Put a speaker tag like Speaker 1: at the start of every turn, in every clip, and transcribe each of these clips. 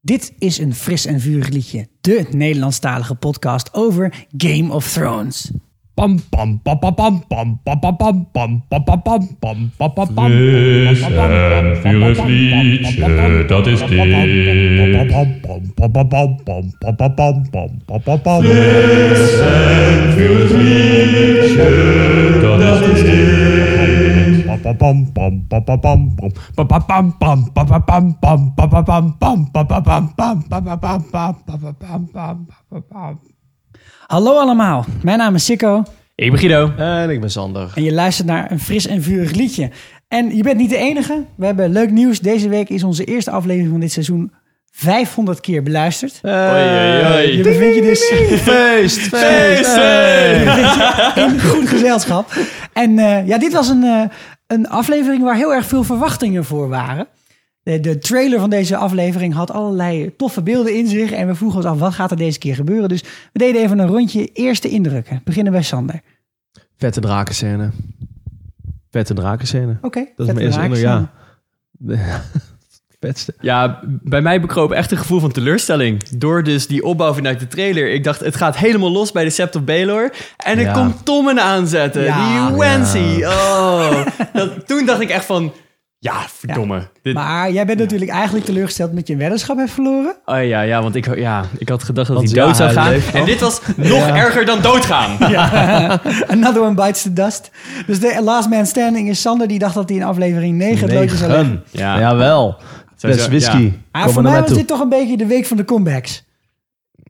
Speaker 1: Dit is een fris en vurig liedje. De Nederlandstalige podcast over Game of Thrones.
Speaker 2: Pam pam pam pam pam pam pam pam pam pam pam pam pam pam pam pam pam
Speaker 3: Fris en vurig liedje, dat is dit. Fris en vurig liedje, dat is dit.
Speaker 1: Hallo allemaal, mijn naam is Sikko
Speaker 2: Ik ben Guido.
Speaker 4: En ik ben Sander.
Speaker 1: en je luistert naar een fris en vurig liedje. En je bent niet de enige, we hebben leuk nieuws. Deze week is onze eerste aflevering van dit seizoen 500 keer beluisterd. Je bevindt je dus
Speaker 4: Eh, Feest, feest,
Speaker 1: in goed gezelschap. En eh, ja, dit was een, eh, een aflevering waar heel erg veel verwachtingen voor waren. De, de trailer van deze aflevering had allerlei toffe beelden in zich. En we vroegen ons af, wat gaat er deze keer gebeuren? Dus we deden even een rondje eerste indrukken. Beginnen bij Sander.
Speaker 4: Vette drakenscène. Vette drakenscène.
Speaker 1: Oké,
Speaker 4: Dat is mijn eerste indruk, ja. Vetste.
Speaker 5: Ja, bij mij bekroop echt een gevoel van teleurstelling. Door dus die opbouw vanuit de trailer. Ik dacht, het gaat helemaal los bij de Sept of Baelor. En ik
Speaker 4: Ja.
Speaker 5: komt Tommen aanzetten.
Speaker 1: Ja.
Speaker 5: die Wancy. Oh. Dat, toen dacht ik echt van... Ja, verdomme. Dit,
Speaker 1: Maar jij bent natuurlijk eigenlijk teleurgesteld omdat je een weddenschap hebt verloren.
Speaker 5: oh ja, ja, want ik, ja, ik had gedacht dat
Speaker 4: Want
Speaker 5: hij
Speaker 4: ja,
Speaker 5: dood zou
Speaker 4: hij
Speaker 5: gaan.
Speaker 4: leeft nog.
Speaker 5: En dit was nog erger dan doodgaan.
Speaker 1: Another one bites the dust. Dus de last man standing is Sander. Die dacht dat hij in aflevering 9 het loodje zou leggen.
Speaker 4: Negen.
Speaker 5: Ja.
Speaker 4: Jawel.
Speaker 5: Sowieso,
Speaker 4: Best whisky.
Speaker 1: Ah,
Speaker 4: Kom
Speaker 1: voor
Speaker 4: maar naar
Speaker 1: mij
Speaker 4: mij
Speaker 1: was dit
Speaker 4: toe.
Speaker 1: toch een beetje de week van de comebacks.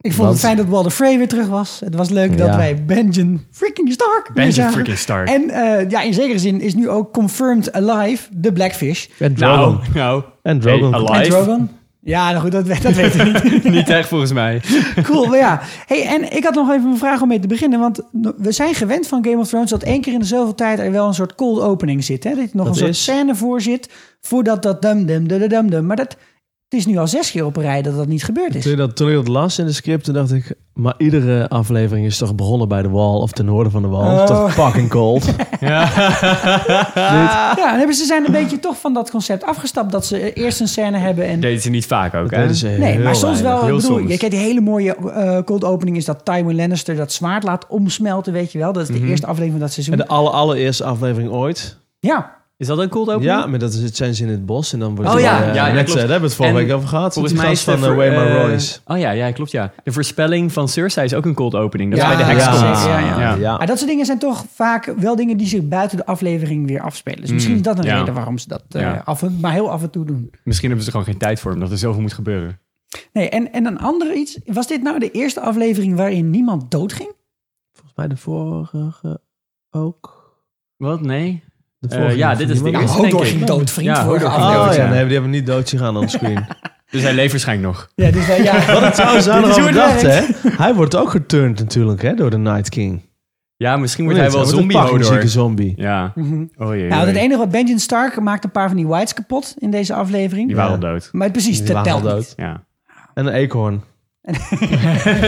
Speaker 1: Ik vond het
Speaker 4: Want-
Speaker 1: fijn dat Walter Frey weer terug was. Het was leuk dat
Speaker 4: Ja.
Speaker 1: wij Benjen freaking Stark weer
Speaker 5: Benjen
Speaker 1: zagen.
Speaker 5: freaking Stark.
Speaker 1: En eh, ja, in zekere zin is nu ook confirmed alive de Blackfish.
Speaker 4: En Drogon.
Speaker 5: Nou, nou.
Speaker 4: En
Speaker 5: Hey,
Speaker 4: Drogon.
Speaker 1: En
Speaker 5: alive.
Speaker 1: Drogon. Ja, nou goed, dat, we- dat weten we niet.
Speaker 5: Niet echt volgens mij.
Speaker 1: Cool, maar ja. Hey, en ik had nog even een vraag om mee te beginnen. Want we zijn gewend van Game of Thrones dat één keer in de zoveel tijd er wel een soort cold opening zit. Hè? Dat er nog een soort
Speaker 4: is-
Speaker 1: scène voor zit, voordat dat dum-dum-dum-dum-dum. Maar dat, het is nu al zes keer op een rij dat dat niet gebeurd is.
Speaker 4: Toen ik, dat, toen ik dat las in de script, toen dacht ik... Maar iedere aflevering is toch begonnen bij de wall of ten noorden van de wall.
Speaker 1: Oh.
Speaker 4: Toch fucking cold.
Speaker 1: Ja, en hebben ze zijn een beetje toch van dat concept afgestapt dat ze eh, eerst een scène hebben en.
Speaker 5: Deden ze niet vaak ook,
Speaker 4: Dat
Speaker 5: hè?
Speaker 4: deden ze eh,
Speaker 1: Nee,
Speaker 4: heel
Speaker 1: maar soms
Speaker 4: weinig.
Speaker 1: wel. Ik
Speaker 5: heel
Speaker 1: bedoel,
Speaker 5: soms.
Speaker 1: je kent die hele mooie eh, cold opening is dat Tywin Lannister dat zwaard laat omsmelten, weet je wel. Dat is de
Speaker 5: Mhm.
Speaker 1: eerste aflevering van dat seizoen.
Speaker 4: En de aller, allereerste aflevering ooit.
Speaker 1: Ja,
Speaker 5: Is dat een cold opening?
Speaker 4: Ja, maar dat is, het zijn ze in het bos en dan wordt
Speaker 5: Oh
Speaker 4: het,
Speaker 5: ja,
Speaker 4: eh,
Speaker 5: ja, ja,
Speaker 4: net,
Speaker 5: klopt.
Speaker 4: eh, daar hebben we het vorige
Speaker 5: En
Speaker 4: week over gehad.
Speaker 5: Volgens
Speaker 4: Die
Speaker 5: mij
Speaker 4: gast
Speaker 5: is de
Speaker 4: van
Speaker 5: ver-
Speaker 4: uh, Waymar
Speaker 5: eh,
Speaker 4: Royce.
Speaker 5: Oh ja, ja, klopt ja. De voorspelling van Cersei is ook een cold opening. Dat
Speaker 1: Ja,
Speaker 5: is bij de heks
Speaker 1: ja,
Speaker 5: komt.
Speaker 1: ja, ja.
Speaker 4: Ja.
Speaker 1: maar dat soort dingen zijn toch vaak wel dingen die zich buiten de aflevering weer afspelen. Dus misschien is dat een
Speaker 5: Mhm. ja.
Speaker 1: reden waarom ze dat eh,
Speaker 5: Ja.
Speaker 1: af en, maar heel af en toe doen.
Speaker 5: Misschien hebben ze er gewoon geen tijd voor, omdat er zoveel moet gebeuren.
Speaker 1: Nee, en, en een ander iets. Was dit nou de eerste aflevering waarin niemand doodging?
Speaker 4: Volgens mij de vorige ook.
Speaker 5: Wat? Nee?
Speaker 4: De
Speaker 5: Eh, ja, dit is de
Speaker 4: niemand?
Speaker 5: eerste,
Speaker 1: Nou, Hodor
Speaker 5: denk ik.
Speaker 1: ging dood, vriend,
Speaker 5: Ja,
Speaker 1: voor de
Speaker 5: Hodor ging
Speaker 4: Oh
Speaker 5: dood,
Speaker 4: ja, nee, die hebben niet dood gegaan on screen. Oh,
Speaker 5: Dus hij leeft waarschijnlijk nog.
Speaker 1: Ja, dus wij- ja.
Speaker 4: Wat ik trouwens aan
Speaker 1: Dit is
Speaker 4: nog
Speaker 1: hoe het
Speaker 4: dacht, hè.
Speaker 1: werkt.
Speaker 4: Hij wordt ook geturnd natuurlijk, hè, door de Night King.
Speaker 5: Ja, misschien wordt hij wel
Speaker 4: wordt
Speaker 5: zombie
Speaker 4: Oh, een fucking zieke
Speaker 5: Hodor.
Speaker 4: zombie.
Speaker 5: Ja. Oh jee.
Speaker 1: Nou,
Speaker 5: jee.
Speaker 1: het enige wat Benjamin Stark maakt een paar van die whites kapot in deze aflevering.
Speaker 5: Die waren
Speaker 4: Ja.
Speaker 5: al dood.
Speaker 1: Maar precies,
Speaker 4: Die
Speaker 1: dat
Speaker 4: waren
Speaker 1: telt
Speaker 4: al
Speaker 1: niet.
Speaker 4: dood.
Speaker 5: Ja.
Speaker 4: En een eekhoorn.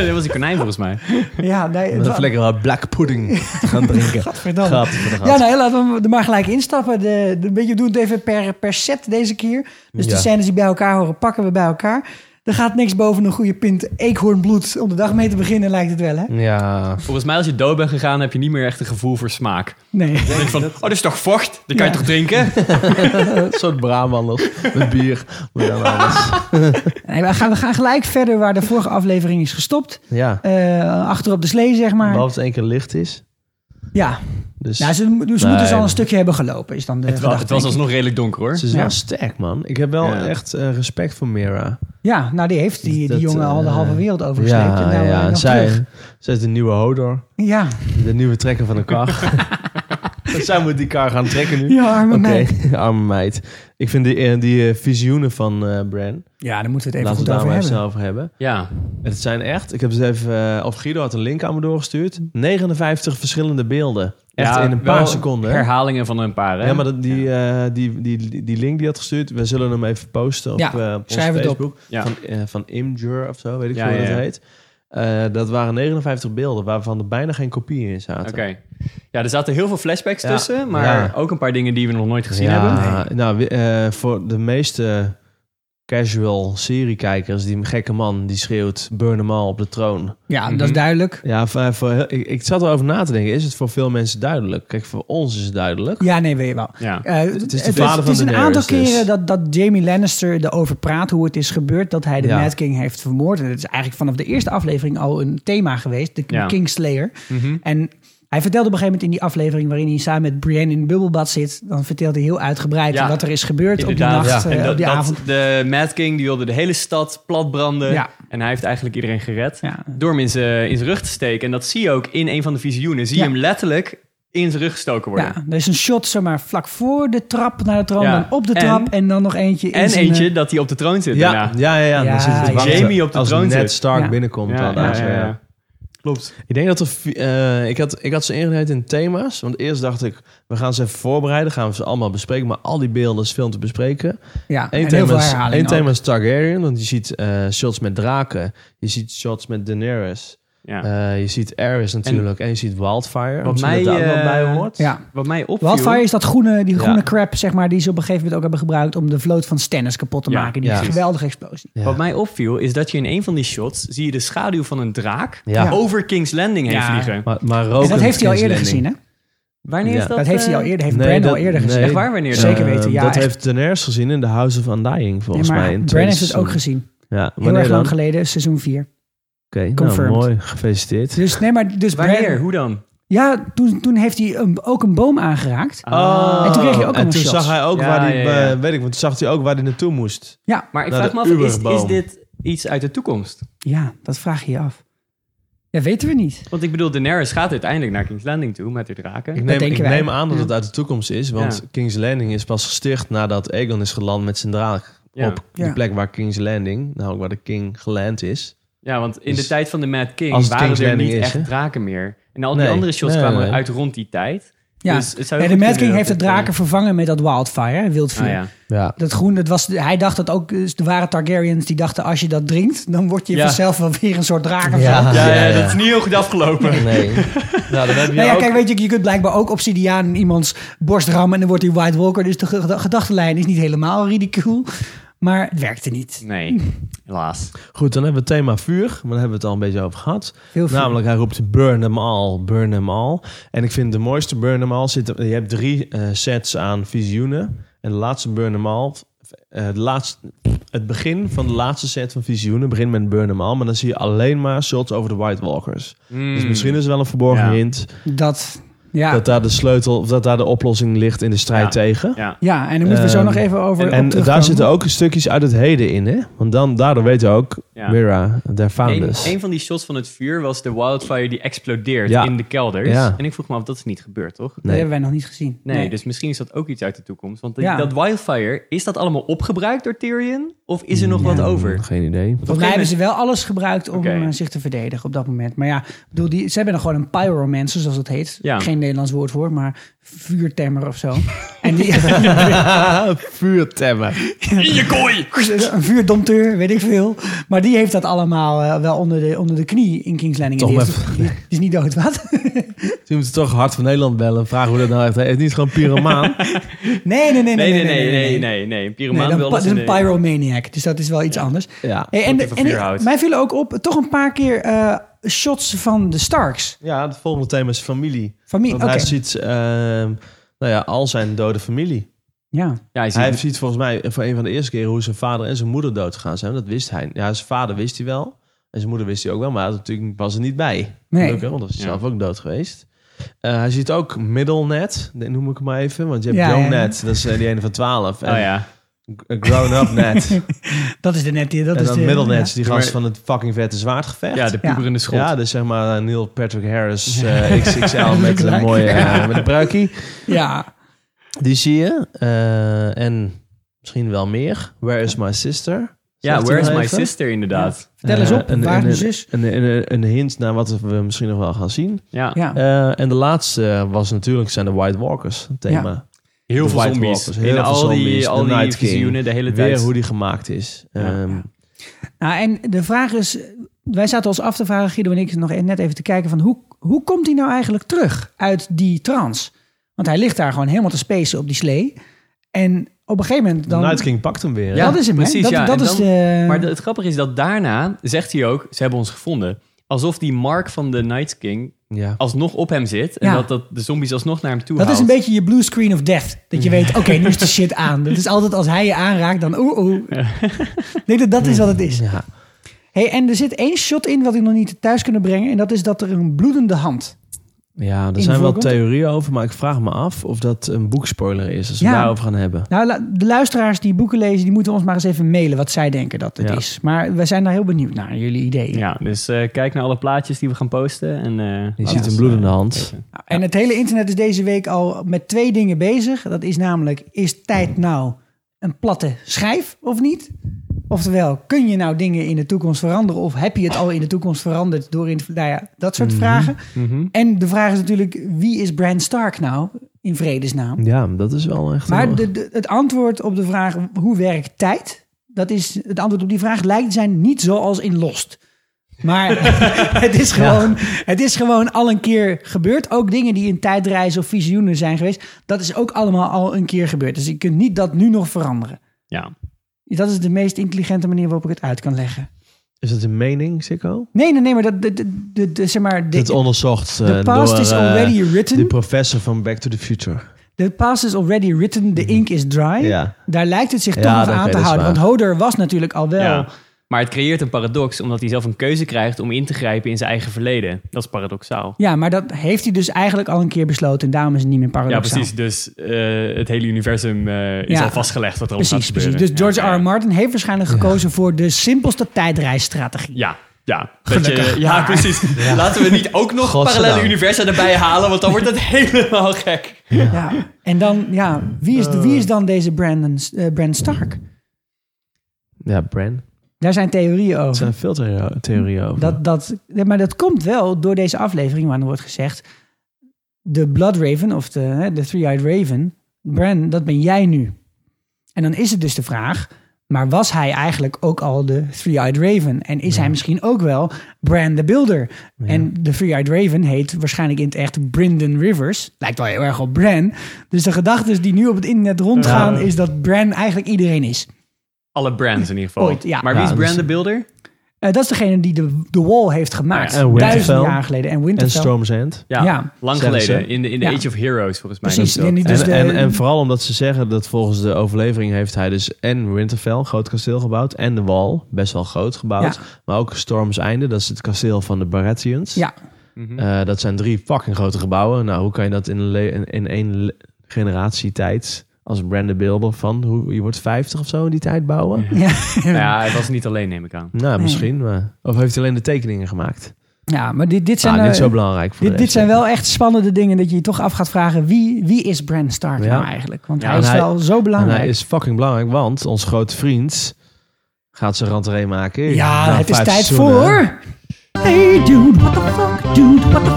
Speaker 5: dat was een konijn volgens mij.
Speaker 1: Ja, nee,
Speaker 4: Met
Speaker 1: wa-
Speaker 4: een lekkere black pudding te gaan drinken.
Speaker 1: Gadverdamme.
Speaker 4: Grap voor de grap.
Speaker 1: Ja, nou, laten we er maar gelijk instappen. De, de, we doen het even per, per set deze keer. Dus de
Speaker 4: Ja.
Speaker 1: scènes die bij elkaar horen, pakken we bij elkaar. Er gaat niks boven een goede pint eekhoornbloed om de dag mee te beginnen, lijkt het wel, hè?
Speaker 4: Ja.
Speaker 5: Volgens mij als je dood bent gegaan, heb je niet meer echt een gevoel voor smaak.
Speaker 1: Nee.
Speaker 5: Dan denk je van, oh, dat is toch vocht? Dat kan
Speaker 1: Ja.
Speaker 5: je toch drinken?
Speaker 4: Een soort braamhandels met bier. Moet je dan alles.
Speaker 1: nee we, gaan, we gaan gelijk verder waar de vorige aflevering is gestopt.
Speaker 4: Ja.
Speaker 1: Eh, achter op de slee, zeg maar.
Speaker 4: Behalve het één keer licht is.
Speaker 1: Ja,
Speaker 4: Dus
Speaker 1: nou, ze, ze moeten
Speaker 4: Nee.
Speaker 1: ze al een stukje hebben gelopen, is dan de
Speaker 5: Het was, het
Speaker 1: gedachte, denk
Speaker 5: was
Speaker 1: ik.
Speaker 5: alsnog redelijk donker hoor.
Speaker 4: ze is wel
Speaker 1: Ja.
Speaker 4: sterk, man. Ik heb wel
Speaker 5: Ja.
Speaker 4: echt eh, respect voor Mira.
Speaker 1: Ja, nou die heeft die, die
Speaker 4: Dat,
Speaker 1: jongen al de
Speaker 4: eh,
Speaker 1: halve wereld overgesleept. en
Speaker 4: Ja,
Speaker 1: nou, eh,
Speaker 4: ja.
Speaker 1: nog terug.
Speaker 4: Zij, zij is de nieuwe Hodor.
Speaker 1: Ja,
Speaker 4: De nieuwe trekker van de kar. zij moet die kar gaan trekken nu.
Speaker 1: ja arme
Speaker 4: Oké,
Speaker 1: meid.
Speaker 4: arme meid. Ik vind die, eh, die eh, visioenen van eh Bran,
Speaker 1: Ja, daar moeten we het even
Speaker 4: laten we
Speaker 1: goed
Speaker 4: het daar
Speaker 1: over
Speaker 4: maar
Speaker 1: hebben.
Speaker 4: even snel over hebben.
Speaker 5: Ja.
Speaker 4: Het zijn echt, ik heb ze even, eh, of Guido had een link aan me doorgestuurd, 59 verschillende beelden. Echt
Speaker 5: Ja,
Speaker 4: in een paar
Speaker 5: wel
Speaker 4: seconden. hè?
Speaker 5: Herhalingen van een paar. Hè?
Speaker 4: Ja, maar dat- die, eh, die, die, die, die link die had gestuurd, we zullen hem even posten op,
Speaker 1: Ja,
Speaker 4: eh, op onze
Speaker 1: schrijf het op.
Speaker 4: Facebook.
Speaker 5: Ja.
Speaker 4: Van, eh, van Imgur of zo, weet ik
Speaker 5: Ja,
Speaker 4: veel hoe
Speaker 5: ja,
Speaker 4: dat
Speaker 5: ja.
Speaker 4: heet. Eh, dat waren 59 beelden, waarvan er bijna geen kopieën in zaten.
Speaker 5: Oké. Ja, er zaten heel veel flashbacks
Speaker 4: Ja.
Speaker 5: tussen, maar
Speaker 4: Ja.
Speaker 5: ook een paar dingen die we nog nooit gezien
Speaker 4: ja,
Speaker 5: hebben.
Speaker 4: Nou, we- eh, voor de meeste casual seriekijkers, die gekke man die schreeuwt burn them all op de troon.
Speaker 1: Ja, dat is
Speaker 4: Mhm.
Speaker 1: duidelijk.
Speaker 4: Ja, voor, voor heel- ik, ik zat erover na te denken, is het voor veel mensen duidelijk? Kijk, voor ons is het duidelijk.
Speaker 1: Ja, nee, weet je wel.
Speaker 5: Ja.
Speaker 1: Eh, het
Speaker 4: is
Speaker 1: is,
Speaker 4: de
Speaker 1: het,
Speaker 4: vader van
Speaker 1: is een
Speaker 4: Daenerys,
Speaker 1: aantal
Speaker 4: dus.
Speaker 1: keren dat, dat Jamie Lannister erover praat hoe het is gebeurd dat hij de
Speaker 4: Ja.
Speaker 1: Mad King heeft vermoord. En dat is eigenlijk vanaf de eerste aflevering al een thema geweest, de
Speaker 5: Ja.
Speaker 1: Kingslayer.
Speaker 4: Mhm.
Speaker 1: En hij vertelde op een gegeven moment in die aflevering waarin hij samen met Brienne in het bubbelbad zit, dan vertelde hij heel uitgebreid
Speaker 5: Ja.
Speaker 1: wat er is gebeurd op
Speaker 5: Inderdaad,
Speaker 1: die nacht,
Speaker 5: ja.
Speaker 1: eh,
Speaker 5: En dat,
Speaker 1: op die
Speaker 5: dat-
Speaker 1: avond.
Speaker 5: de Mad King die wilde de hele stad platbranden.
Speaker 1: Ja.
Speaker 5: En hij heeft eigenlijk iedereen gered.
Speaker 1: Ja.
Speaker 5: Door hem in zijn in zijn rug te steken. En dat zie je ook in een van de visioenen. Zie je
Speaker 1: Ja.
Speaker 5: hem letterlijk in zijn rug gestoken worden.
Speaker 1: Ja, er is een shot zomaar vlak voor de trap naar de troon,
Speaker 5: Ja.
Speaker 1: dan op de
Speaker 5: En-
Speaker 1: trap en, dan nog eentje. in
Speaker 5: En
Speaker 1: zijn, eh,
Speaker 5: eentje dat hij op de troon zit
Speaker 4: Ja,
Speaker 5: daarna.
Speaker 4: ja, ja. ja,
Speaker 1: Ja,
Speaker 4: Dan zit het
Speaker 1: ja.
Speaker 5: Jamie op de
Speaker 4: als
Speaker 5: troon
Speaker 4: Ned
Speaker 5: zit.
Speaker 4: Stark
Speaker 1: Ja.
Speaker 4: binnenkomt.
Speaker 5: Ja,
Speaker 4: dan,
Speaker 5: ja,
Speaker 4: daar zo,
Speaker 5: ja,
Speaker 4: ja.
Speaker 5: ja. Klopt.
Speaker 4: Ik denk dat er... vi- eh, ik, had, ik had ze ingedeeld in thema's. Want eerst dacht ik, we gaan ze even voorbereiden. Gaan we ze allemaal bespreken. Maar al die beelden is veel te bespreken.
Speaker 1: eh, Ja,
Speaker 4: Eén
Speaker 1: en heel
Speaker 4: thema,
Speaker 1: veel
Speaker 4: is,
Speaker 1: herhalingen
Speaker 4: één
Speaker 1: ook.
Speaker 4: thema is Targaryen. Want je ziet eh, shots met draken. Je ziet shots met Daenerys.
Speaker 5: Ja.
Speaker 4: Eh, je ziet Aerys natuurlijk. En, je ziet Wildfire.
Speaker 5: Wat
Speaker 4: misschien
Speaker 5: mij,
Speaker 4: dat daar ook
Speaker 5: eh,
Speaker 4: nog bij hoort.
Speaker 1: Ja.
Speaker 5: Wat mij opviel...
Speaker 1: Wildfire is dat groene, die
Speaker 4: Ja.
Speaker 1: groene crap, zeg maar, die ze op een gegeven moment ook hebben gebruikt om de vloot van Stannis kapot te
Speaker 5: Ja,
Speaker 1: maken. Die
Speaker 4: ja.
Speaker 1: geweldige explosie.
Speaker 4: Ja.
Speaker 5: Wat mij opviel is dat je in een van die shots zie je de schaduw van een draak
Speaker 4: Ja.
Speaker 5: over King's Landing heen
Speaker 1: Ja.
Speaker 5: vliegen.
Speaker 4: Maar, maar
Speaker 1: En
Speaker 4: roken
Speaker 1: dat heeft hij al eerder
Speaker 4: King's
Speaker 1: gezien, hè?
Speaker 5: Wanneer
Speaker 4: Ja.
Speaker 5: is dat?
Speaker 1: Dat heeft hij al
Speaker 5: eh,
Speaker 1: eerder, heeft
Speaker 4: Nee,
Speaker 1: Bran al
Speaker 4: dat-
Speaker 1: eerder
Speaker 4: nee.
Speaker 1: gezien.
Speaker 5: Echt waar, wanneer
Speaker 4: Landing.
Speaker 5: dan?
Speaker 1: Zeker weten,
Speaker 4: Eh,
Speaker 1: ja,
Speaker 4: Dat
Speaker 1: echt.
Speaker 4: heeft Daenerys gezien in The House of Undying, volgens
Speaker 1: Nee,
Speaker 4: mij. in
Speaker 1: maar Bran
Speaker 4: het tweede
Speaker 1: heeft het ook
Speaker 4: seizoen.
Speaker 1: gezien.
Speaker 4: Ja,
Speaker 1: Heel
Speaker 4: wanneer
Speaker 1: erg
Speaker 4: dan?
Speaker 1: lang geleden, seizoen 4.
Speaker 4: Oké, nou,
Speaker 1: Confirmed.
Speaker 4: mooi. Gefeliciteerd.
Speaker 1: Dus nee, maar dus Bran-
Speaker 5: Wanneer? Hoe dan?
Speaker 1: Ja, toen, toen heeft hij een, ook een boom aangeraakt.
Speaker 5: Ah.
Speaker 1: En toen kreeg je ook
Speaker 4: En
Speaker 1: allemaal
Speaker 4: toen
Speaker 1: shots.
Speaker 4: zag hij ook
Speaker 5: Ja,
Speaker 4: waar hij,
Speaker 5: ja, ja.
Speaker 4: eh, weet ik, want toen zag hij ook waar hij naartoe moest.
Speaker 1: Ja,
Speaker 5: Maar ik
Speaker 4: Naar
Speaker 5: vraag
Speaker 4: de
Speaker 5: me af, is, is
Speaker 4: Uberboom.
Speaker 5: dit iets uit de toekomst?
Speaker 1: ja, dat vraag je je af. Ja, weten we niet.
Speaker 5: Want ik bedoel, Daenerys gaat uiteindelijk naar King's Landing toe met de draken.
Speaker 4: Ik neem,
Speaker 1: denken
Speaker 4: ik
Speaker 1: wij.
Speaker 4: neem aan dat
Speaker 1: Ja.
Speaker 4: het uit de toekomst is, want
Speaker 5: Ja.
Speaker 4: King's Landing is pas gesticht nadat Aegon is geland met zijn draak.
Speaker 5: Ja.
Speaker 4: Op de
Speaker 1: Ja.
Speaker 4: plek waar King's Landing, namelijk waar de king geland is.
Speaker 5: Ja, want in de
Speaker 4: Dus
Speaker 5: tijd van de Mad King
Speaker 4: als het
Speaker 5: waren
Speaker 4: King's
Speaker 5: er
Speaker 4: Landing
Speaker 5: niet
Speaker 4: is,
Speaker 5: echt
Speaker 4: hè?
Speaker 5: draken meer. En al die
Speaker 4: Nee,
Speaker 5: andere shots
Speaker 4: nee,
Speaker 5: kwamen
Speaker 4: nee.
Speaker 5: uit rond die tijd.
Speaker 1: Ja.
Speaker 5: Dus het zou
Speaker 1: Nee,
Speaker 5: heel
Speaker 1: de
Speaker 5: goed
Speaker 1: Mad
Speaker 5: kunnen
Speaker 1: King
Speaker 5: dat
Speaker 1: heeft de
Speaker 5: het,
Speaker 1: draken vervangen met dat wildfire, wildvuur.
Speaker 5: eh, ah, ja.
Speaker 4: Ja.
Speaker 1: Dat groen, dat was, hij dacht dat ook dus de ware Targaryens, die dachten als je dat drinkt, dan word je
Speaker 5: Ja.
Speaker 1: vanzelf wel weer een soort draak of zo.
Speaker 4: Ja,
Speaker 5: Ja, ja,
Speaker 4: ja, ja.
Speaker 5: dat is niet heel goed afgelopen.
Speaker 4: Nee. nou, dan heb je
Speaker 1: Nou ja,
Speaker 4: ook...
Speaker 1: kijk, weet je, je kunt blijkbaar ook obsidiaan in iemands borst rammen en dan wordt hij White Walker. Dus de ge- de gedachtenlijn is niet helemaal ridicule, maar het werkte niet.
Speaker 5: Nee, helaas.
Speaker 4: Goed, dan hebben we het thema vuur, maar daar hebben we het al een beetje over gehad.
Speaker 1: Heel veel.
Speaker 4: Namelijk, hij roept burn them all, burn them all. En ik vind de mooiste burn them all zit... Je hebt drie eh, sets aan visioenen. En de laatste burn them all... eh, het, laatste, het begin van de laatste set van visioenen begint met burn them all. Maar dan zie je alleen maar shots over de White Walkers.
Speaker 5: Hmm.
Speaker 4: Dus misschien is er wel een verborgen
Speaker 5: Ja.
Speaker 4: hint...
Speaker 1: Dat, ja.
Speaker 4: dat daar de sleutel... of dat daar de oplossing ligt in de strijd
Speaker 5: Ja.
Speaker 4: tegen.
Speaker 5: Ja.
Speaker 1: ja, en dan moeten we zo
Speaker 4: Ehm,
Speaker 1: nog even over op
Speaker 4: En daar
Speaker 1: terugkomen.
Speaker 4: zitten ook stukjes uit het heden in, hè? Want dan, daardoor weten we ook...
Speaker 5: Ja.
Speaker 4: Mira, their
Speaker 5: Een,
Speaker 4: founders.
Speaker 5: een van die shots van het vuur was de wildfire die explodeert
Speaker 4: Ja.
Speaker 5: in de kelders.
Speaker 4: Ja.
Speaker 5: En ik vroeg me af, dat is niet gebeurd, toch?
Speaker 1: Dat hebben wij nog niet gezien.
Speaker 5: Nee, dus misschien is dat ook iets uit de toekomst. Want die-
Speaker 1: Ja.
Speaker 5: dat wildfire, is dat allemaal opgebruikt door Tyrion? Of is er nog wat over? Want
Speaker 4: Geen idee.
Speaker 5: op een
Speaker 1: Volgens mij hebben
Speaker 5: gegeven
Speaker 1: ze wel alles gebruikt om
Speaker 5: Oké.
Speaker 1: eh, zich te verdedigen op dat moment. Maar ja, ik bedoel, die, ze hebben dan gewoon een pyromancer, zoals dat heet.
Speaker 5: Ja.
Speaker 1: Geen Nederlands woord voor, maar vuurtemmer of zo. en die,
Speaker 4: Vuurtemmer.
Speaker 5: moment- In je kooi!
Speaker 1: een vuurdompteur, weet ik veel. Maar die heeft dat allemaal eh, wel onder de, onder de knie in Kings Landing. En
Speaker 4: Toch
Speaker 1: die is, die is niet dood, wat?
Speaker 4: Ze moeten toch Hart van Nederland bellen en vragen hoe dat nou echt heet. Het is niet gewoon pyromaan.
Speaker 1: Nee, nee, nee.
Speaker 5: Nee, nee, nee, nee, nee, nee. Een pyromaan
Speaker 1: Nee,
Speaker 5: wil
Speaker 1: dan, pa-
Speaker 5: dat
Speaker 1: dat is
Speaker 5: in
Speaker 1: een
Speaker 5: de-
Speaker 1: pyromaniac, dus dat is wel iets anders.
Speaker 4: ja.
Speaker 1: Hey, en
Speaker 5: Moet
Speaker 1: de-
Speaker 5: even
Speaker 1: en ik-
Speaker 5: vuur houden.
Speaker 1: mij vielen ook op toch een paar keer eh, shots van de Starks.
Speaker 4: ja, het volgende thema is familie.
Speaker 1: Familie,
Speaker 4: Want
Speaker 1: oké.
Speaker 4: hij ziet ehm, nou ja, al zijn dode familie.
Speaker 1: Ja,
Speaker 5: Ja, hij ziet-
Speaker 4: Hij ziet volgens mij voor een van de eerste keren hoe zijn vader en zijn moeder doodgegaan zijn. Dat wist hij. Ja, zijn vader wist hij wel. En zijn moeder wist hij ook wel, maar hij had natuurlijk, was er niet bij.
Speaker 1: Nee.
Speaker 4: Gelukkig, want dan was hij
Speaker 5: Ja.
Speaker 4: zelf ook dood geweest. Eh, hij ziet ook Middlenet, noem ik hem maar even. Want je hebt
Speaker 1: Ja,
Speaker 4: Young
Speaker 1: ja.
Speaker 4: Net, dat is eh, die ene van 12. En
Speaker 5: Oh ja.
Speaker 4: Grown-up Net.
Speaker 1: dat is de net. die- Dat
Speaker 4: en
Speaker 1: is
Speaker 4: dan
Speaker 1: de,
Speaker 4: middelnets, die gast
Speaker 5: Maar-
Speaker 4: van het fucking vette zwaardgevecht.
Speaker 5: Ja, de puberende schot.
Speaker 4: Ja, dus zeg maar eh, Neil Patrick Harris eh, XXL met een
Speaker 1: Gelijk.
Speaker 4: mooie eh, met een bruikie.
Speaker 1: Ja. ja.
Speaker 4: Die zie je. eh, en misschien wel meer. Where is my sister?
Speaker 5: Ja,
Speaker 4: Zegt
Speaker 5: Where is
Speaker 4: hij
Speaker 5: my
Speaker 4: even.
Speaker 5: sister inderdaad.
Speaker 1: Vertel eens
Speaker 4: Eh,
Speaker 1: op, waar dus is mijn zus?
Speaker 4: Een, een, een, een hint naar wat we misschien nog wel gaan zien.
Speaker 5: Ja.
Speaker 1: Ja.
Speaker 4: Eh, en de laatste was natuurlijk zijn de White Walkers het thema.
Speaker 5: Heel
Speaker 4: De
Speaker 5: veel
Speaker 4: White
Speaker 5: zombies.
Speaker 4: Walkers,
Speaker 5: in
Speaker 4: heel
Speaker 5: al
Speaker 4: veel zombies,
Speaker 5: die,
Speaker 4: de
Speaker 5: al die
Speaker 4: Night King.
Speaker 5: visioenen de hele tijd.
Speaker 4: Weer hoe die gemaakt is.
Speaker 5: Ja.
Speaker 4: Ehm,
Speaker 1: Nou, en de vraag is, wij zaten ons af te vragen, Guido en ik, nog e- net even te kijken van hoe, hoe komt hij nou eigenlijk terug uit die trance? Want hij ligt daar gewoon helemaal te spacen op die slee. En op een gegeven moment dan...
Speaker 4: Night King pakt hem weer. hè?
Speaker 1: Ja. dat is hem, hè? Dat- dat
Speaker 5: en
Speaker 1: is de-
Speaker 5: Maar de- het grappige is dat daarna zegt hij ook, ze hebben ons gevonden. Alsof die Mark van de Night King
Speaker 4: Ja.
Speaker 5: alsnog op hem zit. En
Speaker 1: Ja.
Speaker 5: dat, dat de zombies alsnog naar hem toe
Speaker 1: dat is een
Speaker 5: haalt.
Speaker 1: beetje je blue screen of death. Dat je weet, oké, nu is de shit aan. Dat is altijd als hij je aanraakt, dan oeh oeh. Ik denk dat dat is wat het is.
Speaker 4: Ja.
Speaker 1: Hey, en er zit één shot in wat ik nog niet thuis kunnen brengen. En dat is dat er een bloedende hand.
Speaker 4: Ja, er
Speaker 1: In
Speaker 4: zijn wel
Speaker 1: voorkomt.
Speaker 4: theorieën over, maar ik vraag me af of dat een boekspoiler is. Als we
Speaker 1: Ja.
Speaker 4: daarover gaan hebben.
Speaker 1: Nou, la- de luisteraars die boeken lezen, die moeten ons maar eens even mailen wat zij denken dat het
Speaker 4: Ja.
Speaker 1: is. Maar we zijn daar heel benieuwd naar, jullie ideeën.
Speaker 5: Ja, dus eh, kijk naar alle plaatjes die we gaan posten. En, eh,
Speaker 4: Je
Speaker 5: laat
Speaker 4: ziet
Speaker 5: ons,
Speaker 4: een bloedende
Speaker 5: eh,
Speaker 4: hand.
Speaker 1: En het hele internet is deze week al met twee dingen bezig. Dat is namelijk, is tijd nou een platte schijf of niet? Oftewel, kun je nou dingen in de toekomst veranderen? Of heb je het al in de toekomst veranderd door in, nou ja, dat soort vragen? En de vraag is natuurlijk, wie is Bran Stark nou in vredesnaam?
Speaker 4: Ja, dat is wel echt. heel-
Speaker 1: Maar de, de- het antwoord op de vraag hoe werkt tijd? Dat is, het antwoord op die vraag lijkt te zijn niet zoals in Lost. Maar het, is gewoon, het is gewoon al een keer gebeurd. Ook dingen die in tijdreizen of visioenen zijn geweest. Dat is ook allemaal al een keer gebeurd. Dus je kunt niet dat nu nog veranderen.
Speaker 5: Ja.
Speaker 1: Dat is de meest intelligente manier waarop ik het uit kan leggen.
Speaker 4: Is dat een mening, Sikko?
Speaker 1: Nee, nee, nee, maar dat, de, de, de, de- zeg maar,
Speaker 4: Dit
Speaker 1: de,
Speaker 4: onderzocht eh,
Speaker 1: the past
Speaker 4: door
Speaker 1: is
Speaker 4: eh,
Speaker 1: already
Speaker 4: de
Speaker 1: written.
Speaker 4: professor van Back to the Future.
Speaker 1: The past is already written, the ink is dry.
Speaker 4: Mhm. Ja.
Speaker 1: Daar lijkt het zich toch
Speaker 4: Ja,
Speaker 1: nog
Speaker 4: oké,
Speaker 1: aan
Speaker 4: dat
Speaker 1: te
Speaker 4: is
Speaker 1: houden.
Speaker 4: waar.
Speaker 1: Want Hodor was natuurlijk al wel...
Speaker 5: Ja. Maar het creëert een paradox, omdat hij zelf een keuze krijgt om in te grijpen in zijn eigen verleden. Dat is paradoxaal.
Speaker 1: Ja, maar dat heeft hij dus eigenlijk al een keer besloten. En daarom is het niet meer
Speaker 5: Ja,
Speaker 1: paradoxaal.
Speaker 5: precies. Dus eh, het hele universum eh, is
Speaker 1: Ja.
Speaker 5: al vastgelegd wat er allemaal gaat
Speaker 1: Precies,
Speaker 5: gebeuren.
Speaker 1: precies. Dus George
Speaker 5: Ja,
Speaker 1: R. R. Martin heeft waarschijnlijk gekozen voor de simpelste tijdreisstrategie.
Speaker 5: Ja, ja. Dat
Speaker 1: Gelukkig
Speaker 5: je, ja,
Speaker 1: maar.
Speaker 5: precies. Laten we niet ook nog
Speaker 4: Godzijdank.
Speaker 5: parallele universa erbij halen, want dan wordt het helemaal gek.
Speaker 1: Ja. En dan, ja, wie is, de, wie is dan deze Brandon, eh Bran Stark?
Speaker 4: Ja, Bran.
Speaker 1: Daar zijn theorieën
Speaker 4: Er
Speaker 1: over.
Speaker 4: zijn veel theo- theorieën over.
Speaker 1: Dat, dat, nee, maar dat komt wel door deze aflevering waarin wordt gezegd... de Blood Raven, of de, hè, de Three-Eyed Raven... Bran, dat ben jij nu. En dan is het dus de vraag... maar was hij eigenlijk ook al de Three-Eyed Raven? En is hij misschien ook wel Bran the Builder? En de Three-Eyed Raven heet waarschijnlijk in het echt Brynden Rivers. Lijkt wel heel erg op Bran. Dus de gedachten die nu op het internet rondgaan... is dat Bran eigenlijk iedereen is.
Speaker 5: Alle brands in ieder geval.
Speaker 1: Ooit, ja.
Speaker 5: Maar wie
Speaker 4: Ja,
Speaker 5: is
Speaker 4: dus-
Speaker 5: Brand the Builder?
Speaker 1: Eh, dat is degene die de, de wall heeft gemaakt.
Speaker 4: Ja, en Winterfell.
Speaker 1: duizenden jaar geleden. En
Speaker 4: en
Speaker 1: Winterfell.
Speaker 4: Storm's End.
Speaker 5: Ja,
Speaker 1: Ja.
Speaker 5: lang
Speaker 4: Zeggen
Speaker 5: geleden.
Speaker 4: ze.
Speaker 5: In de, in de
Speaker 1: Ja.
Speaker 5: Age of Heroes, volgens mij.
Speaker 1: Precies.
Speaker 5: noemt
Speaker 1: En,
Speaker 5: dat.
Speaker 1: dus
Speaker 4: en,
Speaker 1: de,
Speaker 4: en, en vooral omdat ze zeggen dat volgens de overlevering heeft hij dus en Winterfell, groot kasteel gebouwd, en de Wall, best wel groot gebouwd.
Speaker 1: Ja.
Speaker 4: Maar ook Storm's Einde, dat is het kasteel van de Baratheons.
Speaker 1: ja,
Speaker 4: Eh, dat zijn drie fucking grote gebouwen. Nou, hoe kan je dat in, een le- in, in één le- generatie tijd als Brandon Bilber van, hoe, je wordt 50 of zo in die tijd bouwen?
Speaker 1: ja.
Speaker 5: Nou ja, hij was niet alleen, neem ik aan.
Speaker 4: Nou, misschien. Maar, of heeft hij alleen de tekeningen gemaakt?
Speaker 1: ja, maar dit, dit zijn,
Speaker 4: Nou,
Speaker 1: eh,
Speaker 4: niet zo belangrijk voor de
Speaker 1: dit, dit
Speaker 4: rest,
Speaker 1: zijn
Speaker 4: denk ik.
Speaker 1: wel echt spannende dingen dat je je toch af gaat vragen wie, wie is Bran Stark
Speaker 4: Ja.
Speaker 1: nou eigenlijk? Want
Speaker 5: Ja,
Speaker 1: hij
Speaker 4: en
Speaker 1: is
Speaker 4: hij-
Speaker 1: wel zo
Speaker 4: En
Speaker 1: belangrijk.
Speaker 4: hij is fucking belangrijk, want ons grote vriend gaat zijn ranteree maken.
Speaker 1: ja,
Speaker 4: Na
Speaker 1: het is
Speaker 4: vijf
Speaker 1: tijd
Speaker 4: seizoenen.
Speaker 1: voor. Hey dude, what the fuck, dude, what the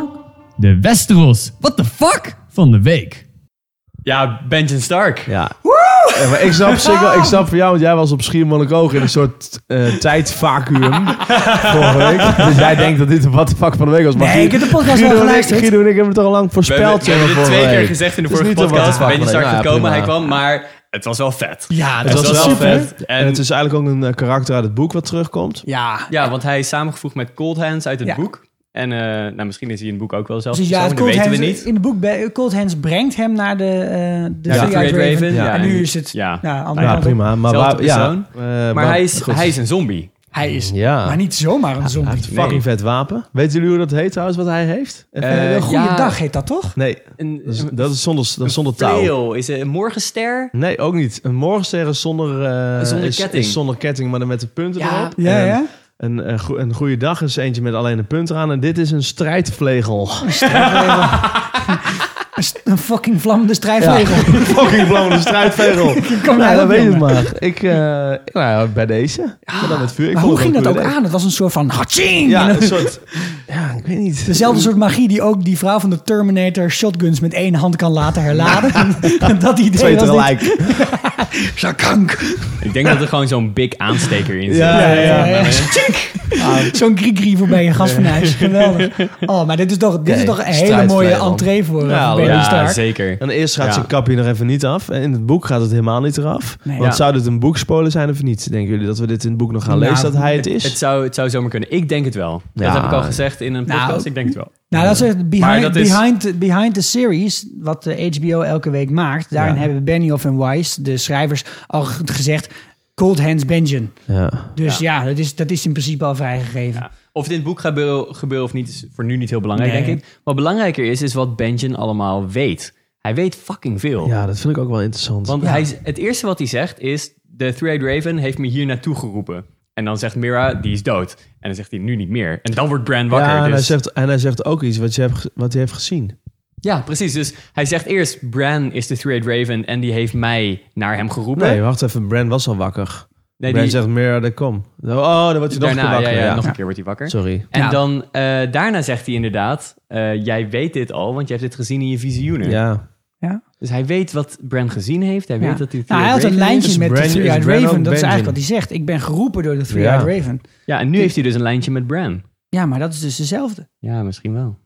Speaker 1: fuck.
Speaker 2: De Westeros, what the fuck, van de week.
Speaker 5: Ja, Benjamin Stark.
Speaker 4: Ja. Ja, maar ik snap, zeker, wel- ik snap voor jou, want jij was op Schiermonnikoog in een soort eh tijdvacuum vorige week. Dus jij denkt dat dit de what the fuck van de week was. Maar
Speaker 1: Nee,
Speaker 4: Guido-
Speaker 1: ik heb de podcast
Speaker 4: Guido
Speaker 1: wel
Speaker 4: en ik-
Speaker 1: geluisterd.
Speaker 4: Guido en ik hebben het al lang
Speaker 5: We hebben,
Speaker 4: voorspeld.
Speaker 5: we hebben
Speaker 4: zeg
Speaker 5: dit
Speaker 4: maar,
Speaker 5: twee
Speaker 4: vorige
Speaker 5: keer
Speaker 4: week.
Speaker 5: gezegd in de
Speaker 4: Het is
Speaker 5: vorige
Speaker 4: niet de what the
Speaker 5: podcast.
Speaker 4: fuck
Speaker 5: Benjamin
Speaker 4: van de
Speaker 5: Stark
Speaker 4: week. Ja,
Speaker 5: gekomen, hij
Speaker 4: prima.
Speaker 5: kwam, maar het was wel vet.
Speaker 1: Ja,
Speaker 4: Het
Speaker 1: dat
Speaker 4: was
Speaker 5: was
Speaker 4: wel
Speaker 5: wel
Speaker 4: vet.
Speaker 5: vet.
Speaker 4: En het is eigenlijk ook een eh, karakter uit het boek wat terugkomt.
Speaker 1: Ja,
Speaker 5: Ja, want hij is samengevoegd met Cold Hands uit het
Speaker 1: Ja.
Speaker 5: boek. En eh, nou, misschien is hij in het boek ook wel zelf.
Speaker 1: precies. Dus Ja,
Speaker 5: persoon,
Speaker 1: het
Speaker 5: dat
Speaker 1: Cold
Speaker 5: weten
Speaker 1: Hands,
Speaker 5: we niet.
Speaker 1: in het boek bij- Cold Hands brengt hem naar de, eh de
Speaker 5: Ja,
Speaker 1: Three-Eyed
Speaker 5: Red
Speaker 1: Raven.
Speaker 5: Raven.
Speaker 4: Ja.
Speaker 1: En nu is het
Speaker 5: Ja.
Speaker 1: nou, andere
Speaker 4: Ja,
Speaker 1: kant op.
Speaker 4: prima. Maar,
Speaker 5: Zelfde
Speaker 4: waar, ja,
Speaker 5: persoon.
Speaker 4: eh,
Speaker 5: Maar hij is,
Speaker 4: goed.
Speaker 5: hij is een zombie.
Speaker 1: Hij is,
Speaker 4: Ja.
Speaker 1: maar niet zomaar een
Speaker 4: Hij
Speaker 1: zombie.
Speaker 4: heeft een fucking vet wapen. Weten jullie hoe dat heet trouwens, wat hij heeft? Even-
Speaker 5: Eh,
Speaker 4: heel goed.
Speaker 1: Goeiedag heet dat toch?
Speaker 4: Nee,
Speaker 5: Een,
Speaker 4: dat is, dat is zonder, dat is zonder touw.
Speaker 5: flail. Is het een morgenster?
Speaker 4: Nee, ook niet. Een morgenster is zonder, eh,
Speaker 5: Zonder
Speaker 4: is- is
Speaker 5: ketting.
Speaker 4: zonder ketting, maar dan met de punten
Speaker 5: Ja.
Speaker 4: erop.
Speaker 1: Ja,
Speaker 4: En
Speaker 1: ja.
Speaker 4: Een, een, goe- een goede dag is eentje met alleen een punt eraan. En dit is een strijdvlegel.
Speaker 1: Een st- Een fucking vlammende strijdvlegel.
Speaker 4: fucking blauwe strijdvlegel.
Speaker 1: Kom
Speaker 4: nou,
Speaker 1: nou
Speaker 4: dan
Speaker 1: op,
Speaker 4: weet je het
Speaker 1: jongen.
Speaker 4: maar. Ik, eh, nou ja, bij deze. Maar dan met vuur. Ik
Speaker 1: Maar
Speaker 4: vond
Speaker 1: hoe
Speaker 4: het
Speaker 1: ging
Speaker 4: wel
Speaker 1: dat
Speaker 4: een
Speaker 1: ook
Speaker 4: goed idee.
Speaker 1: aan? Het was een soort van hatching.
Speaker 4: Ja,
Speaker 1: En
Speaker 4: een soort... Ja, ik weet niet.
Speaker 1: Dezelfde soort magie die ook die vrouw van de Terminator shotguns met één hand kan laten herladen. dat idee
Speaker 4: Twee
Speaker 1: was dit.
Speaker 4: tegelijk.
Speaker 1: Zakank.
Speaker 5: Ik denk dat er gewoon zo'n big aansteker in zit.
Speaker 1: Ja, ja, ja. Tjink.
Speaker 4: Ah.
Speaker 1: Zo'n kriekrie voorbij je gast van huis. Geweldig. Oh, maar dit is toch, dit is toch een hele
Speaker 4: strijd
Speaker 1: mooie
Speaker 4: vrij, man.
Speaker 1: entree voor eh,
Speaker 4: Ja,
Speaker 1: voor Bailey
Speaker 5: Ja,
Speaker 1: Stark.
Speaker 5: zeker.
Speaker 4: En eerst gaat
Speaker 5: Ja.
Speaker 4: zijn kapje nog even niet af. En in het boek gaat het helemaal niet eraf.
Speaker 1: Nee.
Speaker 4: Want
Speaker 5: Ja.
Speaker 4: zou dit een boekspoiler zijn of niet? Denken jullie dat we dit in het boek nog gaan
Speaker 1: Nou,
Speaker 4: lezen, dat hij het is?
Speaker 5: Het zou, het zou zomaar kunnen. Ik denk het wel.
Speaker 4: Ja.
Speaker 5: Dat heb ik al gezegd in een
Speaker 1: Nou,
Speaker 5: podcast. ik denk het wel.
Speaker 1: Nou, dat is echt behind,
Speaker 5: Maar dat is-
Speaker 1: behind, behind the series, wat de HBO elke week maakt. Daarin
Speaker 4: Ja.
Speaker 1: hebben Benioff en Weiss, de schrijvers, al g- gezegd... Cold Hands Benjen.
Speaker 4: ja.
Speaker 1: Dus ja, dat, is, dat is in principe al vrijgegeven.
Speaker 5: Ja. Of het in het boek gaat gebeuren, gebeuren of niet, is voor nu niet heel belangrijk,
Speaker 1: Nee.
Speaker 5: denk ik. Wat belangrijker is, is wat Benjen allemaal weet. Hij weet fucking veel.
Speaker 4: ja, dat vind ik ook wel interessant.
Speaker 5: Want hij, z- het eerste wat hij zegt is... De Three-Eyed Raven heeft me hier naartoe geroepen. En dan zegt Mira, die is dood. En dan zegt hij, nu niet meer. En dan wordt Bran wakker.
Speaker 4: ja, en, hij
Speaker 5: dus-
Speaker 4: zegt, en hij zegt ook iets wat, je hebt, ge- wat hij heeft gezien.
Speaker 5: ja, precies. Dus hij zegt eerst, Bran is de Three-Eyed Raven... en die heeft mij naar hem geroepen.
Speaker 4: Nee, wacht even. Bran was al wakker.
Speaker 5: Nee,
Speaker 4: Bran
Speaker 5: die-
Speaker 4: zegt, Mira, daar kom. Oh, dan word je nog een keer
Speaker 5: daarna, ja,
Speaker 4: wakker.
Speaker 5: ja,
Speaker 4: ja.
Speaker 5: nog een keer wordt hij wakker.
Speaker 4: Sorry.
Speaker 5: En
Speaker 1: Ja.
Speaker 5: dan eh, daarna zegt hij inderdaad, eh, jij weet dit al, want je hebt dit gezien in je visioenen.
Speaker 4: Ja.
Speaker 1: Ja.
Speaker 5: Dus hij weet wat Bran gezien heeft. Hij
Speaker 1: Ja.
Speaker 5: weet dat hij...
Speaker 1: nou, hij had een
Speaker 5: Raven is.
Speaker 1: lijntje
Speaker 4: is
Speaker 1: met de
Speaker 4: Bran-
Speaker 1: Three-Eyed
Speaker 4: is Bran
Speaker 1: Raven.
Speaker 4: ook
Speaker 1: Dat is
Speaker 4: Benjen?
Speaker 1: eigenlijk wat hij zegt. Ik ben geroepen door de Three-Eyed
Speaker 4: Ja.
Speaker 1: Raven.
Speaker 5: Ja, en nu heeft hij dus een lijntje met Bran.
Speaker 1: Ja, maar dat is dus dezelfde.
Speaker 5: Ja, misschien wel.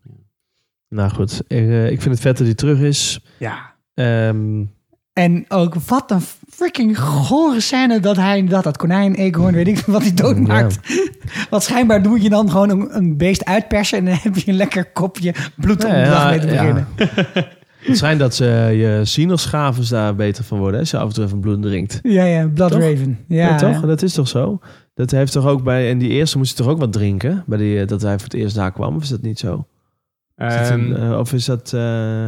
Speaker 4: Nou goed, ik, eh, ik vind het vet dat hij terug is.
Speaker 1: Ja.
Speaker 4: Ehm,
Speaker 1: En ook wat een freaking gore scène dat hij inderdaad dat konijn, eekhoorn, weet ik veel wat hij doodmaakt. Want schijnbaar doe je dan gewoon een, een beest uitpersen en dan heb je een lekker kopje bloed om de dag mee te
Speaker 4: ja.
Speaker 1: beginnen.
Speaker 4: Het schijnt dat ze je sinaasschaven daar beter van worden. Hè? Als je af en toe even bloed drinkt.
Speaker 1: Ja, ja, Blood
Speaker 4: Toch?
Speaker 1: Raven. Ja,
Speaker 4: Ja, toch? Dat is toch zo? Dat heeft toch ook bij... En die eerste moest hij toch ook wat drinken? Bij die, eh, dat hij voor het eerst daar kwam? Of is dat niet zo? Is dat een,
Speaker 5: Ehm,
Speaker 4: eh, of is dat... eh,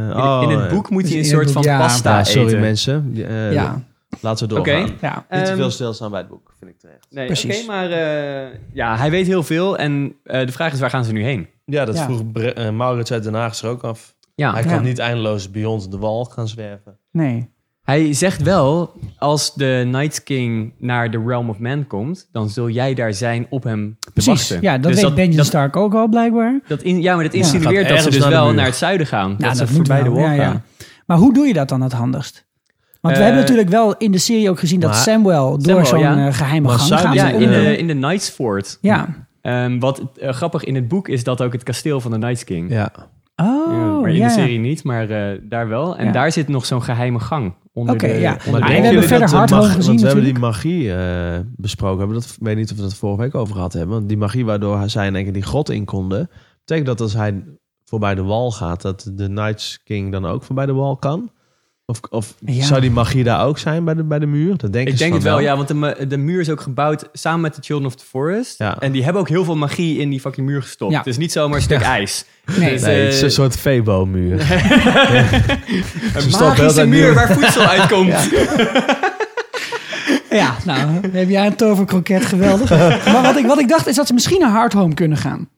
Speaker 5: in,
Speaker 4: oh,
Speaker 5: in het boek moet
Speaker 1: Dus
Speaker 5: hij een
Speaker 1: in het
Speaker 5: soort
Speaker 1: boek,
Speaker 5: van
Speaker 1: ja.
Speaker 5: pasta
Speaker 4: Ja, sorry
Speaker 5: eten.
Speaker 4: mensen. Eh,
Speaker 1: Ja,
Speaker 4: Laten we
Speaker 5: Oké.
Speaker 4: doorgaan.
Speaker 1: ja.
Speaker 4: Niet te
Speaker 5: Ehm,
Speaker 4: veel stilstaan bij het boek, vind ik terecht.
Speaker 5: Nee, oké,
Speaker 1: Precies.
Speaker 5: maar eh, ja, hij weet heel veel. En eh, de vraag is, waar gaan ze nu heen?
Speaker 4: Ja, dat
Speaker 1: Ja. Ah,
Speaker 4: vroeg Bre- eh, Maurits uit Den Haag zich ook af.
Speaker 5: Ja,
Speaker 4: Hij
Speaker 5: hij,
Speaker 4: kan
Speaker 1: Ja.
Speaker 4: niet eindeloos beyond de wal gaan zwerven.
Speaker 1: Nee.
Speaker 5: zegt wel, als de Night King naar de Realm of Man komt... dan zul jij daar zijn op hem te
Speaker 1: Precies.
Speaker 5: wachten.
Speaker 1: Ja, dat
Speaker 5: Dus
Speaker 1: weet Benjen
Speaker 5: dat,
Speaker 1: Stark ook al blijkbaar.
Speaker 5: dat in, ja, maar dat
Speaker 4: Gaat
Speaker 5: insinueert dat ze
Speaker 4: ergens
Speaker 5: dus
Speaker 4: naar de
Speaker 5: wel
Speaker 4: muur.
Speaker 5: naar het zuiden gaan.
Speaker 1: Ja,
Speaker 5: dat, ze
Speaker 1: moet
Speaker 5: voorbij de
Speaker 1: wel.
Speaker 5: wall
Speaker 1: Ja, ja.
Speaker 5: gaan.
Speaker 1: Maar hoe doe je dat dan het handigst? Want we
Speaker 5: Eh,
Speaker 1: hebben natuurlijk wel in de serie ook gezien dat
Speaker 4: maar-
Speaker 1: Samuel door
Speaker 5: Samuel,
Speaker 1: zo'n
Speaker 5: ja.
Speaker 1: eh, geheime
Speaker 4: Maar
Speaker 1: gang
Speaker 4: zou-
Speaker 1: gaat.
Speaker 5: Ja,
Speaker 4: Ze
Speaker 5: in
Speaker 4: onder-
Speaker 5: de, in de Night's Fort.
Speaker 1: ja.
Speaker 5: Ehm, wat eh, grappig in het boek is dat ook het kasteel van de Night King.
Speaker 4: Ja.
Speaker 5: Ja,
Speaker 1: Oh,
Speaker 5: maar in
Speaker 1: ja.
Speaker 5: de serie niet, maar eh, daar wel. En
Speaker 1: Ja.
Speaker 5: daar zit nog zo'n geheime gang. onder
Speaker 1: Oké,
Speaker 5: de-
Speaker 1: ja.
Speaker 5: onder
Speaker 1: Maar
Speaker 5: de-
Speaker 1: we hebben
Speaker 4: jullie
Speaker 1: verder
Speaker 4: dat de
Speaker 1: Hardhome
Speaker 4: mag-
Speaker 1: gezien
Speaker 4: Want we hebben die magie eh, besproken. Hebben. Dat, ik weet niet of we dat vorige week over gehad hebben. Want die magie waardoor zij in één keer die grot in konden... betekent dat als hij voorbij de wal gaat... dat de Night's King dan ook voorbij de wal kan? Of, of
Speaker 1: Ja.
Speaker 4: zou die magie daar ook zijn bij de, bij de muur? Dat denk
Speaker 5: Ik denk
Speaker 4: van
Speaker 5: het wel, ja, want de, mu- de muur is ook gebouwd samen met de Children of the Forest.
Speaker 4: Ja.
Speaker 5: En die hebben ook heel veel magie in die fucking muur gestopt.
Speaker 1: Ja.
Speaker 5: Het is niet zomaar een stuk ijs.
Speaker 1: Nee.
Speaker 5: Dus,
Speaker 4: Nee, het is
Speaker 5: eh,
Speaker 4: een soort Febo-muur.
Speaker 5: een
Speaker 4: stoppen heel de
Speaker 5: magische
Speaker 4: muur.
Speaker 5: muur waar voedsel uitkomt.
Speaker 1: Ja, nou, heb jij een toverkroket, geweldig. maar wat ik, wat ik dacht is dat ze misschien naar Hard Home kunnen gaan.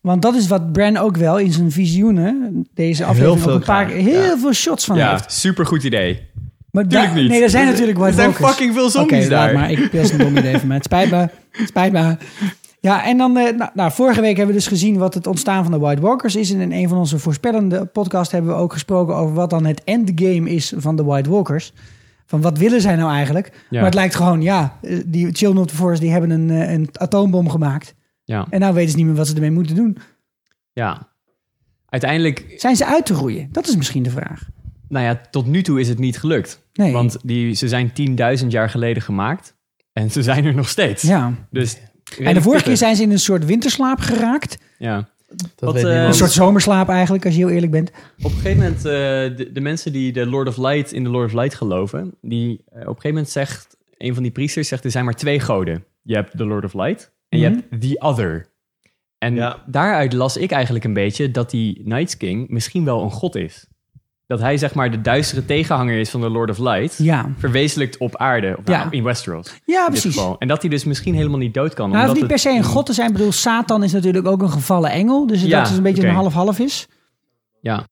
Speaker 1: Want dat is wat Bran ook wel in zijn visioenen, deze aflevering,
Speaker 4: veel
Speaker 1: ook een paar,
Speaker 4: graag,
Speaker 1: heel veel shots van
Speaker 5: Ja,
Speaker 1: heeft.
Speaker 5: supergoed idee.
Speaker 1: Maar
Speaker 5: Tuurlijk
Speaker 1: daar-
Speaker 5: niet.
Speaker 1: Nee, er zijn natuurlijk White
Speaker 5: Er zijn
Speaker 1: Walkers.
Speaker 5: fucking veel
Speaker 1: Oké,
Speaker 5: zombies
Speaker 1: laat
Speaker 5: daar.
Speaker 1: maar ik pils een dom idee van mij. Het spijt me, het spijt me. Ja, en dan, eh, nou, nou, vorige week hebben we dus gezien wat het ontstaan van de White Walkers is. En in een van onze voorspellende podcasts hebben we ook gesproken over wat dan het endgame is van de White Walkers. Van wat willen zij nou eigenlijk? Maar het lijkt gewoon, ja, eh, die Children of the Forest die hebben een, eh, een atoombom gemaakt.
Speaker 5: Ja.
Speaker 1: En nou weten ze niet meer wat ze ermee moeten doen.
Speaker 5: ja. Uiteindelijk
Speaker 1: Zijn ze uit te roeien? Dat is misschien de vraag.
Speaker 5: Nou ja, tot nu toe is het niet gelukt.
Speaker 1: Nee.
Speaker 5: Want die, ze zijn 10.000 jaar geleden gemaakt. En ze zijn er nog steeds.
Speaker 1: Ja.
Speaker 5: Dus
Speaker 1: En de vorige keer zijn ze in een soort winterslaap geraakt.
Speaker 5: Ja.
Speaker 4: Dat
Speaker 5: Wat,
Speaker 4: weet
Speaker 5: eh,
Speaker 4: niemand.
Speaker 1: Een soort zomerslaap eigenlijk, als je heel eerlijk bent.
Speaker 5: Op een gegeven moment, eh, de, de mensen die de Lord of Light in de Lord of Light geloven... die eh, op een gegeven moment zegt... een van die priesters zegt, er zijn maar twee goden. Je hebt de Lord of Light en je
Speaker 1: Mhm.
Speaker 5: hebt The Other. En
Speaker 4: Ja.
Speaker 5: daaruit las ik eigenlijk een beetje dat die Night King misschien wel een god is. Dat hij zeg maar de duistere tegenhanger is van de Lord of Light...
Speaker 1: Ja,
Speaker 5: verwezenlijkt op aarde, of
Speaker 1: Ja.
Speaker 5: nou, in Westeros.
Speaker 1: ja
Speaker 5: in dit
Speaker 1: precies.
Speaker 5: geval. En dat hij dus misschien helemaal niet dood kan.
Speaker 1: Nou, het
Speaker 5: omdat
Speaker 1: hoeft niet per
Speaker 5: het-
Speaker 1: se een god te zijn. Ik bedoel, Satan is natuurlijk ook een gevallen engel. Dus
Speaker 5: Ja,
Speaker 1: dat is een beetje een
Speaker 5: oké.
Speaker 1: half-half is.
Speaker 5: Ja.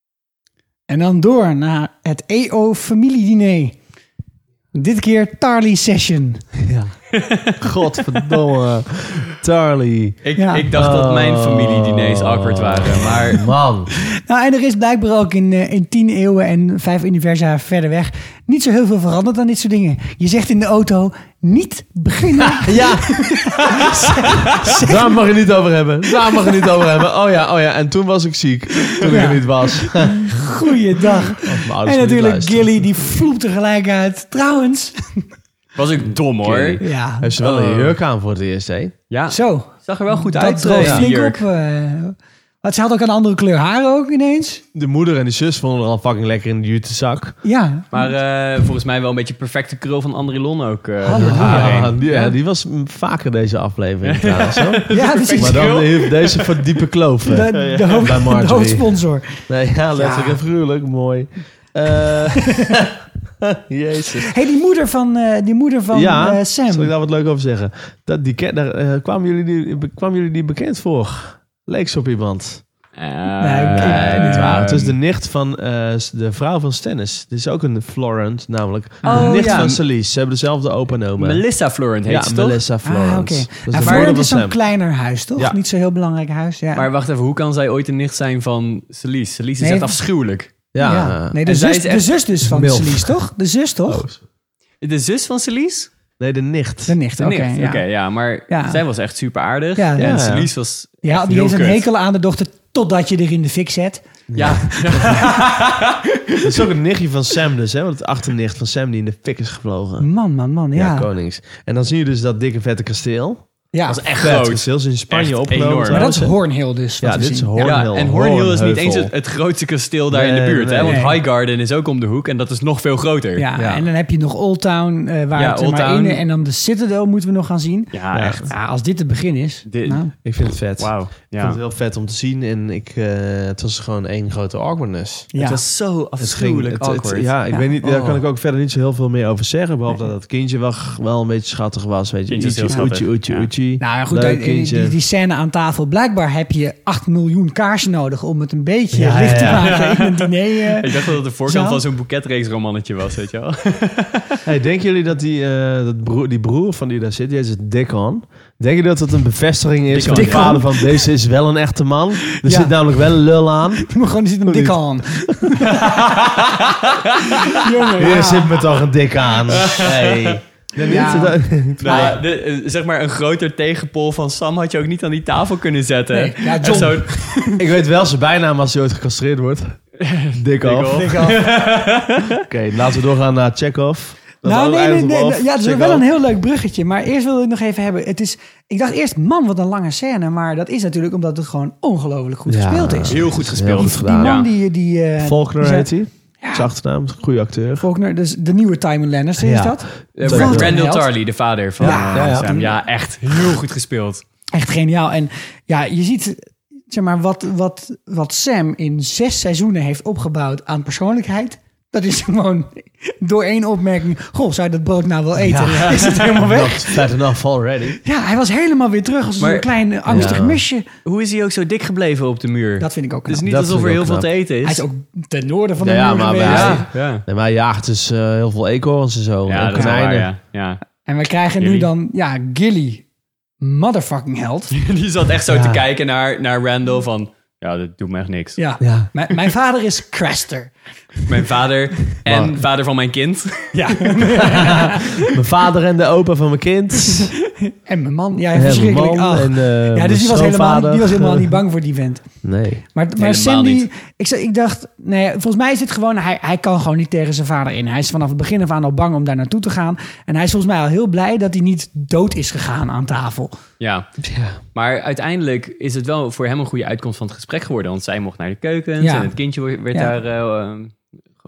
Speaker 1: En dan door naar het EO familiediner. E Dit keer Tarly Session.
Speaker 4: Godverdomme. Charlie.
Speaker 5: Ik,
Speaker 1: Ja.
Speaker 5: ik dacht dat mijn
Speaker 4: Oh.
Speaker 5: familiedinees awkward waren, maar...
Speaker 4: Man.
Speaker 1: Nou, en er is blijkbaar ook in, eh, in tien eeuwen en vijf universa verder weg niet zo heel veel veranderd aan dit soort dingen. Je zegt in de auto, niet beginnen.
Speaker 4: Ja. Daar mag je niet over hebben. Daar mag je niet over hebben. Oh ja, oh ja. En toen was ik ziek. Toen ik
Speaker 1: Ja.
Speaker 4: er niet was.
Speaker 1: Goeiedag. En natuurlijk Gilly, die vloept tegelijk uit. Trouwens.
Speaker 5: Was ik dom hoor.
Speaker 1: Ja,
Speaker 4: Heeft ze wel een
Speaker 5: Oh.
Speaker 4: jurk aan voor het eerst, hè?
Speaker 5: Ja,
Speaker 1: zo.
Speaker 5: zag er wel goed
Speaker 1: Dat
Speaker 5: uit.
Speaker 1: droogt
Speaker 5: eh, die
Speaker 1: flink
Speaker 5: jurk.
Speaker 1: op. eh. Want ze had ook een andere kleur haar ook ineens.
Speaker 4: De moeder en de zus vonden er al fucking lekker in de jute zak.
Speaker 1: Ja,
Speaker 5: Maar eh, volgens mij wel een beetje perfecte krul van André Lon ook. eh, door het haar heen.
Speaker 4: Ja, die, Ah, ja, die was mm, vaker deze aflevering trouwens. hoor.
Speaker 1: ja precies.
Speaker 4: Maar dan heeft deze voor diepe kloof. hè?
Speaker 1: de, de, hoofd-
Speaker 4: Bij Marjorie.
Speaker 1: de hoofdsponsor.
Speaker 4: Nee, ja, letterlijk en figuurlijk. Mooi. Eh, Jezus.
Speaker 1: hey, die moeder van, eh, die moeder van
Speaker 4: ja,
Speaker 1: eh, Sam.
Speaker 4: zal ik daar wat leuk over zeggen? Dat, die, ken- daar, eh, kwamen, jullie die, be- kwamen jullie die bekend voor? Leek ze op iemand?
Speaker 1: Nee,
Speaker 4: Nee,
Speaker 1: Eh,
Speaker 4: niet waar. Het is de nicht van eh, de vrouw van Stennis. Dit is ook een Florent, namelijk. de
Speaker 1: Oh,
Speaker 4: nicht
Speaker 1: ja.
Speaker 4: van Celise. Ze hebben dezelfde opa nomen.
Speaker 5: Melissa Florent heet
Speaker 4: ja,
Speaker 5: ze toch?
Speaker 4: Melissa Florent.
Speaker 1: Ah, oké.
Speaker 4: Dat is de
Speaker 1: En
Speaker 4: moeder
Speaker 1: Florent
Speaker 4: van
Speaker 1: is zo'n
Speaker 4: Sam.
Speaker 1: kleiner huis, toch?
Speaker 4: Ja.
Speaker 1: Niet zo'n heel belangrijk huis. Ja.
Speaker 5: Maar wacht even, hoe kan zij ooit een nicht zijn van Celise? Celise is
Speaker 1: Nee.
Speaker 5: echt afschuwelijk.
Speaker 4: Ja. eh,
Speaker 1: Ja. Nee, de,
Speaker 5: En zij
Speaker 1: zus,
Speaker 5: is echt
Speaker 1: de zus dus van
Speaker 4: milf.
Speaker 1: Celise, toch? De zus, toch?
Speaker 4: Oh.
Speaker 5: De zus van Celise?
Speaker 4: Nee, de nicht.
Speaker 1: De nicht,
Speaker 5: De
Speaker 1: oké.
Speaker 5: nicht.
Speaker 1: ja.
Speaker 5: Oké, ja, maar
Speaker 1: Ja.
Speaker 5: zij was echt super aardig.
Speaker 1: Ja.
Speaker 5: En
Speaker 4: Ja.
Speaker 5: Celise was...
Speaker 1: Ja,
Speaker 5: echt
Speaker 1: die
Speaker 5: heel
Speaker 1: heeft een
Speaker 5: kut.
Speaker 1: hekel aan de dochter totdat je er in de fik zet.
Speaker 5: Ja,
Speaker 4: Dat is ook een nichtje van Sam dus, hè? Want het achternicht van Sam die in de fik is gevlogen.
Speaker 1: Man, man, man,
Speaker 4: Ja.
Speaker 1: ja.
Speaker 4: konings. En dan zie je dus dat dikke vette kasteel.
Speaker 1: Ja,
Speaker 5: was echt
Speaker 4: Vet
Speaker 5: groot.
Speaker 4: kasteel is in Spanje
Speaker 5: Echt
Speaker 4: opgenomen.
Speaker 5: enorm.
Speaker 1: maar dat is
Speaker 4: trouwens, hè?
Speaker 1: Hoornhill dus. wat
Speaker 4: Ja,
Speaker 1: we
Speaker 4: dit is
Speaker 1: zien.
Speaker 4: Hoornhill.
Speaker 5: Ja, en Hornhill is niet eens het, het grootste kasteel daar in
Speaker 4: Nee,
Speaker 5: de buurt.
Speaker 4: nee,
Speaker 5: hè?
Speaker 4: nee.
Speaker 5: Want Highgarden is ook om de hoek en dat is nog veel groter.
Speaker 1: Ja,
Speaker 4: Ja.
Speaker 1: en dan heb je nog Old Town, eh, waar
Speaker 5: Ja,
Speaker 1: het er
Speaker 5: Old
Speaker 1: maar
Speaker 5: Town.
Speaker 1: één- En dan de Citadel moeten we nog gaan zien.
Speaker 5: Ja,
Speaker 4: Ja.
Speaker 5: echt.
Speaker 1: Ja, als dit het begin is.
Speaker 5: Dit-
Speaker 1: nou.
Speaker 4: Ik vind het vet.
Speaker 5: Wauw.
Speaker 4: Ik
Speaker 5: Ja.
Speaker 4: vond het heel vet om te zien. En ik, eh, het was gewoon één grote awkwardness.
Speaker 1: Ja.
Speaker 5: Het was zo
Speaker 4: Het ging,
Speaker 5: afschuwelijk
Speaker 4: het, het-
Speaker 5: awkward.
Speaker 4: ja, ik
Speaker 1: Ja.
Speaker 4: weet niet, daar
Speaker 5: Oh.
Speaker 4: kan ik ook verder niet zo heel veel meer over zeggen. Behalve dat het kindje wel, wel een beetje schattig was. Weet je,
Speaker 5: Kindje is heel
Speaker 4: Oetje,
Speaker 5: schattig.
Speaker 4: oetje, oetje,
Speaker 5: Ja.
Speaker 4: oetje.
Speaker 1: Nou ja, goed,
Speaker 4: Leuk
Speaker 1: die- die,
Speaker 4: kindje.
Speaker 1: die, die scène aan tafel. Blijkbaar heb je 8 miljoen kaarsen nodig om het een beetje
Speaker 4: Ja,
Speaker 1: licht te
Speaker 4: ja,
Speaker 1: maken in een diner. eh.
Speaker 5: Ik dacht dat het de
Speaker 1: Zo?
Speaker 5: voorkant van zo'n boeketreeksromannetje was, weet je wel.
Speaker 4: Hey, denken jullie dat die, eh, dat broer, die broer van die daar zit, die heet Dickon. Denk je dat dat een bevestiging is van de
Speaker 5: Dickon.
Speaker 4: vader van deze is wel een echte man? Er
Speaker 1: Ja.
Speaker 4: zit namelijk wel een lul aan.
Speaker 1: Je moet gewoon zitten een
Speaker 4: Hoe
Speaker 1: dik
Speaker 4: niet?
Speaker 1: aan. Jongen,
Speaker 4: Hier
Speaker 1: ja.
Speaker 4: zit me toch een dik aan. Hey.
Speaker 1: Ja.
Speaker 4: Zit dat-
Speaker 5: Nou, ja, de- eh, zeg maar een groter tegenpol van Sam had je ook niet aan die tafel kunnen zetten.
Speaker 1: Nee, ja,
Speaker 5: En
Speaker 1: John.
Speaker 5: zo'n-
Speaker 4: Ik weet wel zijn bijnaam als hij ooit gecastreerd wordt. Dik
Speaker 5: Dick
Speaker 4: af.
Speaker 5: off.
Speaker 4: Oké, laten we doorgaan naar Chekhov. Dat
Speaker 1: Nou,
Speaker 4: is
Speaker 1: nee, nee,
Speaker 4: eigenlijk
Speaker 1: nee.
Speaker 4: wel
Speaker 1: Ja, het is
Speaker 4: Chekhov.
Speaker 1: wel een heel leuk bruggetje. Maar eerst wil ik nog even hebben. Het is, ik dacht eerst, man, wat een lange scène. Maar dat is natuurlijk omdat het gewoon ongelooflijk goed
Speaker 4: Ja.
Speaker 1: gespeeld is.
Speaker 5: heel goed
Speaker 4: Heel
Speaker 5: gespeeld.
Speaker 4: goed
Speaker 1: Die
Speaker 4: gedaan.
Speaker 1: man
Speaker 5: Ja.
Speaker 1: die... die eh,
Speaker 4: Faulkner
Speaker 1: die zei-
Speaker 4: heet hij. Zijn achternaam, is een goede acteur.
Speaker 1: Faulkner, dus de nieuwe Timon Lannister is
Speaker 4: Ja.
Speaker 1: dat.
Speaker 5: Eh,
Speaker 1: Wat een
Speaker 5: Rand- Randall
Speaker 1: held.
Speaker 5: Tarly, de vader van
Speaker 4: Ja,
Speaker 5: ja,
Speaker 4: ja, ja.
Speaker 5: Sam. Ja, echt heel goed gespeeld.
Speaker 1: Echt geniaal. En ja, je ziet zeg maar, wat, wat, wat Sam in zes seizoenen heeft opgebouwd aan persoonlijkheid. Dat is gewoon door één opmerking. Goh, zou je dat brood nou wel eten? Is het helemaal
Speaker 4: Not
Speaker 1: weg?
Speaker 4: fat enough already.
Speaker 1: Ja, hij was helemaal weer terug als
Speaker 5: Maar-
Speaker 1: een klein eh, angstig
Speaker 4: Ja.
Speaker 1: musje.
Speaker 5: Hoe is hij ook zo dik gebleven op de muur?
Speaker 1: Dat vind ik ook
Speaker 5: het is
Speaker 1: knap.
Speaker 5: niet
Speaker 4: Dat
Speaker 5: alsof er
Speaker 4: vind ik
Speaker 5: heel
Speaker 4: ook
Speaker 5: veel te
Speaker 4: knap.
Speaker 5: eten is.
Speaker 1: Hij is ook ten noorden van de
Speaker 4: Ja, ja,
Speaker 1: muur
Speaker 4: maar
Speaker 1: geweest.
Speaker 4: bij-
Speaker 5: ja, ja.
Speaker 4: Nee, maar hij jaagt dus eh, heel veel eekhoorns en zo.
Speaker 5: Ja,
Speaker 4: en
Speaker 5: dat is waar,
Speaker 4: konijnen.
Speaker 5: ja. ja.
Speaker 1: En we krijgen nu
Speaker 5: Gilly.
Speaker 1: dan, ja, Gilly. Motherfucking held.
Speaker 5: Die zat echt zo te kijken naar, naar Randall van... Ja, dat doet me echt niks.
Speaker 1: Ja.
Speaker 4: Ja.
Speaker 1: Mijn, mijn vader is Craster.
Speaker 5: Mijn vader en vader van mijn kind.
Speaker 4: Mijn vader en de opa van mijn kind.
Speaker 1: En mijn man. Ja,
Speaker 4: en mijn
Speaker 1: verschrikkelijk.
Speaker 4: man.
Speaker 1: Ach.
Speaker 4: En, eh,
Speaker 1: ja,
Speaker 4: mijn
Speaker 1: dus die was, helemaal, niet-
Speaker 4: schoonvader.
Speaker 1: die was helemaal niet bang voor die vent.
Speaker 4: Nee.
Speaker 1: Maar, maar
Speaker 5: helemaal
Speaker 1: Sandy,
Speaker 5: niet.
Speaker 1: ik, zei- ik dacht, nee, volgens mij is dit gewoon, hij, hij kan gewoon niet tegen zijn vader in. Hij is vanaf het begin af aan al bang om daar naartoe te gaan. En hij is volgens mij al heel blij dat hij niet dood is gegaan aan tafel.
Speaker 5: Ja. Maar uiteindelijk is het wel voor hem een goede uitkomst van het gesprek geworden. Want zij mocht naar de keukens
Speaker 1: Ja.
Speaker 5: en het kindje wo- werd
Speaker 1: Ja.
Speaker 5: daar eh, eh,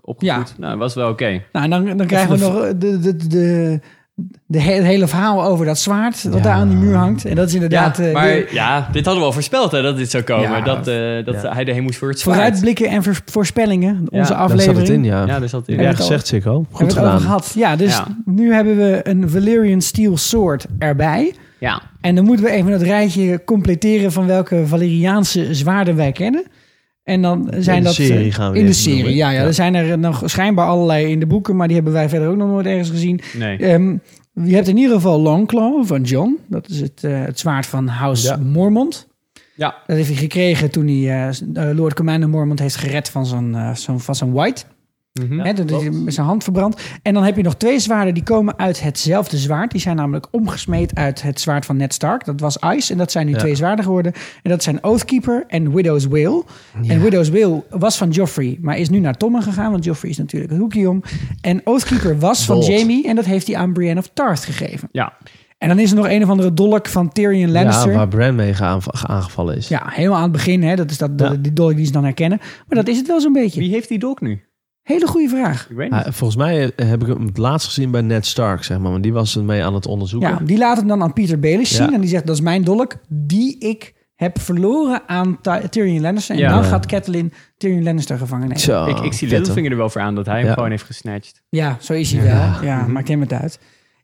Speaker 5: opgevoed.
Speaker 1: Ja.
Speaker 5: Nou, dat was wel oké.
Speaker 1: Nou, en dan, dan krijgen we nog eh, de, de, de, de, he- het hele verhaal over dat zwaard dat daar aan die muur hangt. En dat is
Speaker 5: Ja,
Speaker 1: inderdaad eh, weer
Speaker 5: maar ja, dit hadden we al voorspeld hè, dat dit zou komen.
Speaker 1: Ja.
Speaker 5: dat eh, dat hij erheen moest voor het zwaard.
Speaker 1: vooruitblikken en vers- voorspellingen, onze
Speaker 5: daar
Speaker 4: Daar zat
Speaker 1: aflevering.
Speaker 4: het in, ja.
Speaker 5: Ja, dus dat
Speaker 4: Ja,
Speaker 1: het al-
Speaker 4: gezegd, Sikko.
Speaker 1: Hebben
Speaker 4: Goed
Speaker 1: we het
Speaker 4: gedaan.
Speaker 1: over gehad. Ja, dus
Speaker 5: Ja.
Speaker 1: nu hebben we een Valyrian Steel Sword erbij.
Speaker 5: Ja.
Speaker 1: En dan moeten we even het rijtje completeren van welke Valeriaanse zwaarden wij kennen. En dan zijn
Speaker 4: de
Speaker 1: dat... eh,
Speaker 4: serie gaan we
Speaker 1: In
Speaker 4: die
Speaker 1: de
Speaker 4: even
Speaker 1: serie,
Speaker 4: noemen.
Speaker 1: ja, ja.
Speaker 4: Ja.
Speaker 1: Er zijn er nog schijnbaar allerlei in de boeken, maar die hebben wij verder ook nog nooit ergens gezien.
Speaker 5: Nee.
Speaker 1: Ehm, je hebt in ieder geval Longclaw van John. Dat is het, eh, het zwaard van House
Speaker 4: Ja.
Speaker 1: Mormont.
Speaker 5: Ja.
Speaker 1: Dat heeft hij gekregen toen hij eh, s- eh, Lord Commander Mormont heeft gered van zijn, eh, zo'n- van zijn white.
Speaker 5: Mhm.
Speaker 1: Hè, dat is hij met zijn hand verbrand. En dan heb je nog twee zwaarden die komen uit hetzelfde zwaard. Die zijn namelijk omgesmeed uit het zwaard van Ned Stark. Dat was Ice en dat zijn nu
Speaker 4: Ja.
Speaker 1: twee zwaarden geworden. En dat zijn Oathkeeper en Widow's Wail. En Widow's Wail was van Joffrey, maar is nu naar Tommen gegaan. Want Joffrey is natuurlijk het hoekje om. En Oathkeeper was van
Speaker 4: Bold.
Speaker 1: Jamie en dat heeft hij aan Brienne of Tarth gegeven.
Speaker 5: Ja.
Speaker 1: En dan is er nog een of andere dolk van Tyrion Lannister.
Speaker 4: Ja, waar Bran mee geaan- aangevallen is.
Speaker 1: Ja, helemaal aan het begin. Hè? Dat is dat,
Speaker 4: Ja.
Speaker 1: die dolk die ze dan herkennen. Maar dat is het wel zo'n beetje.
Speaker 5: Wie heeft die dolk nu?
Speaker 1: Hele goede vraag.
Speaker 5: Ik weet niet.
Speaker 4: Hij- volgens mij eh, heb ik hem het laatst gezien bij Ned Stark, zeg maar. Want die was ermee aan het onderzoeken.
Speaker 1: Ja, die laat hem dan aan Peter Baelish zien.
Speaker 4: Ja.
Speaker 1: En die zegt, dat is mijn dolk die ik heb verloren aan Ty- Tyrion Lannister. En
Speaker 5: Ja.
Speaker 1: dan gaat Catelyn Tyrion Lannister gevangen nemen.
Speaker 4: Zo,
Speaker 5: ik, ik zie
Speaker 4: vet,
Speaker 5: Littlefinger er wel voor aan dat hij hem
Speaker 4: Ja.
Speaker 5: gewoon heeft gesnatcht.
Speaker 1: Ja, zo is hij wel. Ja,
Speaker 4: Mhm.
Speaker 1: maakt hem het uit.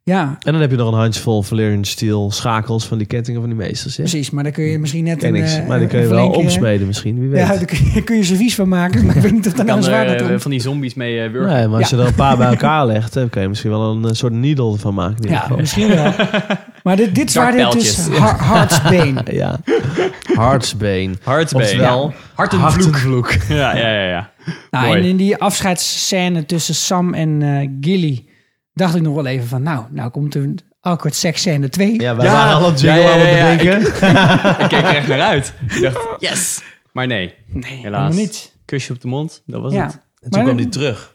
Speaker 1: Ja,
Speaker 4: hoor. En dan heb je nog een handjevol Valyrian steel schakels van die kettingen van die meesters. hè?
Speaker 1: precies. Maar daar kun je misschien net
Speaker 4: Ken
Speaker 1: een...
Speaker 4: ik ze.
Speaker 1: eh,
Speaker 4: Maar die kun je
Speaker 1: een
Speaker 4: wel
Speaker 1: flinke-
Speaker 4: omsmeden misschien, wie weet.
Speaker 1: Ja, daar kun je, kun je servies van maken. Maar ik weet niet of dat nou
Speaker 5: Kan
Speaker 1: een zwaar
Speaker 5: er
Speaker 1: dat
Speaker 5: eh, van die zombies mee eh, wurgen.
Speaker 4: Nee, maar als
Speaker 1: Ja.
Speaker 4: je er een paar bij elkaar legt, dan kun je misschien wel een eh, soort needle van maken. in ieder
Speaker 1: Ja,
Speaker 4: geval.
Speaker 1: misschien wel. Maar dit, dit zwaard heet dus
Speaker 5: pijltjes.
Speaker 1: Har- Heartsbane.
Speaker 4: Ja. Hartsbeen.
Speaker 5: Hartbeen.
Speaker 4: Oftewel,
Speaker 5: Hart en
Speaker 4: hartenvloek.
Speaker 5: Ja, ja, ja. ja.
Speaker 1: Nou,
Speaker 5: Mooi.
Speaker 1: en in die afscheidsscène tussen Sam en eh, Gilly dacht ik nog wel even van, nou, nou komt een awkward seksscène 2.
Speaker 4: Ja, wij
Speaker 5: Ja.
Speaker 4: waren al aan het jingle
Speaker 5: Ja, ja,
Speaker 4: aan het
Speaker 5: ja, ja.
Speaker 4: bedenken.
Speaker 5: Ik keek er echt naar uit. Ik dacht, yes. Maar nee,
Speaker 1: nee, helemaal
Speaker 5: helaas.
Speaker 1: niet.
Speaker 5: Kusje op de mond, dat was
Speaker 1: Ja.
Speaker 5: het.
Speaker 4: En
Speaker 1: Maar-
Speaker 4: toen kwam die terug.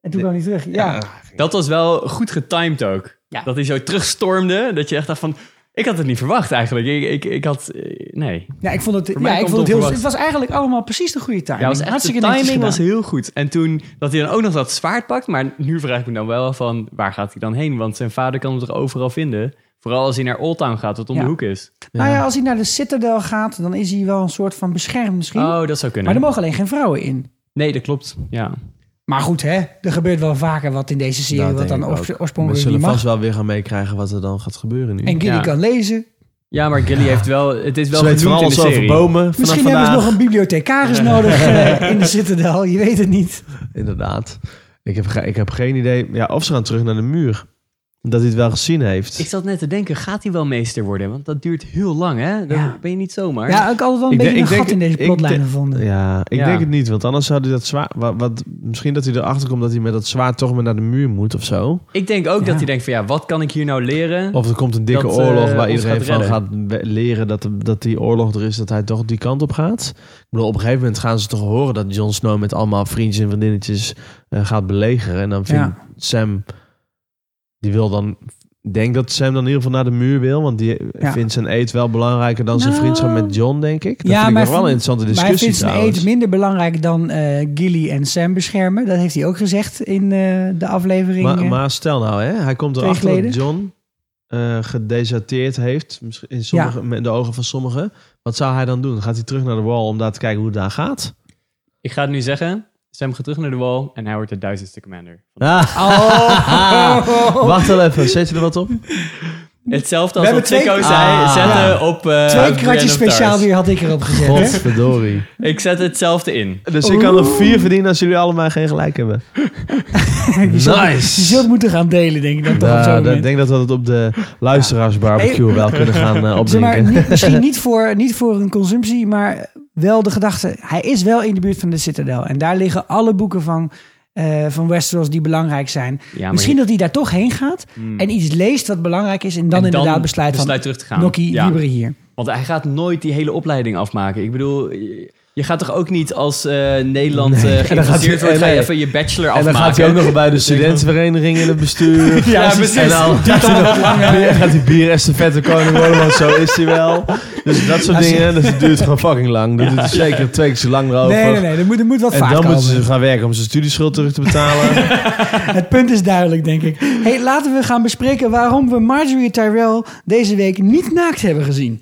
Speaker 1: En toen kwam hij terug. Ja.
Speaker 5: Dat was wel goed getimed ook.
Speaker 1: Ja.
Speaker 5: Dat hij zo terugstormde, dat je echt dacht van... Ik had het niet verwacht eigenlijk. Ik, ik, ik had... eh, Nee.
Speaker 1: ja, ik vond het,
Speaker 5: mij
Speaker 1: ja, ik
Speaker 5: komt
Speaker 1: vond het
Speaker 5: het
Speaker 1: heel...
Speaker 5: onverwacht.
Speaker 1: Het was eigenlijk allemaal precies de goede timing.
Speaker 5: Ja, was echt, de
Speaker 1: Hartstikke netjes
Speaker 5: timing was
Speaker 1: gedaan.
Speaker 5: heel goed. En toen dat hij dan ook nog dat zwaard pakt. Maar nu vraag ik me dan wel van waar gaat hij dan heen? Want zijn vader kan hem toch overal vinden? Vooral als hij naar Oldtown gaat, wat om
Speaker 1: Ja.
Speaker 5: de hoek is.
Speaker 1: Nou ja, als hij naar de Citadel gaat, dan is hij wel een soort van beschermd misschien.
Speaker 5: Oh, dat zou
Speaker 1: Maar
Speaker 5: kunnen.
Speaker 1: er mogen alleen geen vrouwen in.
Speaker 5: Nee, dat klopt. Ja.
Speaker 1: Maar goed, hè, er gebeurt wel vaker wat in deze serie,
Speaker 4: Dat
Speaker 1: wat
Speaker 4: Nou, denk
Speaker 1: dan
Speaker 4: ik
Speaker 1: oors-
Speaker 4: ook. We
Speaker 1: oorspronkelijk
Speaker 4: zullen
Speaker 1: niet
Speaker 4: vast
Speaker 1: mag.
Speaker 4: wel weer gaan meekrijgen wat er dan gaat gebeuren nu.
Speaker 1: En Gilly
Speaker 5: Ja.
Speaker 1: kan lezen.
Speaker 5: ja, maar Gilly heeft wel... Het is wel
Speaker 4: Ze weten van
Speaker 5: genoemd in de
Speaker 4: alles over
Speaker 5: serie.
Speaker 4: bomen vanaf
Speaker 1: Misschien
Speaker 4: vandaag.
Speaker 1: hebben ze nog een bibliothecaris nodig eh, in de Citadel. Je weet het niet.
Speaker 4: Inderdaad. Ik heb, ge- ik heb geen idee. Ja, of ze gaan terug naar de muur. Dat hij het wel gezien heeft.
Speaker 5: Ik zat net te denken, gaat hij wel meester worden? Want dat duurt heel lang, hè? Dat
Speaker 1: Ja.
Speaker 5: ben je niet zomaar.
Speaker 1: Ja, ik had altijd wel een
Speaker 4: Ik
Speaker 1: beetje
Speaker 4: denk-
Speaker 1: een
Speaker 4: ik
Speaker 1: gat in
Speaker 4: denk-
Speaker 1: deze
Speaker 4: ik
Speaker 1: plotlijn
Speaker 4: denk-
Speaker 1: gevonden.
Speaker 4: Ja, ik
Speaker 5: Ja.
Speaker 4: denk het niet. Want anders zou hij dat zwaar... Wat, wat- misschien dat hij erachter komt dat hij met dat zwaar toch maar naar de muur moet of zo.
Speaker 5: Ik denk ook
Speaker 1: Ja.
Speaker 5: dat hij denkt van ja, wat kan ik hier nou leren?
Speaker 4: Of er komt een dikke
Speaker 5: Dat, eh,
Speaker 4: oorlog waar
Speaker 5: ons
Speaker 4: iedereen
Speaker 5: gaat
Speaker 4: van
Speaker 5: redden.
Speaker 4: gaat we- leren dat, de- dat die oorlog er is. Dat hij toch die kant op gaat. Ik bedoel, op een gegeven moment gaan ze toch horen dat Jon Snow met allemaal vriendjes en vriendinnetjes eh, gaat belegeren. En dan vindt
Speaker 1: Ja.
Speaker 4: Sam... Die wil dan... Ik denk dat Sam dan in ieder geval naar de muur wil. Want die eh,
Speaker 1: Ja.
Speaker 4: vindt zijn eet wel belangrijker dan zijn
Speaker 1: Nou.
Speaker 4: vriendschap met John, denk ik. Dat
Speaker 1: Ja,
Speaker 4: vind ik
Speaker 1: maar
Speaker 4: nog wel een
Speaker 1: vind-
Speaker 4: interessante
Speaker 1: Maar hij
Speaker 4: discussie
Speaker 1: vindt zijn
Speaker 4: trouwens.
Speaker 1: eet minder belangrijk dan eh, Gilly en Sam beschermen. Dat heeft hij ook gezegd in eh, de aflevering.
Speaker 4: Maar,
Speaker 1: eh.
Speaker 4: maar stel nou, hè, hij komt
Speaker 1: twee
Speaker 4: erachter
Speaker 1: geleden.
Speaker 4: dat John eh gedeserteerd heeft. misschien In sommige, Met de ogen van sommigen. Wat zou hij dan doen? Gaat hij terug naar de wall om daar te kijken hoe het daar gaat?
Speaker 5: Ik ga het nu zeggen. Sam gaat terug naar de wall en hij wordt de duizendste commander.
Speaker 1: Oh.
Speaker 4: Wacht al even, zet je er wat op?
Speaker 5: Hetzelfde
Speaker 1: We
Speaker 5: als
Speaker 1: hebben
Speaker 5: wat Chico
Speaker 1: twee-
Speaker 5: zei,
Speaker 4: Ah.
Speaker 5: zetten op... eh,
Speaker 1: Twee
Speaker 5: Brand
Speaker 1: kratjes
Speaker 5: of
Speaker 1: speciaal
Speaker 5: Tars.
Speaker 1: weer had ik erop gezet. hè?
Speaker 4: Godverdorie.
Speaker 5: Ik zet hetzelfde in.
Speaker 4: Dus ik kan er vier verdienen als jullie allemaal geen gelijk hebben.
Speaker 1: Je zult-
Speaker 4: Nice.
Speaker 1: Dus Je zult moeten gaan delen, denk ik. Dan toch op zo'n
Speaker 4: Nou,
Speaker 1: moment.
Speaker 4: ik denk dat we dat op de luisteraarsbarbecue wel kunnen gaan
Speaker 1: Zeg
Speaker 4: eh,
Speaker 1: maar,
Speaker 4: opdrinken.
Speaker 1: niet- misschien niet voor, niet voor een consumptie, maar wel de gedachte. Hij is wel in de buurt van de Citadel. En daar liggen alle boeken van, eh, van Westeros die belangrijk zijn.
Speaker 5: Ja, maar
Speaker 1: misschien dat hij daar toch heen gaat en iets leest wat belangrijk is. En dan
Speaker 5: En
Speaker 1: inderdaad besluit,
Speaker 5: terug te gaan.
Speaker 1: van, Nokkie,
Speaker 5: Ja.
Speaker 1: liever hier.
Speaker 5: Want hij gaat nooit die hele opleiding afmaken. Ik bedoel, je je gaat toch ook niet als eh, Nederland eh
Speaker 4: dan gaat hij-
Speaker 5: geïnteresseerd wordt, ga je
Speaker 4: nee.
Speaker 5: even je bachelor
Speaker 4: En
Speaker 5: afmaken.
Speaker 4: dan gaat hij ook nog bij de studentenvereniging in het bestuur.
Speaker 5: Ja, precies.
Speaker 4: En dan gaat hij, nog, bier- gaat hij bier estafette koning worden, want zo is hij wel. Dus dat soort dingen, dus het duurt gewoon fucking lang. Dat doet het zeker twee keer zo lang erover.
Speaker 1: Nee, nee, nee. Er moet, er moet wat
Speaker 4: En
Speaker 1: vaak
Speaker 4: dan
Speaker 1: komen.
Speaker 4: moeten ze gaan werken om zijn studieschuld terug te betalen.
Speaker 1: Het punt is duidelijk, denk ik. Hey, laten we gaan bespreken waarom we Marjorie Tyrell deze week niet naakt hebben gezien.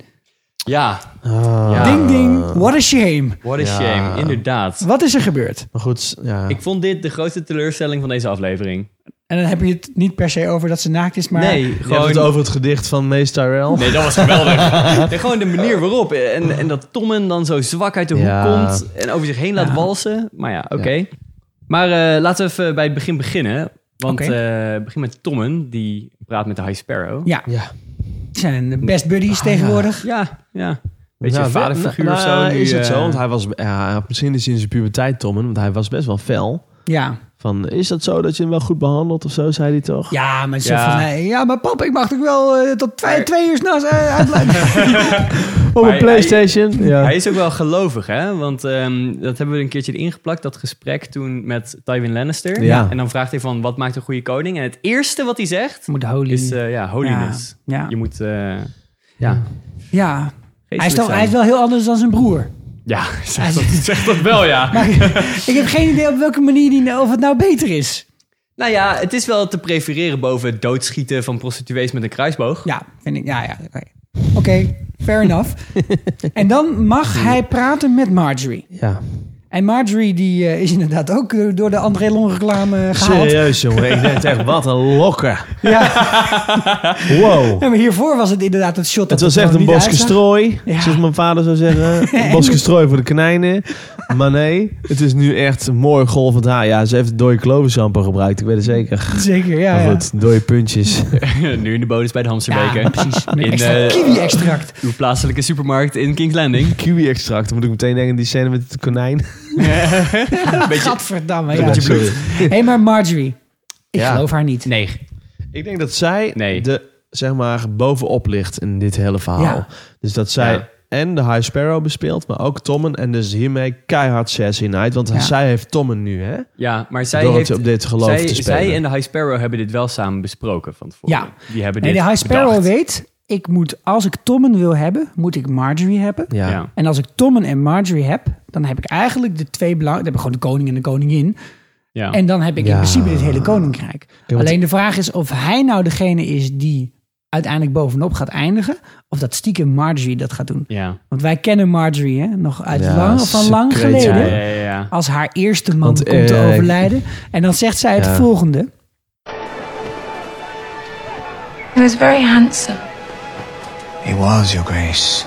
Speaker 5: Ja,
Speaker 4: Ah.
Speaker 1: Ding, ding. What a shame.
Speaker 5: what a
Speaker 4: Ja.
Speaker 5: shame. Inderdaad.
Speaker 1: Wat is er gebeurd?
Speaker 4: Maar goed, ja.
Speaker 5: Ik vond dit de grootste teleurstelling van deze aflevering.
Speaker 1: En dan heb je het niet per se over dat ze naakt is, maar...
Speaker 5: nee,
Speaker 4: Je hebt
Speaker 5: gewoon...
Speaker 4: het over het gedicht van Mees Tyrell.
Speaker 5: Nee, dat was geweldig. Nee, gewoon de manier waarop. En, en dat Tommen dan zo zwak uit de hoek
Speaker 4: Ja.
Speaker 5: komt en over zich heen laat
Speaker 1: Ja.
Speaker 5: walsen. Maar ja, oké. Maar eh, laten we even bij het begin beginnen. Want eh
Speaker 1: Oké.
Speaker 5: begin met Tommen, die praat met de High Sparrow.
Speaker 1: Ja,
Speaker 4: Ja. Ah,
Speaker 1: het zijn best buddies tegenwoordig.
Speaker 5: Ja, ja. Beetje
Speaker 4: Nou,
Speaker 5: een vaderfiguur
Speaker 4: nou,
Speaker 5: of zo.
Speaker 4: nou,
Speaker 5: nu,
Speaker 4: Is het
Speaker 5: eh,
Speaker 4: zo? Want hij was, ja, misschien is hij in zijn puberteit, Tommen, want hij was best wel fel.
Speaker 1: Ja,
Speaker 4: Van, is dat zo dat je hem wel goed behandelt of zo, zei hij toch?
Speaker 1: ja maar ze
Speaker 5: Ja.
Speaker 1: van... nee, ja, maar pap, ik mag toch wel eh, tot twee, twee uur s'nachts eh, uitblijven.
Speaker 4: Op
Speaker 5: Maar
Speaker 4: een
Speaker 5: hij-
Speaker 4: Playstation? ja.
Speaker 5: Hij is ook wel gelovig, hè? Want ehm, dat hebben we een keertje ingeplakt, dat gesprek toen met Tywin Lannister.
Speaker 4: Ja.
Speaker 5: En dan vraagt hij van, wat maakt een goede koning? En het eerste wat hij zegt
Speaker 1: Moet holy...
Speaker 5: is, eh, ja, holiness.
Speaker 1: ja,
Speaker 5: Je
Speaker 1: ja.
Speaker 5: moet, eh, ja,
Speaker 1: ja. Hij, is
Speaker 5: geestelijk
Speaker 1: toch, hij is
Speaker 5: zijn.
Speaker 1: wel heel anders dan zijn broer.
Speaker 5: Ja, zegt dat, zegt dat wel, ja.
Speaker 1: Ik heb geen idee op welke manier die, of het nou beter is.
Speaker 5: nou ja, het is wel te prefereren boven het doodschieten van prostituees met een kruisboog.
Speaker 1: Ja, vind ik. Ja, ja. Oké, Oké, fair enough. en dan mag hij praten met Marjorie.
Speaker 4: ja.
Speaker 1: En Marjorie die eh, is inderdaad ook eh, door de André Lon reclame gehaald.
Speaker 4: Serieus, jongen. Ik denk echt, wat een lokker.
Speaker 1: Ja,
Speaker 4: Wow.
Speaker 1: Ja, maar hiervoor was het inderdaad het shot.
Speaker 4: Het
Speaker 1: dat
Speaker 4: was
Speaker 1: er
Speaker 4: echt
Speaker 1: gewoon
Speaker 4: een
Speaker 1: niet
Speaker 4: bosje
Speaker 1: uitzag.
Speaker 4: strooi,
Speaker 1: Ja.
Speaker 4: zoals mijn vader zou zeggen. Een bosje strooi voor de konijnen. Maar nee, het is nu echt mooi golvend haar. ah, Ja, ze heeft dode klovensampo gebruikt, ik weet het zeker.
Speaker 1: Zeker, ja.
Speaker 4: Maar
Speaker 1: ja.
Speaker 4: goed, dode puntjes.
Speaker 5: nu in de bonus bij de Hamsterbeken.
Speaker 1: Ja, precies. Met
Speaker 5: In,
Speaker 1: extra
Speaker 5: eh,
Speaker 1: kiwi-extract.
Speaker 5: Uw plaatselijke supermarkt in King's Landing.
Speaker 4: Kiwi-extract, dan moet ik meteen denken aan die scène met het konijn.
Speaker 1: Gadverdamme, ja.
Speaker 4: Ja, sorry.
Speaker 1: Hé, maar Marjorie. Ik
Speaker 4: Ja.
Speaker 1: geloof haar niet.
Speaker 5: Nee.
Speaker 4: Ik denk dat zij
Speaker 5: Nee.
Speaker 4: de, zeg maar, bovenop ligt in dit hele verhaal.
Speaker 1: Ja.
Speaker 4: Dus dat zij
Speaker 5: Ja.
Speaker 4: en de High Sparrow bespeelt, maar ook Tommen. En dus hiermee keihard zes in uit, want
Speaker 1: Ja.
Speaker 4: zij heeft Tommen nu, hè?
Speaker 5: Ja, maar zij
Speaker 4: Door het
Speaker 5: heeft...
Speaker 4: op dit geloof
Speaker 5: zij,
Speaker 4: te spelen.
Speaker 5: zij en de High Sparrow hebben dit wel samen besproken van tevoren.
Speaker 1: Ja.
Speaker 5: Die hebben
Speaker 1: Nee,
Speaker 5: dit
Speaker 1: de High Sparrow
Speaker 5: bedacht.
Speaker 1: weet, ik moet, als ik Tommen wil hebben, moet ik Marjorie hebben.
Speaker 4: Ja.
Speaker 5: Ja.
Speaker 1: En als ik Tommen en Marjorie heb, dan heb ik eigenlijk de twee belangrijke... Dan heb ik gewoon de koning en de koningin.
Speaker 5: Ja.
Speaker 1: En dan heb ik in
Speaker 4: Oh. Ja.
Speaker 1: principe dit hele koninkrijk.
Speaker 4: want-
Speaker 1: Alleen de vraag is of hij nou degene is die uiteindelijk bovenop gaat eindigen. Of dat stiekem Marjorie dat gaat doen.
Speaker 5: ja.
Speaker 1: Want wij kennen Marjorie hè, nog uit
Speaker 4: Ja,
Speaker 1: lang, van
Speaker 4: ze
Speaker 1: lang
Speaker 4: weet-
Speaker 1: geleden.
Speaker 5: Ja, ja, ja.
Speaker 1: Als haar eerste man
Speaker 4: Want,
Speaker 1: komt te
Speaker 4: eh,
Speaker 1: overlijden. En dan zegt zij het
Speaker 4: Ja.
Speaker 1: volgende.
Speaker 6: He was very handsome,
Speaker 7: He was, Your Grace.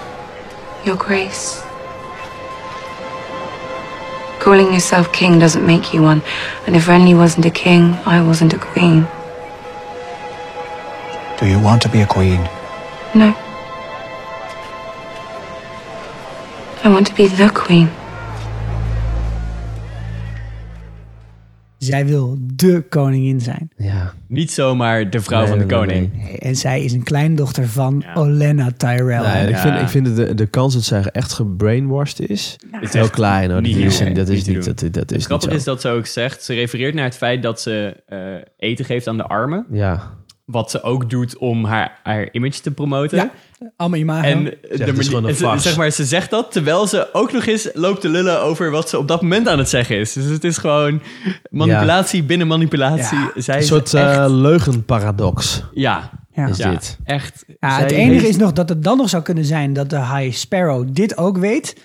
Speaker 6: Your Grace. Calling yourself king doesn't make you one, and if Renly wasn't a king, I wasn't a queen.
Speaker 7: Do you want to be a queen?
Speaker 6: No. I want to be the queen.
Speaker 1: Zij wil de koningin zijn.
Speaker 4: ja.
Speaker 5: Niet zomaar de vrouw
Speaker 4: Nee,
Speaker 5: van de
Speaker 4: nee,
Speaker 5: koning.
Speaker 4: nee.
Speaker 1: En zij is een kleindochter van Olenna Tyrell.
Speaker 4: Nee, Ik
Speaker 5: Ja.
Speaker 4: vind, ik vind de, de kans dat zij echt gebrainwashed is, is heel
Speaker 5: echt
Speaker 4: klein. Hoor. Dat
Speaker 5: niet
Speaker 4: is,
Speaker 5: heel-
Speaker 4: dat
Speaker 5: niet
Speaker 4: is
Speaker 5: te
Speaker 4: niet,
Speaker 5: doen.
Speaker 4: dat, dat is niet zo.
Speaker 5: Grappig is dat ze ook zegt, ze refereert naar het feit dat ze eh, eten geeft aan de armen.
Speaker 4: Ja,
Speaker 5: Wat ze ook doet om haar, haar image te promoten.
Speaker 1: Ja, allemaal imago.
Speaker 5: En de
Speaker 4: het is dus
Speaker 5: manier-
Speaker 4: gewoon een
Speaker 5: en ze-
Speaker 4: farce.
Speaker 5: zeg maar, ze zegt dat terwijl ze ook nog eens loopt te lullen over wat ze op dat moment aan het zeggen is. Dus het is gewoon manipulatie binnen manipulatie. Zij
Speaker 4: een
Speaker 5: is
Speaker 4: soort eh,
Speaker 5: echt-
Speaker 4: leugenparadox
Speaker 5: ja,
Speaker 1: Ja.
Speaker 4: is
Speaker 5: ja,
Speaker 4: dit.
Speaker 5: echt.
Speaker 1: Ja,
Speaker 5: Zij
Speaker 1: het enige
Speaker 5: heeft-
Speaker 1: is nog dat het dan nog zou kunnen zijn dat de High Sparrow dit ook weet.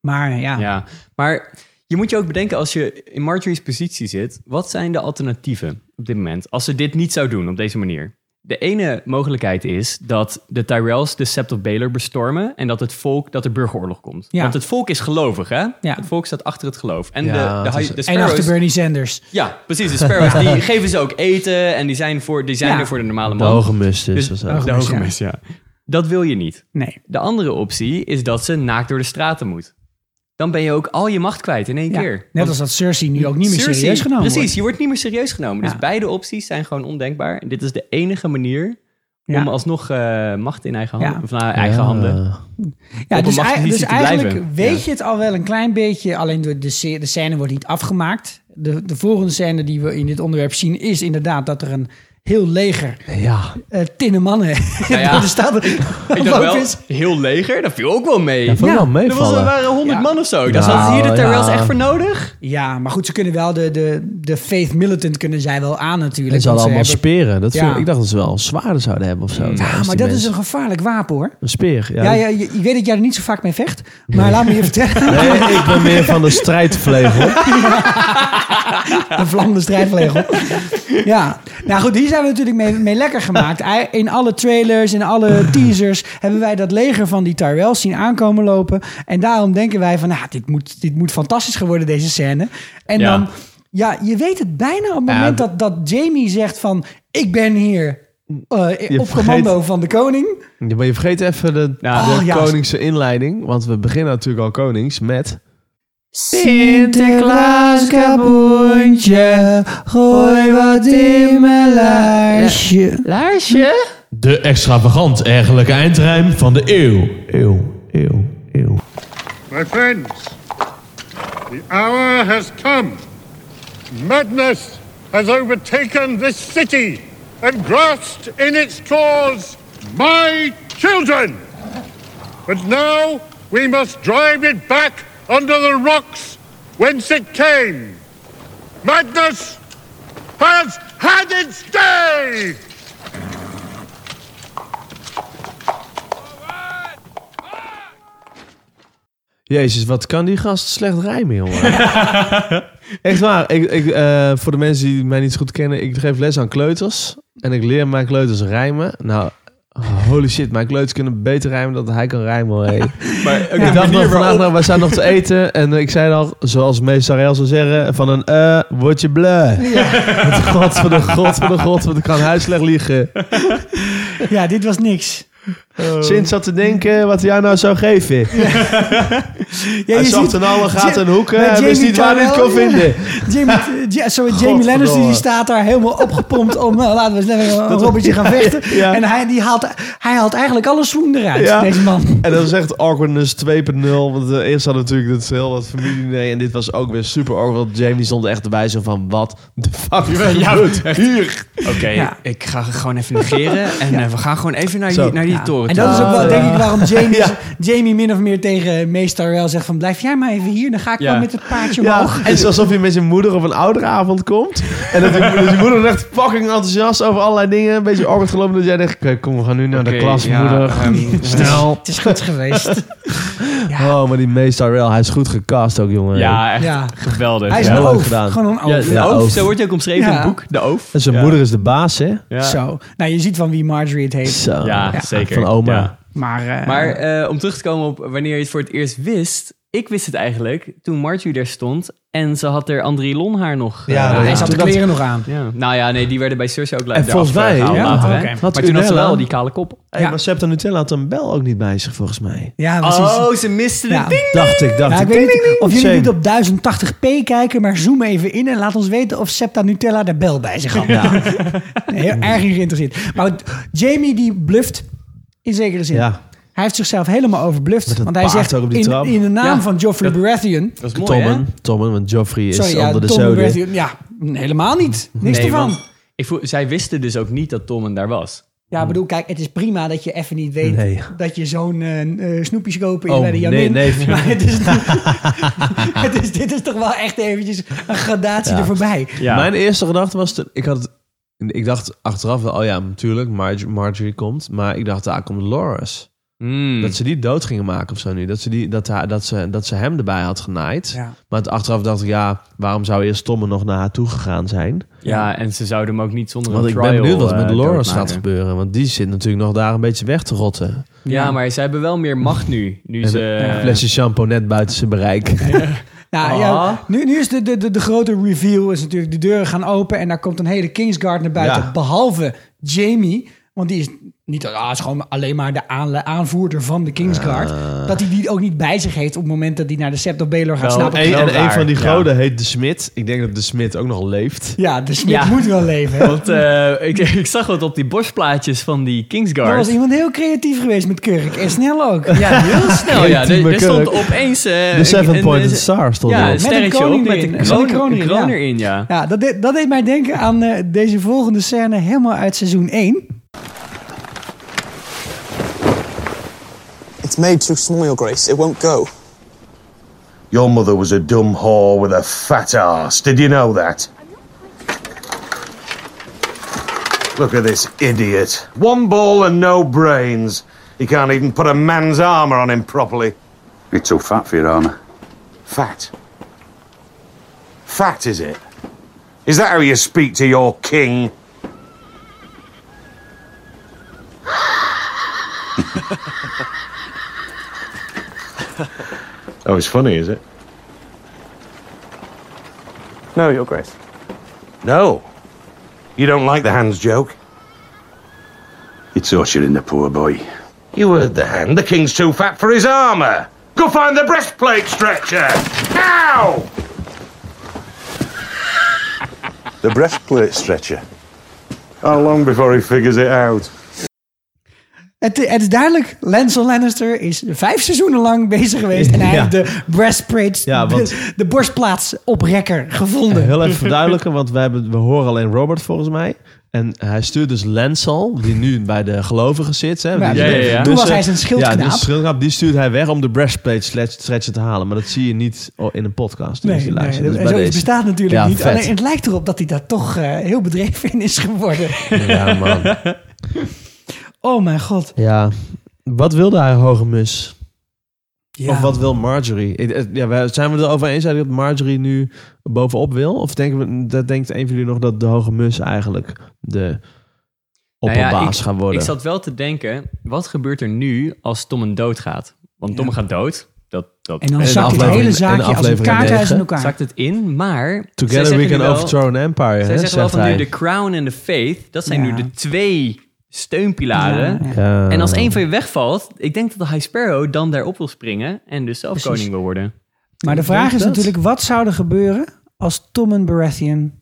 Speaker 1: Maar ja,
Speaker 5: Ja, maar je moet je ook bedenken als je in Marjorie's positie zit, wat zijn de alternatieven op dit moment als ze dit niet zou doen op deze manier? De ene mogelijkheid is dat de Tyrells de Sept of Baelor bestormen en dat het volk, dat er burgeroorlog komt.
Speaker 1: Ja.
Speaker 5: Want het volk is gelovig, hè? Het volk staat achter het geloof. En
Speaker 4: Ja,
Speaker 5: de,
Speaker 4: het
Speaker 5: de,
Speaker 4: is-
Speaker 5: hi- de
Speaker 1: en achter
Speaker 5: Sparrows,
Speaker 1: Bernie Sanders.
Speaker 5: ja, precies, de Sparrows, die geven ze ook eten en die zijn, voor, die zijn
Speaker 1: Ja.
Speaker 5: er voor de normale
Speaker 4: De
Speaker 5: man.
Speaker 4: hoge must is.
Speaker 5: Dus-
Speaker 4: dat is
Speaker 5: de
Speaker 4: ook-
Speaker 1: hoge
Speaker 5: hoge
Speaker 1: mis, ja.
Speaker 5: mis, ja. Dat wil je niet.
Speaker 1: Nee.
Speaker 5: De andere optie is dat ze naakt door de straten moet. Dan ben je ook al je macht kwijt in één
Speaker 1: Ja.
Speaker 5: keer.
Speaker 1: Net als dat Cersei nu ook niet meer
Speaker 5: Cersei-
Speaker 1: serieus genomen
Speaker 5: Precies,
Speaker 1: wordt.
Speaker 5: je wordt niet meer serieus genomen.
Speaker 1: Ja.
Speaker 5: Dus beide opties zijn gewoon ondenkbaar. En dit is de enige manier
Speaker 1: Ja.
Speaker 5: om alsnog eh, macht in eigen handen,
Speaker 1: Ja.
Speaker 5: of naar eigen
Speaker 4: Ja.
Speaker 5: handen.
Speaker 1: Ja,
Speaker 5: op
Speaker 1: dus
Speaker 5: een
Speaker 1: ei-
Speaker 5: machtspositie
Speaker 1: dus
Speaker 5: te
Speaker 1: eigenlijk
Speaker 5: blijven.
Speaker 1: weet
Speaker 5: Ja.
Speaker 1: je het al wel een klein beetje. Alleen de, de, sce- de scène wordt niet afgemaakt. De, de volgende scène die we in dit onderwerp zien is inderdaad dat er een heel leger,
Speaker 4: Ja.
Speaker 1: eh tinnen mannen.
Speaker 5: Nou ja,
Speaker 1: Er staat er
Speaker 5: ik dacht wel, heel leger, dat viel ook wel mee.
Speaker 4: Dat vond ik
Speaker 1: Ja,
Speaker 4: wel
Speaker 5: er, was, er
Speaker 4: meevallen.
Speaker 5: waren honderd
Speaker 1: Ja.
Speaker 5: man of zo. Daar
Speaker 4: Nou,
Speaker 5: zaten hier de Tyrells
Speaker 4: ja.
Speaker 5: echt voor nodig.
Speaker 1: Ja, maar goed, ze kunnen wel de, de, de faith militant kunnen zij wel aan natuurlijk.
Speaker 4: En ze hadden allemaal
Speaker 1: want ze hebben-
Speaker 4: speren. Dat
Speaker 1: Ja.
Speaker 4: viel- ik dacht dat ze wel zwaarden zouden hebben of zo.
Speaker 1: Ja, maar dat is een gevaarlijk wapen hoor.
Speaker 4: Een speer, ja.
Speaker 1: Ja, ja, je- ik weet dat jij er niet zo vaak mee vecht, maar laat me je vertellen.
Speaker 4: Nee, ik ben meer van de strijdvlegel.
Speaker 1: Een vlammende strijdvlegel. ja. Nou goed, hier zijn we natuurlijk mee, mee lekker gemaakt. Ei- In alle trailers, in alle teasers hebben wij dat leger van die Tyrells zien aankomen lopen. En daarom denken wij van, nou, dit moet, dit moet fantastisch geworden, deze scène. En
Speaker 5: Ja.
Speaker 1: dan, ja, je weet het bijna op het
Speaker 4: Ja,
Speaker 1: moment dat, dat Jamie zegt van, ik ben hier eh, op
Speaker 4: vergeet-
Speaker 1: commando van de koning.
Speaker 4: Ja, maar je vergeet even de,
Speaker 5: Ja.
Speaker 4: de
Speaker 1: Oh, ja.
Speaker 4: koningse inleiding. Want we beginnen natuurlijk al konings met...
Speaker 1: Sinterklaas kapoentje, gooi wat in mijn laarsje.
Speaker 3: De extravagant ergelijke eindrijm van de eeuw.
Speaker 4: Eeuw, eeuw, eeuw.
Speaker 8: My friends, the hour has come. Madness has overtaken this city and grasped in its claws my children. But now we must drive it back under the rocks whence it came. Madness has had its day!
Speaker 4: Jezus, wat kan die gast slecht rijmen, jongen. Echt waar. Ik, ik, eh, voor de mensen die mij niet zo goed kennen, ik geef les aan kleuters. En ik leer mijn kleuters rijmen. Nou, holy shit, mijn kleuters kunnen beter rijmen dan hij kan rijmen. hoor, hé.
Speaker 5: Maar ook
Speaker 4: Ik
Speaker 5: de
Speaker 4: dacht nog
Speaker 5: manier
Speaker 4: vandaag,
Speaker 5: waarop...
Speaker 4: nou, we zijn nog te eten. En ik zei al, zoals meester Ariel zou zeggen, van een eh, word je bleu. God van de god van de god, want ik kan huis slecht liegen.
Speaker 1: Ja, dit was niks. Oh.
Speaker 4: Sint zat te denken wat hij jou nou zou geven.
Speaker 1: Ja,
Speaker 4: Hij
Speaker 1: je
Speaker 4: zocht
Speaker 1: ziet-
Speaker 4: in alle gaten en hoeken.
Speaker 1: Bij
Speaker 4: Hij wist
Speaker 1: Jamie
Speaker 4: niet waar hij het kon
Speaker 1: Carell, ja.
Speaker 4: vinden.
Speaker 1: Jamie, ja, sorry, Jamie
Speaker 4: Godverdomme.
Speaker 1: Lannister die staat daar helemaal opgepompt om. Nou, laten we eens lekker een robbertje gaan vechten.
Speaker 4: Ja.
Speaker 1: En hij, die haalt, hij haalt eigenlijk alle swoen eruit,
Speaker 4: Ja.
Speaker 1: deze man.
Speaker 4: En dat is echt awkwardness 2.0. Want eh, eerst had natuurlijk dat heel wat familie nee, En dit was ook weer super awkward. Want Jamie stond er echt erbij zo van, wat de fuck gebeurt hier?
Speaker 5: Oké,
Speaker 1: Ja.
Speaker 5: ik ga gewoon even negeren. En eh, we gaan gewoon even naar
Speaker 4: Zo.
Speaker 5: die, naar die
Speaker 1: Ja.
Speaker 5: toren.
Speaker 1: En dat
Speaker 5: toe.
Speaker 1: is ook wel,
Speaker 4: Ah,
Speaker 1: denk
Speaker 4: ja.
Speaker 1: ik, waarom Jamie, Jamie min of meer tegen meester wel zegt van... blijf jij maar even hier, dan ga ik
Speaker 5: Ja.
Speaker 1: wel met het paardje
Speaker 4: Ja,
Speaker 1: omhoog.
Speaker 4: het is alsof je met zijn moeder op een ouderavond komt. En dat je, dat je moeder echt fucking enthousiast over allerlei dingen. Een beetje awkward gelopen. Dat jij denkt, oké, kom, we gaan nu naar
Speaker 5: Oké,
Speaker 4: de klas,
Speaker 5: ja,
Speaker 4: moeder.
Speaker 5: ehm,
Speaker 4: Snel.
Speaker 1: Het is goed geweest.
Speaker 4: Oh, maar die meester wel, hij is goed gecast ook, jongen.
Speaker 5: Ja, echt
Speaker 1: Ja.
Speaker 5: geweldig.
Speaker 1: Hij is
Speaker 5: ja.
Speaker 1: een
Speaker 4: heel leuk
Speaker 1: oof.
Speaker 4: gedaan.
Speaker 1: Gewoon een
Speaker 5: Ja,
Speaker 1: oof.
Speaker 5: de
Speaker 4: Ja,
Speaker 5: oof,
Speaker 4: oof.
Speaker 5: zo wordt hij ook omschreven in
Speaker 1: Ja.
Speaker 5: het boek. De oof.
Speaker 4: En zijn
Speaker 5: Ja.
Speaker 4: moeder is de baas, hè?
Speaker 5: Ja,
Speaker 1: Zo. Nou, je ziet van wie Marjorie het heeft.
Speaker 4: Zo.
Speaker 5: ja, zeker.
Speaker 4: Van oma.
Speaker 5: Ja.
Speaker 1: Maar, eh,
Speaker 5: Maar eh, om terug te komen op wanneer je het voor het eerst wist. Ik wist het eigenlijk toen Marjorie daar stond. En ze had er Andrilon haar nog. eh,
Speaker 4: Ja, dat
Speaker 1: hij
Speaker 4: is-
Speaker 5: aan.
Speaker 1: zat de
Speaker 4: toen dat-
Speaker 1: kleren nog aan.
Speaker 5: ja. Nou ja, nee, die werden bij Cersei ook later.
Speaker 4: En volgens
Speaker 5: eraf, eh,
Speaker 4: mij,
Speaker 5: gehaald
Speaker 4: ja,
Speaker 5: later,
Speaker 1: oké.
Speaker 5: hè.
Speaker 4: Had
Speaker 5: Maar toen had ze
Speaker 4: Unella-
Speaker 5: wel die kale kop.
Speaker 4: Hey,
Speaker 1: Ja.
Speaker 4: maar Septa Nutella had een bel ook niet bij zich, volgens mij.
Speaker 1: Ja, precies.
Speaker 5: Oh, ze miste de
Speaker 1: Ja.
Speaker 5: ding.
Speaker 4: Dacht ik, dacht
Speaker 1: Ja, ik
Speaker 4: ik.
Speaker 1: weet
Speaker 4: Ding,
Speaker 1: niet
Speaker 4: ding,
Speaker 1: of
Speaker 4: ding.
Speaker 1: jullie
Speaker 4: Shame.
Speaker 1: niet op 1080p kijken, maar zoom even in en laat ons weten of Septa Nutella de bel bij zich had. Nou, Heel erg in geïnteresseerd. Maar Jamie die bluft in zekere zin.
Speaker 4: Ja.
Speaker 1: Hij heeft zichzelf helemaal overbluft.
Speaker 4: dat
Speaker 1: Want hij
Speaker 4: paard
Speaker 1: zegt
Speaker 4: ook op die
Speaker 1: in,
Speaker 4: trap.
Speaker 1: in de naam
Speaker 5: Ja.
Speaker 1: van Joffrey Baratheon.
Speaker 5: Dat is mooi,
Speaker 4: Tommen, Tommen, want Joffrey is
Speaker 1: Sorry, ja,
Speaker 4: onder de
Speaker 1: Tom
Speaker 4: zoden.
Speaker 1: Baratheon. Ja, helemaal niet. Niks
Speaker 5: Nee,
Speaker 1: ervan.
Speaker 5: want ik voel, zij wisten dus ook niet dat Tommen daar was.
Speaker 1: Ja, ik bedoel, kijk, het is prima dat je even niet weet
Speaker 4: Hmm. Nee.
Speaker 1: dat je zo'n eh, eh, snoepjes kopen
Speaker 4: Oh,
Speaker 1: bij de Jamin.
Speaker 4: nee, nee.
Speaker 1: Maar het is, het is, dit is toch wel echt eventjes een gradatie
Speaker 4: Ja.
Speaker 1: er voorbij.
Speaker 5: Ja.
Speaker 4: Mijn eerste gedachte was, dat- ik, had, ik dacht achteraf, wel, oh ja, natuurlijk, Marge- Marjorie komt. Maar ik dacht, daar komt Loras.
Speaker 5: Mm.
Speaker 4: Dat ze die dood gingen maken of zo nu. Dat ze, die, dat haar, dat ze, dat ze hem erbij had genaaid.
Speaker 1: Ja.
Speaker 4: Maar het- achteraf dacht ik, ja, waarom zou eerst Tommen nog naar haar toe gegaan zijn?
Speaker 5: ja, en ze zouden hem ook niet zonder
Speaker 4: Want
Speaker 5: een
Speaker 4: ik
Speaker 5: trial
Speaker 4: ben benieuwd wat er met
Speaker 5: eh,
Speaker 4: Loras
Speaker 5: doodmaken.
Speaker 4: gaat gebeuren. Want die zit natuurlijk nog daar een beetje weg te rotten.
Speaker 5: Ja, maar ze hebben wel meer macht nu. Nu ze...
Speaker 4: Een flesje shampoo net buiten zijn bereik.
Speaker 1: Nou,
Speaker 5: Ah.
Speaker 1: ja, nu, nu is de, de, de, de grote reveal is natuurlijk de deuren gaan open en daar komt een hele Kingsguard naar buiten,
Speaker 4: Ja.
Speaker 1: behalve Jamie, want die is niet ah, het is gewoon alleen maar de aanle- aanvoerder van de Kingsguard.
Speaker 4: Ah.
Speaker 1: dat hij die ook niet bij zich heeft op het moment dat hij naar de Sept of Baelor gaat
Speaker 4: Nou,
Speaker 1: slapen.
Speaker 4: een, en
Speaker 5: raar.
Speaker 4: een van die
Speaker 5: Ja.
Speaker 4: goden heet De Smit. Ik denk dat De Smit ook nog leeft.
Speaker 1: Ja, de smid
Speaker 5: Ja.
Speaker 1: moet wel leven. hè?
Speaker 5: Want eh, ik, ik zag wat op die borstplaatjes van die
Speaker 1: Er was
Speaker 5: Kingsguard.
Speaker 1: iemand heel creatief geweest met kurk. En snel ook.
Speaker 5: Ja, heel snel. ja. Er,
Speaker 4: Creatieve
Speaker 5: er stond
Speaker 4: kurk.
Speaker 5: opeens... eh,
Speaker 4: De
Speaker 5: een-
Speaker 4: Seven
Speaker 5: een-
Speaker 4: Pointed
Speaker 5: een-
Speaker 4: Star stond
Speaker 5: Ja,
Speaker 4: erop.
Speaker 5: een
Speaker 1: Met een
Speaker 5: sterretje
Speaker 1: koning
Speaker 5: ook met
Speaker 1: erin.
Speaker 5: een
Speaker 1: Met
Speaker 5: kroon,
Speaker 1: een kroon
Speaker 5: een
Speaker 1: erin,
Speaker 5: kroon
Speaker 1: ja.
Speaker 5: erin, ja.
Speaker 1: Ja, dat, deed- dat deed mij denken aan eh, deze volgende scène helemaal uit seizoen 1.
Speaker 9: It's made too small, Your Grace. It won't go.
Speaker 10: Your mother was a dumb whore with a fat ass. Did you know that? Look at this idiot. One ball and no brains. He can't even put a man's armour on him properly.
Speaker 11: You're too fat for your armour.
Speaker 10: Fat. Fat, is it? Is that how you speak to your king? oh, it's funny, is it?
Speaker 9: No, Your Grace.
Speaker 10: No. You don't like the hands joke?
Speaker 11: You're torturing the poor boy.
Speaker 10: You heard the hand. The king's too fat for his armour. Go find the breastplate stretcher. Now!
Speaker 11: The breastplate stretcher.
Speaker 10: How long before he figures it out?
Speaker 1: Het, het is duidelijk, Lancel Lannister is vijf seizoenen lang bezig geweest. En hij
Speaker 4: Ja.
Speaker 1: heeft de breastplate,
Speaker 4: Ja, want-
Speaker 1: de, de borstplaats oprekker gevonden.
Speaker 4: Heel even verduidelijken, want we, hebben, we horen alleen Robert volgens mij. En hij stuurt dus Lancel, die nu bij de gelovigen zit. Hè?
Speaker 1: Ja,
Speaker 4: Die-
Speaker 1: ja,
Speaker 5: ja, ja. Toen
Speaker 1: was
Speaker 4: eh,
Speaker 1: hij zijn schildknaap.
Speaker 4: Ja, die schildknaap, die stuurt hij weg om de breastplate slet- stretcher te halen. Maar dat zie je niet oh, in een podcast.
Speaker 1: Nee,
Speaker 4: dus die
Speaker 1: nee,
Speaker 4: luistert.
Speaker 1: dat-
Speaker 4: Dus bij
Speaker 1: zoiets
Speaker 4: deze.
Speaker 1: bestaat natuurlijk
Speaker 4: Ja,
Speaker 1: niet.
Speaker 4: vet.
Speaker 1: Alleen, het lijkt erop dat hij daar toch eh, heel bedreven in is geworden.
Speaker 4: Ja, man.
Speaker 1: Oh mijn god.
Speaker 4: Ja. Wat wilde hij, Hoge Mus?
Speaker 1: Ja.
Speaker 4: Of wat wil Marjorie? Ik- het- Ja, wij- zijn we het erover eens dat Marjorie nu bovenop wil? Of denken we, dat denkt een van jullie nog dat de Hoge Mus eigenlijk de
Speaker 5: Nou ja,
Speaker 4: opperbaas
Speaker 5: ik-
Speaker 4: gaat worden?
Speaker 5: Ik zat wel te denken, wat gebeurt er nu als Tommen doodgaat? Want Tom gaat dood. Dat, dat
Speaker 1: en dan
Speaker 4: en
Speaker 1: zakt het
Speaker 4: aflevering-
Speaker 1: hele
Speaker 4: en
Speaker 1: zaakje als een
Speaker 4: aflevering
Speaker 1: kaarthuis
Speaker 4: negen.
Speaker 1: in elkaar.
Speaker 5: zakt het in, maar... zij
Speaker 4: Together
Speaker 5: zeggen
Speaker 4: we
Speaker 5: nu
Speaker 4: can
Speaker 5: wel-
Speaker 4: overthrow an empire.
Speaker 5: Zij
Speaker 4: hè,
Speaker 5: zeggen wel
Speaker 4: zegt
Speaker 5: van nu
Speaker 4: hij.
Speaker 5: de crown en de faith, dat zijn
Speaker 1: Ja.
Speaker 5: nu de twee steunpilaren.
Speaker 1: Ja, ja.
Speaker 4: Ja. Oh.
Speaker 5: En als één van je wegvalt, ik denk dat de High Sparrow dan daarop wil springen en dus zelf
Speaker 1: Precies.
Speaker 5: koning wil worden.
Speaker 1: Maar de vraag is
Speaker 4: dat?
Speaker 1: natuurlijk, wat zou er gebeuren als Tommen Baratheon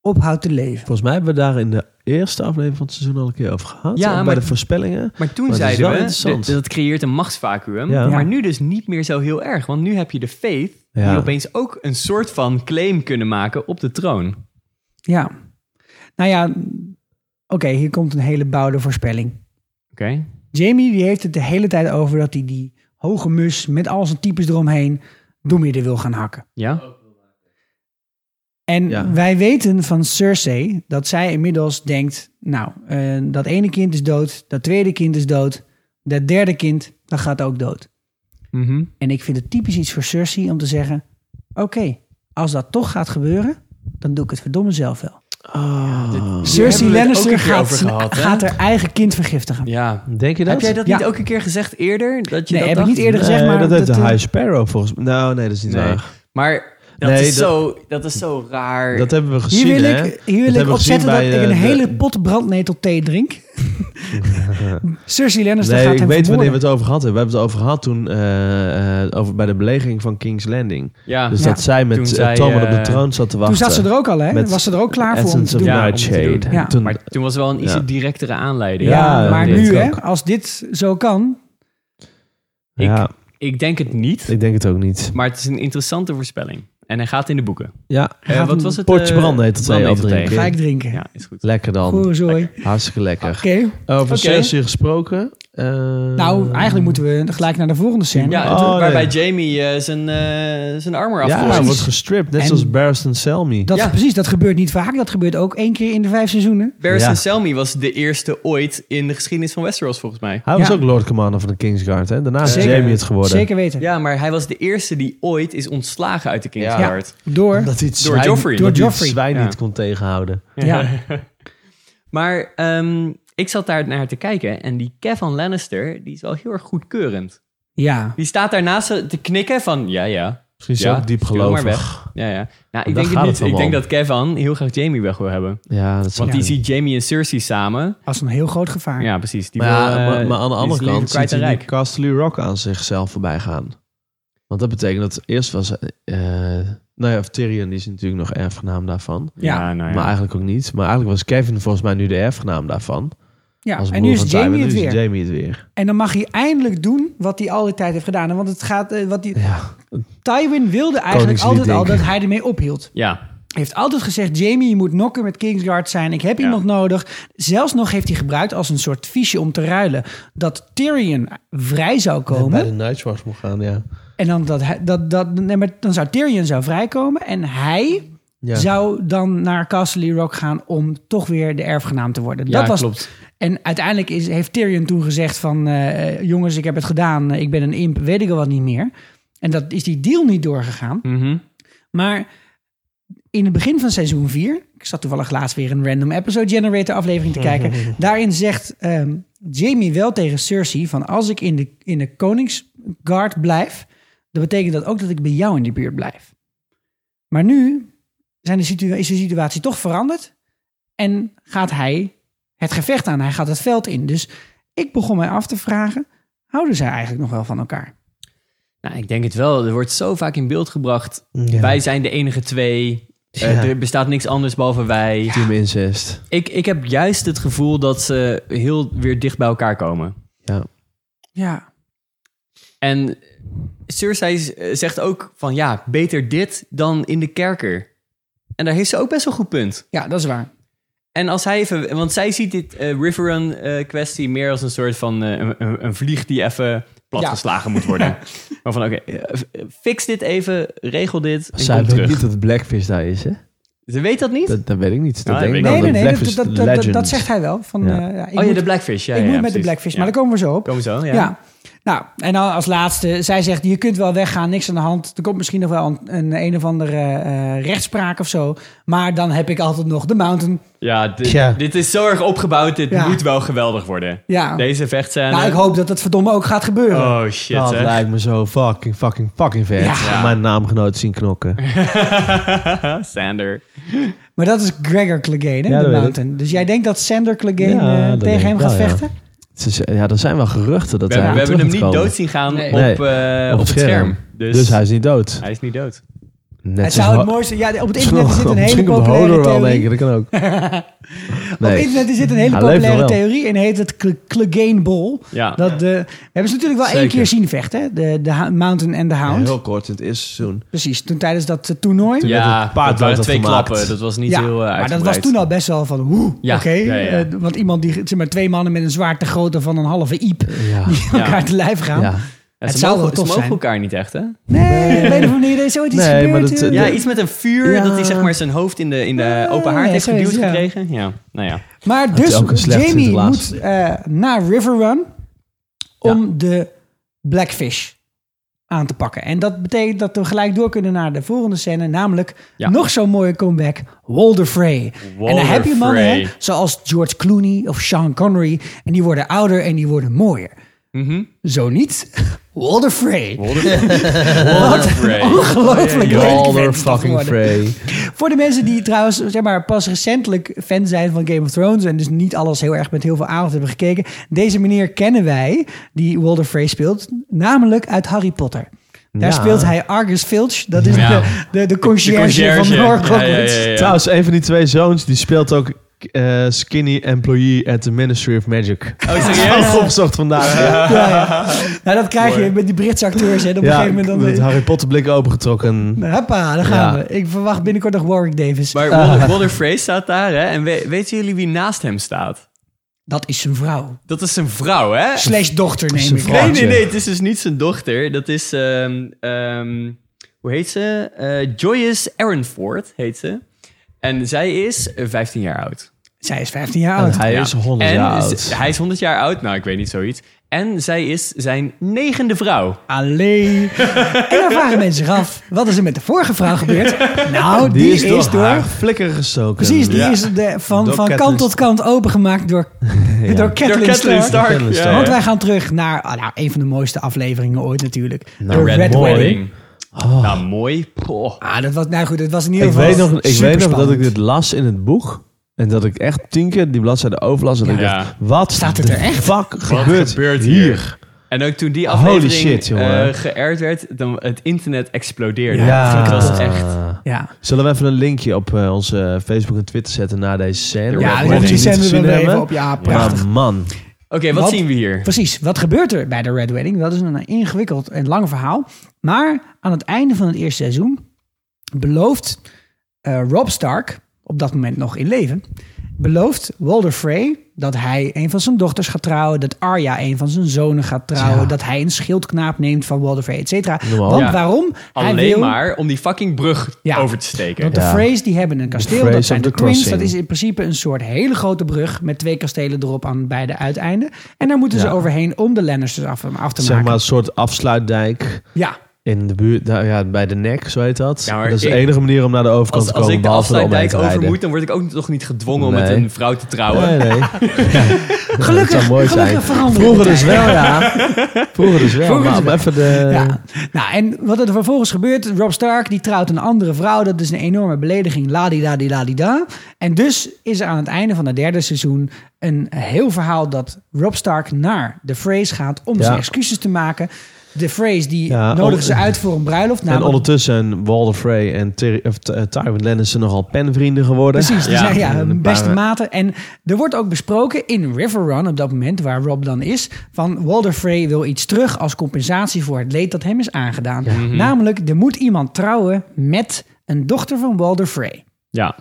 Speaker 1: ophoudt te leven?
Speaker 4: Volgens mij hebben we daar in de eerste aflevering van het seizoen al een keer over gehad.
Speaker 5: Ja,
Speaker 4: hè, bij
Speaker 5: maar-
Speaker 4: de voorspellingen.
Speaker 5: Maar toen
Speaker 4: Maar het is
Speaker 5: zeiden
Speaker 4: wel
Speaker 5: we,
Speaker 4: interessant.
Speaker 5: d- dat creëert een machtsvacuum.
Speaker 4: Ja.
Speaker 5: Maar
Speaker 1: Ja.
Speaker 5: nu dus niet meer zo heel erg. Want nu heb je de faith
Speaker 4: Ja.
Speaker 5: die opeens ook een soort van claim kunnen maken op de troon.
Speaker 1: Ja. Nou ja, oké, hier komt een hele bouwde voorspelling.
Speaker 5: Oké?
Speaker 1: Jamie die heeft het de hele tijd over dat hij die hoge mus met al zijn types eromheen Doemir er wil gaan hakken.
Speaker 5: Ja?
Speaker 1: En
Speaker 4: Ja.
Speaker 1: wij weten van Cersei dat zij inmiddels denkt, nou, eh, dat ene kind is dood, dat tweede kind is dood, dat derde kind, dat gaat ook dood.
Speaker 5: Mhm.
Speaker 1: En ik vind het typisch iets voor Cersei om te zeggen, oké, als dat toch gaat gebeuren, dan doe ik het verdomme zelf wel. Cersei
Speaker 4: Oh.
Speaker 5: hebben we het ook
Speaker 1: Lannister
Speaker 5: een keer
Speaker 1: gaat,
Speaker 5: over gehad, hè?
Speaker 1: gaat haar eigen kind vergiftigen.
Speaker 5: Ja.
Speaker 4: Denk je dat?
Speaker 5: Heb jij dat
Speaker 1: Ja.
Speaker 5: niet ook een keer gezegd eerder? Dat je
Speaker 1: Nee,
Speaker 5: dat
Speaker 1: heb ik
Speaker 5: dacht?
Speaker 1: niet eerder gezegd,
Speaker 4: Nee,
Speaker 1: maar...
Speaker 4: dat heeft de
Speaker 1: eh,
Speaker 4: High Sparrow volgens mij. Nou, nee, dat is niet
Speaker 5: Nee.
Speaker 4: waar.
Speaker 5: Maar dat,
Speaker 4: Nee,
Speaker 5: is
Speaker 4: dat-
Speaker 5: zo, dat is zo raar.
Speaker 4: Dat hebben we gezien,
Speaker 1: Hier wil
Speaker 4: hè?
Speaker 1: ik, hier wil
Speaker 4: hebben
Speaker 1: ik
Speaker 4: we
Speaker 1: opzetten dat
Speaker 4: gezien
Speaker 1: ik
Speaker 4: bij,
Speaker 1: een
Speaker 4: eh, de-
Speaker 1: hele pot brandnetel thee drink. Cersei Lannister
Speaker 4: Nee,
Speaker 1: Dus gaat
Speaker 4: ik
Speaker 1: hem
Speaker 4: weet wanneer we
Speaker 1: vermoorden.
Speaker 4: het over gehad hebben. We hebben het over gehad toen eh, eh, over, bij de belegering van King's Landing.
Speaker 5: ja.
Speaker 4: Dus
Speaker 1: Ja.
Speaker 4: dat zij
Speaker 5: Ah, Toen
Speaker 4: met eh,
Speaker 5: zij,
Speaker 4: Tommen op de
Speaker 5: eh,
Speaker 4: troon zat te
Speaker 1: Toen
Speaker 4: wachten.
Speaker 1: zat ze er ook al, hè?
Speaker 4: Met
Speaker 1: was ze er ook klaar voor om te
Speaker 4: Essence
Speaker 1: doen.
Speaker 4: of
Speaker 5: Ja, om te
Speaker 4: Nightshade.
Speaker 5: doen.
Speaker 1: Ja.
Speaker 4: Toen,
Speaker 5: Maar toen was wel een iets
Speaker 4: Ja.
Speaker 5: directere aanleiding.
Speaker 1: Ja,
Speaker 4: Ja,
Speaker 1: maar
Speaker 4: dat
Speaker 1: nu,
Speaker 4: kan
Speaker 1: hè,
Speaker 4: ook.
Speaker 1: als dit zo kan...
Speaker 4: ja,
Speaker 5: Ik denk het niet,
Speaker 4: ik denk het ook niet.
Speaker 5: maar het is een interessante voorspelling. En hij gaat in de boeken.
Speaker 4: Ja,
Speaker 5: Eh,
Speaker 1: Gaat
Speaker 5: wat
Speaker 1: een
Speaker 5: was het?
Speaker 4: potje
Speaker 5: eh,
Speaker 4: brand heet het, zei je
Speaker 5: brandnetel
Speaker 4: afdrinken.
Speaker 5: thee.
Speaker 1: Ga ik drinken.
Speaker 5: Ja, is goed.
Speaker 4: lekker dan.
Speaker 1: Goeie zooi. Oké.
Speaker 4: Hartstikke lekker. Over
Speaker 5: Oké.
Speaker 4: Cersei gesproken. eh,
Speaker 1: Nou, eigenlijk moeten we gelijk naar de volgende scène.
Speaker 5: Ja,
Speaker 4: Oh,
Speaker 5: het- waarbij
Speaker 4: nee.
Speaker 5: Jamie eh, zijn, eh, zijn armor
Speaker 4: Ja,
Speaker 5: afgooit.
Speaker 4: hij wordt gestript. Net
Speaker 1: En-
Speaker 4: zoals Barristan Selmy.
Speaker 1: Dat,
Speaker 5: Ja.
Speaker 1: Precies, dat gebeurt niet vaak. Dat gebeurt ook één keer in de vijf seizoenen.
Speaker 5: Barristan
Speaker 4: Ja.
Speaker 5: Selmy was de eerste ooit in de geschiedenis van Westeros, volgens mij.
Speaker 4: Hij was
Speaker 1: Ja.
Speaker 4: ook Lord Commander van de Kingsguard. Hè? Daarna is
Speaker 1: Zeker.
Speaker 4: Jamie het geworden.
Speaker 1: Zeker weten.
Speaker 5: Ja, maar hij was de eerste die ooit is ontslagen uit de Kingsguard.
Speaker 1: Door.
Speaker 4: Dat hij het
Speaker 5: Door
Speaker 4: zwijn-
Speaker 5: Joffrey.
Speaker 4: dat hij het
Speaker 1: Joffrey.
Speaker 4: zwijn
Speaker 5: Ja.
Speaker 4: niet kon tegenhouden.
Speaker 1: ja.
Speaker 5: Maar ehm, ik zat daar naar te kijken en die Kevin Lannister, die is wel heel erg goedkeurend.
Speaker 1: ja.
Speaker 5: Die staat daarnaast te knikken van, ja, ja.
Speaker 4: Misschien is hij ook diep
Speaker 5: stuur hem maar
Speaker 4: gelovig.
Speaker 5: weg. Ja, ja. Nou,
Speaker 4: Daar
Speaker 5: ik denk
Speaker 4: gaat
Speaker 5: het
Speaker 4: het
Speaker 5: niet.
Speaker 4: hem
Speaker 5: Ik denk
Speaker 4: om.
Speaker 5: dat Kevin heel graag Jamie weg wil hebben.
Speaker 4: Ja, dat zou
Speaker 5: Want die
Speaker 4: kunnen.
Speaker 5: ziet Jamie en Cersei samen.
Speaker 1: Als een heel groot gevaar.
Speaker 5: Ja, precies. Die
Speaker 4: maar,
Speaker 5: wil,
Speaker 4: ja,
Speaker 5: eh,
Speaker 4: maar, maar
Speaker 5: die
Speaker 4: aan de
Speaker 5: is
Speaker 4: andere
Speaker 5: liever
Speaker 4: kant
Speaker 5: kwijt
Speaker 4: ziet
Speaker 5: en
Speaker 4: hij die
Speaker 5: rijk.
Speaker 4: Castle Rock aan zichzelf voorbij gaan. Want dat betekent dat eerst was... eh, nou ja, of Tyrion die is natuurlijk nog erfgenaam daarvan.
Speaker 1: Ja. Ja,
Speaker 5: nou ja.
Speaker 4: Maar eigenlijk ook niet. Maar eigenlijk was Kevin volgens mij nu de erfgenaam daarvan.
Speaker 1: Ja,
Speaker 4: Als
Speaker 1: en nu
Speaker 4: broer
Speaker 1: is
Speaker 4: van
Speaker 1: Jamie
Speaker 4: Tywin,
Speaker 1: het
Speaker 4: nu
Speaker 1: weer.
Speaker 4: is Jamie het weer.
Speaker 1: En dan mag hij eindelijk doen wat hij al die tijd heeft gedaan. En Want het gaat, eh, wat die, Tywin wilde eigenlijk
Speaker 4: Koningslied
Speaker 1: altijd al
Speaker 4: denken.
Speaker 1: dat hij ermee ophield.
Speaker 5: Ja.
Speaker 1: Hij heeft altijd gezegd, Jamie, je moet knokken met Kingsguard zijn. Ik heb iemand nodig. Zelfs nog heeft hij gebruikt als een soort fiche om te ruilen. Dat Tyrion vrij zou komen.
Speaker 4: Bij de Nightwatch moet gaan, ja.
Speaker 1: En dan, dat hij, dat, dat, nee, maar dan zou Tyrion zou vrijkomen. En hij
Speaker 4: Ja.
Speaker 1: zou dan naar Castle Rock gaan om toch weer de erfgenaam te worden.
Speaker 5: Ja,
Speaker 1: dat was,
Speaker 5: klopt.
Speaker 1: En uiteindelijk is, heeft Tyrion toen gezegd van... eh, jongens, ik heb het gedaan. eh, Ik ben een imp. Weet ik al wat niet meer. En dat is die deal niet doorgegaan.
Speaker 5: Mhm.
Speaker 1: Maar in het begin van seizoen 4, ik zat toevallig laatst weer een random episode generator aflevering te kijken. Daarin zegt ehm Jamie wel tegen Cersei van als ik in de, in de Koningsguard blijf, dan betekent dat ook dat ik bij jou in de buurt blijf. Maar nu zijn de situa- is de situatie toch veranderd en gaat hij het gevecht aan, hij gaat het veld in. Dus ik begon mij af te vragen, houden zij eigenlijk nog wel van elkaar?
Speaker 5: Nou, ik denk het wel. Er wordt zo vaak in beeld gebracht.
Speaker 4: Ja.
Speaker 5: Wij zijn de enige twee. Eh,
Speaker 4: Ja.
Speaker 5: er bestaat niks anders behalve wij.
Speaker 4: Team incest.
Speaker 5: Ik, ik heb juist het gevoel dat ze heel weer dicht bij elkaar komen.
Speaker 4: Ja.
Speaker 1: Ja,
Speaker 5: En Cersei z- eh, zegt ook van ja, beter dit dan in de kerker. En daar heeft ze ook best wel een goed punt.
Speaker 1: ja dat is waar.
Speaker 5: En als hij even, want zij ziet dit eh Riverrun eh, kwestie meer als een soort van eh, een, een- een vlieg die even platgeslagen moet worden. Maar van oké, eh, f- fix dit even, regel dit en
Speaker 4: Zij
Speaker 5: kom
Speaker 4: weet
Speaker 5: terug.
Speaker 4: niet dat Blackfish daar is, hè?
Speaker 5: Ze weet dat niet?
Speaker 4: Dat, dat weet ik niet. Dat
Speaker 5: Ja,
Speaker 4: denk
Speaker 5: Nou, dat
Speaker 4: ik
Speaker 5: weet
Speaker 1: Nee,
Speaker 4: wel,
Speaker 1: nee,
Speaker 4: dat
Speaker 1: nee, dat,
Speaker 4: Blackfish
Speaker 1: dat,
Speaker 4: Nou, de
Speaker 1: dat, dat,
Speaker 4: legend
Speaker 1: zegt hij wel. Van,
Speaker 4: Ja.
Speaker 1: eh, ja, ik
Speaker 5: oh ja,
Speaker 1: moet-
Speaker 5: de Blackfish. Ja,
Speaker 1: ik
Speaker 5: ja,
Speaker 1: moet met de
Speaker 5: ja, precies.
Speaker 1: Blackfish,
Speaker 5: Ja.
Speaker 1: maar daar komen we zo op.
Speaker 5: Komen we zo, ja.
Speaker 1: ja. Nou, en dan als laatste, zij zegt, je kunt wel weggaan, niks aan de hand. Er komt misschien nog wel een een, een of andere eh, rechtspraak of zo. Maar dan heb ik altijd nog de mountain.
Speaker 5: Ja, dit,
Speaker 4: Tja.
Speaker 5: dit is zo erg opgebouwd. Dit
Speaker 1: Ja.
Speaker 5: moet wel geweldig worden.
Speaker 1: Ja.
Speaker 5: Deze vechtscène.
Speaker 1: nou, ik hoop dat dat verdomme ook gaat gebeuren.
Speaker 5: eh, Oh shit,
Speaker 4: Dat
Speaker 5: zeg.
Speaker 4: lijkt me zo fucking, fucking, fucking vet.
Speaker 1: Ja.
Speaker 4: Om Mijn naamgenoot zien knokken.
Speaker 5: Sander.
Speaker 1: Maar dat is Gregor Clegane,
Speaker 4: Ja,
Speaker 1: hè,
Speaker 4: dat
Speaker 1: de
Speaker 4: weet
Speaker 1: mountain. Dus jij denkt dat Sander Clegane
Speaker 4: Ja,
Speaker 1: eh,
Speaker 4: dat denk
Speaker 1: tegen hem
Speaker 4: ik
Speaker 1: gaat
Speaker 4: wel, ja.
Speaker 1: vechten?
Speaker 4: Het is- Ja, er zijn wel geruchten dat
Speaker 5: We,
Speaker 4: hij
Speaker 5: hebben- we
Speaker 4: weer
Speaker 5: hebben hem
Speaker 4: terug
Speaker 5: niet
Speaker 4: gaat komen.
Speaker 5: dood zien gaan
Speaker 1: Nee.
Speaker 5: op,
Speaker 4: Nee,
Speaker 5: eh, op, het scherm. Dus,
Speaker 4: hij is niet dood.
Speaker 5: hij is niet dood.
Speaker 4: Net
Speaker 1: Het
Speaker 4: zoals
Speaker 1: zou het
Speaker 4: Ho-
Speaker 1: mooiste... Ja, op het internet zit een hele
Speaker 4: Misschien komt
Speaker 1: populaire
Speaker 4: Hodor wel,
Speaker 1: theorie.
Speaker 4: denk ik. Dat kan ook.
Speaker 1: Op
Speaker 4: Nee.
Speaker 1: internet zit een hele
Speaker 4: Hij leeft
Speaker 1: populaire
Speaker 4: nog wel.
Speaker 1: theorie en heet het Cle- Clegane Ball.
Speaker 5: Ja.
Speaker 1: Dat de, we hebben ze natuurlijk wel één
Speaker 5: Zeker.
Speaker 1: keer zien vechten, hè? de, de Ho- Mountain en de Hound.
Speaker 4: Heel kort in het eerste seizoen.
Speaker 1: Precies, toen tijdens dat eh, toernooi.
Speaker 4: Toen werd
Speaker 5: ja,
Speaker 4: het paard
Speaker 5: dat waren
Speaker 4: werd
Speaker 5: twee
Speaker 4: gemaakt.
Speaker 5: klappen. Dat was niet
Speaker 1: Ja,
Speaker 5: heel eh,
Speaker 1: maar dat was
Speaker 5: uitgebreid.
Speaker 1: toen al best wel van hoe,
Speaker 5: Ja,
Speaker 1: oké.
Speaker 5: ja, ja.
Speaker 1: eh, want iemand die, zeg maar twee mannen met een zwaard te groter van een halve iep,
Speaker 4: Ja.
Speaker 1: die elkaar te lijf gaan.
Speaker 4: ja.
Speaker 5: Ja,
Speaker 1: Het
Speaker 5: ze
Speaker 1: zou
Speaker 5: mogen,
Speaker 1: wel
Speaker 5: ze
Speaker 1: tof
Speaker 5: mogen
Speaker 1: zijn.
Speaker 5: elkaar niet echt, hè?
Speaker 1: Nee, op een of andere manier er is ooit iets
Speaker 4: Nee,
Speaker 1: gebeurd.
Speaker 4: maar dat-
Speaker 1: eh.
Speaker 5: Ja,
Speaker 4: Ja.
Speaker 5: iets met een vuur
Speaker 4: Ja.
Speaker 5: dat hij zeg maar zijn hoofd in de, in de open haard
Speaker 1: ja,
Speaker 5: heeft
Speaker 1: zoiets,
Speaker 5: geduwd
Speaker 1: ja.
Speaker 5: gekregen. Ja, nou ja.
Speaker 1: maar
Speaker 4: is ook een
Speaker 1: dus,
Speaker 4: slecht
Speaker 1: Jamie
Speaker 4: Sinterklaas.
Speaker 1: moet eh, naar River Run om de Blackfish aan te pakken. En dat betekent dat we gelijk door kunnen naar de volgende scène, namelijk
Speaker 5: Ja.
Speaker 1: nog zo'n mooie comeback, Walder Frey. en dan
Speaker 5: Walder
Speaker 1: heb je mannen
Speaker 5: Frey.
Speaker 1: hè, zoals George Clooney of Sean Connery, en die worden ouder en die worden mooier. Zo niet, Walder Frey.
Speaker 5: Walder Frey.
Speaker 1: Ongelooflijk leuk
Speaker 4: Alder
Speaker 1: vent is dat
Speaker 4: fucking
Speaker 1: geworden.
Speaker 4: Frey.
Speaker 1: Voor de mensen die trouwens zeg maar, pas recentelijk fan zijn van Game of Thrones... en dus niet alles heel erg met heel veel aandacht hebben gekeken... deze meneer kennen wij, die Walder Frey speelt... namelijk uit Harry Potter. Daar
Speaker 4: Ja.
Speaker 1: speelt hij Argus Filch. Dat is
Speaker 5: Ja.
Speaker 1: de, de, de, conciërge
Speaker 5: conciërge.
Speaker 1: van Norcross.
Speaker 5: Ja, ja, ja, ja.
Speaker 4: Trouwens, een van die twee zoons die speelt ook eh, Skinny Employee at the Ministry of Magic.
Speaker 5: Oh,
Speaker 4: Dat
Speaker 5: serieus?
Speaker 4: heb ik opgezocht vandaag. ja.
Speaker 1: Ja, ja. Nou, dat krijg je met die Britse acteurs. Hè. Op een
Speaker 4: Ja,
Speaker 1: gegeven moment dan... eh, Nou,
Speaker 4: met Harry Potter blik opengetrokken.
Speaker 1: Hoppa, daar gaan
Speaker 4: Ja.
Speaker 1: we. Ik verwacht binnenkort nog Warwick Davis.
Speaker 5: Maar
Speaker 4: Ah.
Speaker 5: Walder, Walder Frey staat daar, hè? En we- weten jullie wie naast hem staat?
Speaker 1: dat is zijn vrouw.
Speaker 5: Dat is zijn vrouw, hè?
Speaker 1: Slash dochter, neem
Speaker 4: zijn
Speaker 1: ik
Speaker 4: vrouw.
Speaker 5: Nee,
Speaker 1: aan.
Speaker 5: nee, nee. Het is dus niet zijn dochter. Dat is... ehm, ehm, hoe heet ze? Eh, Joyous Aaronford heet ze. En zij is eh, 15 jaar oud.
Speaker 1: Zij is 15 jaar
Speaker 4: En
Speaker 1: oud.
Speaker 4: hij
Speaker 5: Ja.
Speaker 4: is 100
Speaker 5: En
Speaker 4: jaar
Speaker 5: ze-
Speaker 4: oud.
Speaker 5: Hij is 100 jaar oud. Nou, ik weet niet zoiets. En zij is zijn negende vrouw.
Speaker 1: Allee. en dan vragen mensen zich af, wat is er met de vorige vrouw gebeurd? Nou, die, is, door...
Speaker 4: haar flikker gestoken.
Speaker 1: Precies, die
Speaker 4: Ja.
Speaker 1: is de, van,
Speaker 4: Door
Speaker 1: van
Speaker 4: Catelyn
Speaker 1: kant tot kant opengemaakt door, door Catelyn
Speaker 5: Catelyn
Speaker 1: Stark.
Speaker 5: Stark.
Speaker 4: Catelyn
Speaker 5: Ja,
Speaker 4: Stark.
Speaker 1: Want wij gaan terug naar ah, nou, een van de mooiste afleveringen ooit natuurlijk.
Speaker 4: Nou,
Speaker 1: de Red,
Speaker 5: Mooi.
Speaker 1: Wedding.
Speaker 4: Oh.
Speaker 5: Nou, mooi. Poh.
Speaker 1: Ah, dat was, nou goed, dat was in ieder
Speaker 4: Ik
Speaker 1: geval
Speaker 4: weet, nog, ik weet nog dat
Speaker 1: superspannend.
Speaker 4: ik dit las in het boek. En dat ik echt tien keer die bladzijde overlas. En ik
Speaker 5: Ja.
Speaker 4: dacht, wat
Speaker 5: Staat het
Speaker 4: de
Speaker 5: er echt?
Speaker 4: fuck gebeurt, hier?
Speaker 5: En ook toen die
Speaker 4: Holy
Speaker 5: aflevering
Speaker 4: shit, jongen.
Speaker 5: eh, geëerd werd, dan het internet explodeerde.
Speaker 4: Ja.
Speaker 5: dat was echt...
Speaker 1: Ja.
Speaker 4: Zullen we even een linkje op eh, onze Facebook en Twitter zetten naar deze scène?
Speaker 1: Ja,
Speaker 4: Mocht je
Speaker 1: die
Speaker 4: niet
Speaker 1: scène
Speaker 4: gezien
Speaker 1: doen we even
Speaker 4: hebben.
Speaker 1: op. Ja, prachtig.
Speaker 4: Maar man.
Speaker 5: Oké, wat, zien we hier?
Speaker 1: Precies, wat gebeurt er bij de Red Wedding? Dat is een ingewikkeld en lang verhaal. Maar aan het einde van het eerste seizoen belooft eh, Rob Stark, op dat moment nog in leven, belooft Walder Frey dat hij een van zijn dochters gaat trouwen, dat Arya een van zijn zonen gaat trouwen, dat hij een schildknaap neemt van Walder Frey, et cetera.
Speaker 5: Noem maar op.
Speaker 1: Want
Speaker 5: Ja.
Speaker 1: waarom?
Speaker 5: Alleen
Speaker 1: hij wil,
Speaker 5: maar om die fucking brug over te steken.
Speaker 1: Want de Freys die hebben een kasteel,
Speaker 4: Freys
Speaker 1: dat zijn
Speaker 4: of
Speaker 1: de
Speaker 4: the
Speaker 1: Twins.
Speaker 4: Crossing.
Speaker 1: Dat is in principe een soort hele grote brug met twee kastelen erop aan beide uiteinden. En daar moeten ze
Speaker 4: Ja.
Speaker 1: overheen om de Lannisters af, af te
Speaker 4: Zeg
Speaker 1: maken.
Speaker 4: maar een soort afsluitdijk
Speaker 1: Ja,
Speaker 4: in de buurt, nou ja, bij de nek, zo heet dat.
Speaker 5: Ja, maar
Speaker 4: dat is de
Speaker 5: ik-
Speaker 4: enige manier om naar de overkant
Speaker 5: Als,
Speaker 4: te
Speaker 5: als
Speaker 4: komen,
Speaker 5: ik de
Speaker 4: behalve eromheen
Speaker 5: afsluitdijk
Speaker 4: te
Speaker 5: over
Speaker 4: rijden.
Speaker 5: moet, dan word ik ook toch niet gedwongen om
Speaker 4: Nee.
Speaker 5: met een vrouw te trouwen.
Speaker 4: Nee, nee. dat
Speaker 1: gelukkig,
Speaker 4: zou mooi
Speaker 1: gelukkig
Speaker 4: zijn.
Speaker 1: veranderen
Speaker 4: Vroeger
Speaker 1: de
Speaker 4: dus
Speaker 1: tijden.
Speaker 4: wel, ja. Vroeger dus wel,
Speaker 1: Vroeger
Speaker 4: maar
Speaker 1: dus
Speaker 4: om even de...
Speaker 1: Ja. Nou, en wat er vervolgens gebeurt, Rob Stark die trouwt een andere vrouw. Dat is een enorme belediging. La-di-da-di-da-di-da. En dus is er aan het einde van het derde seizoen een heel verhaal dat Rob Stark naar de Freys gaat om
Speaker 4: Ja.
Speaker 1: zijn excuses te maken. De Freys die
Speaker 4: Ja,
Speaker 1: nodigen
Speaker 4: on-
Speaker 1: ze uit voor een bruiloft.
Speaker 4: en
Speaker 1: namelijk-
Speaker 4: ondertussen Walder Frey en Tyr- of, eh, Tywin Lennon zijn nogal penvrienden geworden.
Speaker 1: Precies, die zijn ja,
Speaker 4: En een
Speaker 1: beste
Speaker 4: paar-
Speaker 1: maten. En er wordt ook besproken in River Run op dat moment, waar Rob dan is, van Walder Frey wil iets terug als compensatie voor het leed dat hem is aangedaan.
Speaker 5: Mhm.
Speaker 1: Namelijk, er moet iemand trouwen met een dochter van Walder Frey.
Speaker 5: Ja.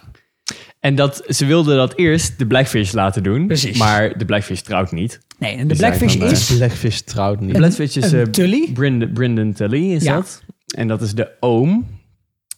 Speaker 5: En dat, ze wilden dat eerst de Blackfish laten doen.
Speaker 1: Precies.
Speaker 5: Maar de Blackfish trouwt niet.
Speaker 1: Nee, en de
Speaker 5: Die
Speaker 1: Blackfish
Speaker 5: zei van,
Speaker 1: is...
Speaker 4: Blackfish trouwt niet.
Speaker 5: De Blackfish is
Speaker 1: een
Speaker 5: eh,
Speaker 1: Tully?
Speaker 5: Brynden, Brynden Tully is
Speaker 1: Ja.
Speaker 5: dat. En dat is de oom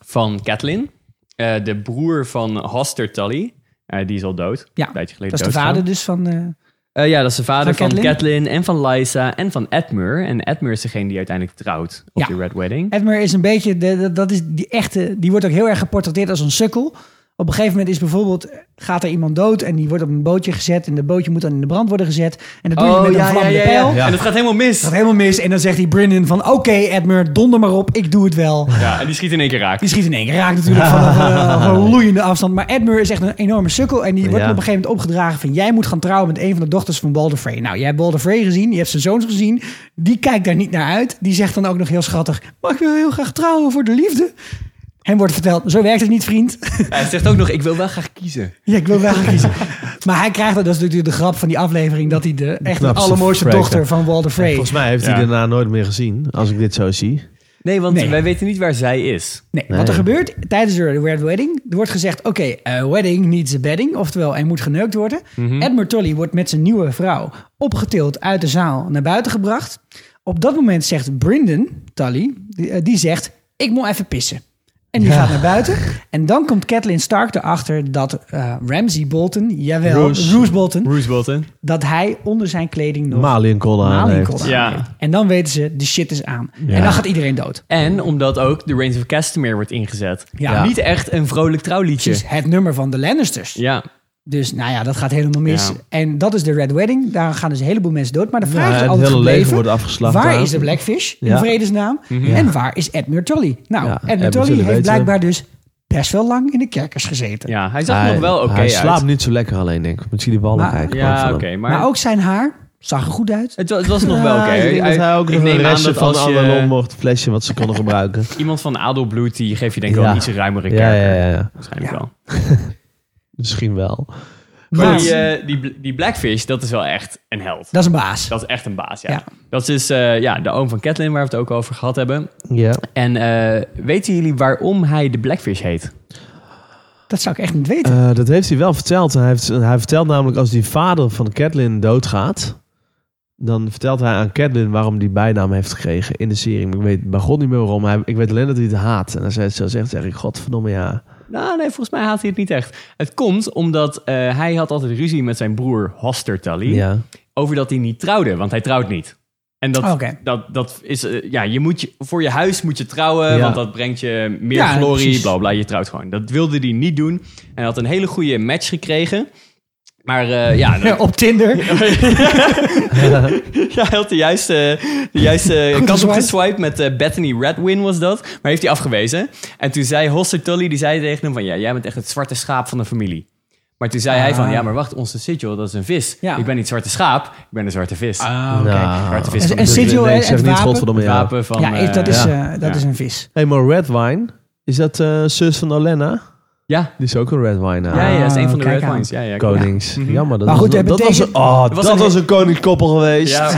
Speaker 5: van Catelyn. Eh, de broer van Hoster Tully. Eh, die is al dood.
Speaker 1: Ja,
Speaker 5: een tijdje
Speaker 1: dat
Speaker 5: geleden
Speaker 1: is de
Speaker 5: doodgegaan.
Speaker 1: vader dus van... eh,
Speaker 5: Eh, ja, dat is de vader
Speaker 1: Van
Speaker 5: van,
Speaker 1: Catelyn?
Speaker 5: Catelyn? en van Lysa en van Edmure. En Edmure is degene die uiteindelijk trouwt op
Speaker 1: Ja.
Speaker 5: de Red Wedding.
Speaker 1: Edmure eh, is een beetje, de, de- dat is die echte, die wordt ook heel erg geportretteerd als een sukkel. Op een gegeven moment is bijvoorbeeld, gaat er iemand dood en die wordt op een bootje gezet en dat bootje moet dan in de brand worden gezet. En dat doe je
Speaker 5: Oh,
Speaker 4: Oh,
Speaker 1: met een vlammende pijl.
Speaker 5: En dat gaat helemaal mis.
Speaker 1: Dat gaat helemaal mis. En dan zegt die Brennan van... Oké, Edmure, donder maar op. Ik doe het wel.
Speaker 5: Ja, en die schiet in één keer raak.
Speaker 1: Die schiet in één keer raak natuurlijk van een, eh, van een loeiende afstand. Maar Edmure is echt een enorme sukkel. En die wordt
Speaker 4: Ja.
Speaker 1: op een gegeven moment opgedragen van... Jij moet gaan trouwen met een van de dochters van Balder Frey. Nou, jij hebt Balder Frey gezien. Je hebt zijn zoons gezien. Die kijkt daar niet naar uit. Die zegt dan ook nog heel schattig... Maar ik wil heel graag trouwen voor de liefde. Hem wordt verteld... Zo werkt het niet, vriend.
Speaker 5: Hij zegt ook nog, ik wil wel graag kiezen.
Speaker 1: Ja, ik wil wel kiezen. Maar hij krijgt, dat is natuurlijk de grap van die aflevering... dat hij de echt de
Speaker 4: Knapste
Speaker 1: allermooiste
Speaker 4: Frey.
Speaker 1: dochter van Walder Frey...
Speaker 4: Volgens mij heeft
Speaker 5: Ja.
Speaker 4: hij daarna nooit meer gezien, als ik dit zo zie.
Speaker 5: Nee, want
Speaker 1: Nee.
Speaker 5: wij weten niet waar zij is.
Speaker 1: Nee,
Speaker 4: Nee.
Speaker 1: wat er gebeurt tijdens de Red Wedding, er wordt gezegd, oké, eh, wedding needs a bedding, oftewel hij moet geneukt worden. Edmund Tully wordt met zijn nieuwe vrouw opgetild uit de zaal naar buiten gebracht. Op dat moment zegt Brynden Tully, die, eh, die zegt, ik moet even pissen. En die gaat naar buiten. En dan komt Catelyn Stark erachter dat eh Ramsey Bolton, jawel, Roose.
Speaker 4: Roose.
Speaker 1: Bolton,
Speaker 5: Bruce Bolton.
Speaker 1: dat hij onder zijn kleding nog
Speaker 4: Maliënkollen aan
Speaker 1: Maliënkollen
Speaker 4: heeft.
Speaker 1: aan
Speaker 5: Ja.
Speaker 1: heeft. En dan weten ze, de shit is aan. En dan gaat iedereen dood.
Speaker 5: En omdat ook de Reigns of Castamere wordt ingezet.
Speaker 1: Ja.
Speaker 5: Ja. Niet echt een vrolijk trouwliedje.
Speaker 1: Precies, het nummer van de Lannisters.
Speaker 5: Ja.
Speaker 1: Dus nou ja, dat gaat helemaal mis.
Speaker 5: Ja.
Speaker 1: En dat is de Red Wedding. Daar gaan dus een heleboel mensen dood. Maar de vraag
Speaker 4: Ja,
Speaker 1: is
Speaker 4: het
Speaker 1: altijd
Speaker 4: hele leven
Speaker 1: gebleven,
Speaker 4: wordt afgeslacht
Speaker 1: Waar
Speaker 4: daar.
Speaker 1: is de Blackfish in
Speaker 4: Ja.
Speaker 1: vredesnaam? En waar is Edmure Tully? Nou,
Speaker 4: Ja,
Speaker 1: Edmure
Speaker 4: Edmure Tully
Speaker 1: Tully heeft
Speaker 4: weten we.
Speaker 1: blijkbaar dus best wel lang in de kerkers gezeten.
Speaker 5: ja, hij zag er nog wel oké
Speaker 4: hij
Speaker 5: uit.
Speaker 4: slaapt niet zo lekker alleen, denk ik. Misschien die ballen
Speaker 1: Maar-
Speaker 4: kijken.
Speaker 5: Ja, oké. maar
Speaker 1: maar... ook zijn haar zag er goed uit.
Speaker 5: het, wa- het was nog wel oké.
Speaker 4: Ja, Ah, ik denk dat hij ook
Speaker 5: Ik
Speaker 4: nog
Speaker 5: neem
Speaker 4: een
Speaker 5: aan
Speaker 4: restje
Speaker 5: dat
Speaker 4: van
Speaker 5: als
Speaker 4: alle
Speaker 5: je-
Speaker 4: lommocht flesje wat ze konden gebruiken.
Speaker 5: Iemand van adelbloed, die geeft je denk ik wel
Speaker 4: Ja.
Speaker 5: een iets ruimere
Speaker 4: Ja,
Speaker 5: kerker.
Speaker 4: ja, ja, ja.
Speaker 5: Waarschijnlijk wel.
Speaker 4: Misschien wel.
Speaker 5: Maar
Speaker 1: Maar-
Speaker 5: die, eh, die, bl- die Blackfish, dat is wel echt een held.
Speaker 1: Dat is een baas.
Speaker 5: Dat is echt een baas, ja.
Speaker 1: Ja.
Speaker 5: Dat is eh, ja, de oom van Catelyn, waar we het ook over gehad hebben.
Speaker 4: Ja.
Speaker 5: En eh, weten jullie waarom hij de Blackfish heet?
Speaker 1: Dat zou ik echt niet weten.
Speaker 4: Eh, dat heeft hij wel verteld. Hij, heeft, hij vertelt namelijk als die vader van Catelyn doodgaat... dan vertelt hij aan Catelyn waarom die bijnaam heeft gekregen in de serie. Maar Ik weet bij God niet meer waarom. Hij, ik weet alleen dat hij het haat. En als hij het zo zegt, zeg ik... Godverdomme, ja.
Speaker 5: Nou, nee, volgens mij haat hij het niet echt. Het komt omdat eh, hij had altijd ruzie met zijn broer Hoster Tully
Speaker 4: ja.
Speaker 5: over dat hij niet trouwde, want hij trouwt niet. En dat,
Speaker 1: Oh, Oké.
Speaker 5: dat, dat is, eh, ja, je moet je, voor je huis moet je trouwen,
Speaker 4: Ja.
Speaker 5: want dat brengt je meer
Speaker 1: Ja,
Speaker 5: glorie,
Speaker 1: precies.
Speaker 5: bla bla, je trouwt gewoon. Dat wilde hij niet doen. En hij had een hele goede match gekregen Maar eh, ja, dat-
Speaker 1: Op Tinder.
Speaker 5: ja, hij had de juiste, de juiste
Speaker 1: Goed
Speaker 5: kant op
Speaker 1: geswiped.
Speaker 5: geswiped met eh, Bethany Redwin was dat. Maar heeft hij afgewezen. En toen zei Hoster Tully, die zei tegen hem van... Ja, jij bent echt het zwarte schaap van de familie. Maar toen zei hij van...
Speaker 1: Ah.
Speaker 5: Ja, maar wacht, onze sigil, dat is een vis.
Speaker 1: Ja.
Speaker 5: Ik ben niet zwarte schaap, ik ben een zwarte vis. Ah,
Speaker 4: oké.
Speaker 5: Zwarte vis
Speaker 1: En-
Speaker 5: van
Speaker 1: en
Speaker 5: de-
Speaker 1: sigil,
Speaker 5: de-
Speaker 1: hè,
Speaker 5: ik zeg
Speaker 1: het
Speaker 5: niet
Speaker 1: wapen.
Speaker 5: godverdomme
Speaker 4: Het
Speaker 5: jou.
Speaker 4: wapen
Speaker 5: van,
Speaker 1: ja,
Speaker 5: eh,
Speaker 1: dat, is,
Speaker 4: ja.
Speaker 1: eh, dat
Speaker 5: Ja.
Speaker 1: is een vis.
Speaker 4: Hey, maar red wine, is dat eh, zus van Olenna?
Speaker 5: Ja.
Speaker 4: Die is ook een red wine. eh,
Speaker 5: Ja, ja, dat is
Speaker 1: Ah,
Speaker 5: een van de
Speaker 1: kijk
Speaker 5: Red
Speaker 1: aan.
Speaker 5: Wines. Ja, ja, klopt.
Speaker 4: Konings.
Speaker 5: Ja. Mhm.
Speaker 4: Jammer. Dat
Speaker 1: Maar goed,
Speaker 4: was,
Speaker 1: jij
Speaker 4: dat was,
Speaker 1: betekent-
Speaker 4: een- oh,
Speaker 5: was
Speaker 4: dat
Speaker 5: een-
Speaker 4: was een koningskoppel geweest.
Speaker 5: Ja.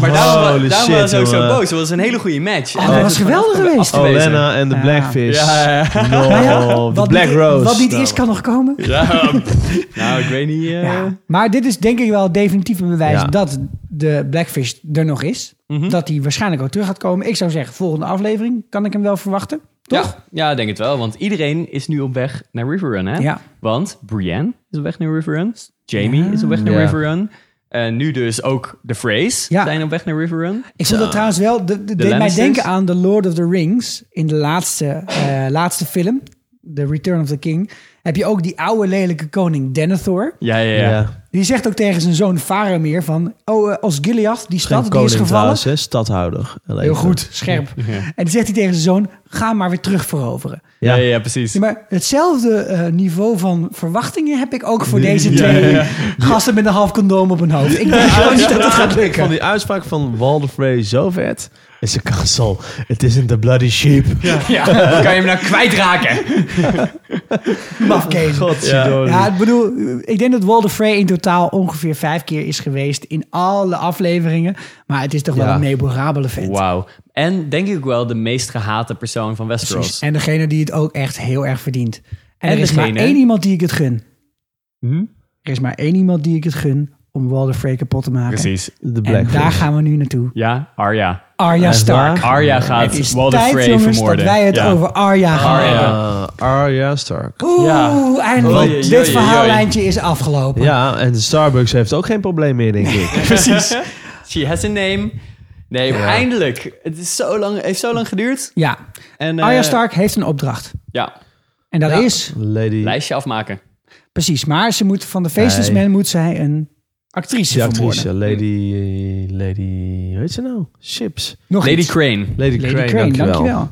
Speaker 5: maar daarom,
Speaker 4: Holy
Speaker 5: daarom
Speaker 4: shit,
Speaker 5: was hij ook zo
Speaker 4: jongen. Oh,
Speaker 5: boos. Het was een hele goede match.
Speaker 1: Oh, dat was geweldig geweest.
Speaker 5: afgewezen.
Speaker 4: Olenna en de
Speaker 1: Ja.
Speaker 4: Blackfish.
Speaker 5: Ja, ja, ja.
Speaker 4: No,
Speaker 1: Nou ja,
Speaker 4: de Black
Speaker 1: niet,
Speaker 4: Rose.
Speaker 1: Wat niet
Speaker 4: Nou.
Speaker 1: is, kan nog komen.
Speaker 5: Nou, ik weet niet... eh,
Speaker 1: Ja. Maar dit is denk ik wel definitief een bewijs
Speaker 4: Ja. Mhm.
Speaker 1: dat de Blackfish er nog is. Dat hij waarschijnlijk ook terug gaat komen. Ik zou zeggen, volgende aflevering kan ik hem wel verwachten. Toch?
Speaker 5: Ja, ja, ik denk het wel. Want iedereen is nu op weg naar Riverrun, hè?
Speaker 1: Ja.
Speaker 5: Want Brienne is op weg naar Riverrun. Jamie is op weg naar
Speaker 4: Ja.
Speaker 5: Riverrun. En nu dus ook de Freys
Speaker 1: Ja.
Speaker 5: zijn op weg naar Riverrun.
Speaker 1: Ik vond dat trouwens wel... De, de, deed mij
Speaker 5: Lannisters?
Speaker 1: denken aan The Lord of the Rings. In de laatste, eh, laatste film. The Return of the King. Heb je ook die oude lelijke koning Denethor.
Speaker 5: Ja, ja, ja.
Speaker 4: Ja.
Speaker 1: Die zegt ook tegen zijn zoon Faramir van... Oh, eh, als Gilead, die
Speaker 4: Geen
Speaker 1: stad, die
Speaker 4: koning
Speaker 1: is gevallen.
Speaker 4: trouwens, hè, stadhouder. Alleen
Speaker 1: Heel
Speaker 4: zo.
Speaker 1: goed, scherp. En die zegt hij tegen zijn zoon... Ga maar weer terug veroveren.
Speaker 5: Ja,
Speaker 4: Ja.
Speaker 5: ja, precies.
Speaker 1: Ja, maar hetzelfde eh, niveau van verwachtingen heb ik ook voor deze twee gasten met een half condoom op hun hoofd. Ik denk gewoon niet dat het gaat
Speaker 4: Ik vond
Speaker 1: lukken.
Speaker 4: die uitspraak van Walder Frey zo vet. Is een kansel. Het isn't the bloody sheep.
Speaker 5: Ja, kan je hem nou kwijtraken?
Speaker 1: Mafkees.
Speaker 4: Godverdomme.
Speaker 1: Ja, ik bedoel, ik denk dat Walder Frey in totaal ongeveer vijf keer is geweest in alle afleveringen. Maar het is toch wel
Speaker 4: Ja.
Speaker 1: een memorabele vent.
Speaker 5: Wauw. En denk ik wel de meest gehate persoon van Westeros.
Speaker 1: Precies. En degene die het ook echt heel erg verdient. En,
Speaker 5: En
Speaker 1: er is
Speaker 5: degene-
Speaker 1: maar één iemand die ik het gun.
Speaker 5: Hm?
Speaker 1: Er is maar één iemand die ik het gun om Walder Frey kapot te maken.
Speaker 5: Precies.
Speaker 4: De
Speaker 1: En
Speaker 4: Blackfish.
Speaker 1: daar gaan we nu naartoe.
Speaker 5: Ja, Arya.
Speaker 1: Arya Stark.
Speaker 5: Arya
Speaker 1: Het is
Speaker 5: gaat Walder
Speaker 1: tijd,
Speaker 5: Frey
Speaker 1: jongens,
Speaker 5: vermoorden.
Speaker 1: dat wij het
Speaker 5: Ja.
Speaker 1: over Arya gaan
Speaker 5: Arya.
Speaker 1: hebben.
Speaker 4: Ah, Arya Stark.
Speaker 1: Oeh,
Speaker 5: Ja.
Speaker 1: eindelijk.
Speaker 5: Oei, oei,
Speaker 1: Dit
Speaker 5: oei,
Speaker 1: verhaallijntje is afgelopen.
Speaker 4: Ja, en Starbucks heeft ook geen probleem meer, denk ik.
Speaker 5: Precies. She has a name. Nee, eindelijk. Het is zo lang, heeft zo lang geduurd.
Speaker 1: Ja.
Speaker 5: En, eh,
Speaker 1: Arya Stark heeft een opdracht.
Speaker 5: Ja,
Speaker 1: En dat is,
Speaker 4: Lady
Speaker 5: lijstje afmaken.
Speaker 1: precies, maar ze moet van de Faceless
Speaker 4: Nee.
Speaker 1: Man moet zij een actrice
Speaker 4: Die
Speaker 1: vermoorden.
Speaker 4: actrice, Lady, Lady, hoe heet ze nou? Chips.
Speaker 1: Nog
Speaker 5: Lady
Speaker 1: iets.
Speaker 5: Crane.
Speaker 4: Lady,
Speaker 1: Lady
Speaker 4: Crane,
Speaker 1: Crane,
Speaker 4: dankjewel.
Speaker 1: dankjewel.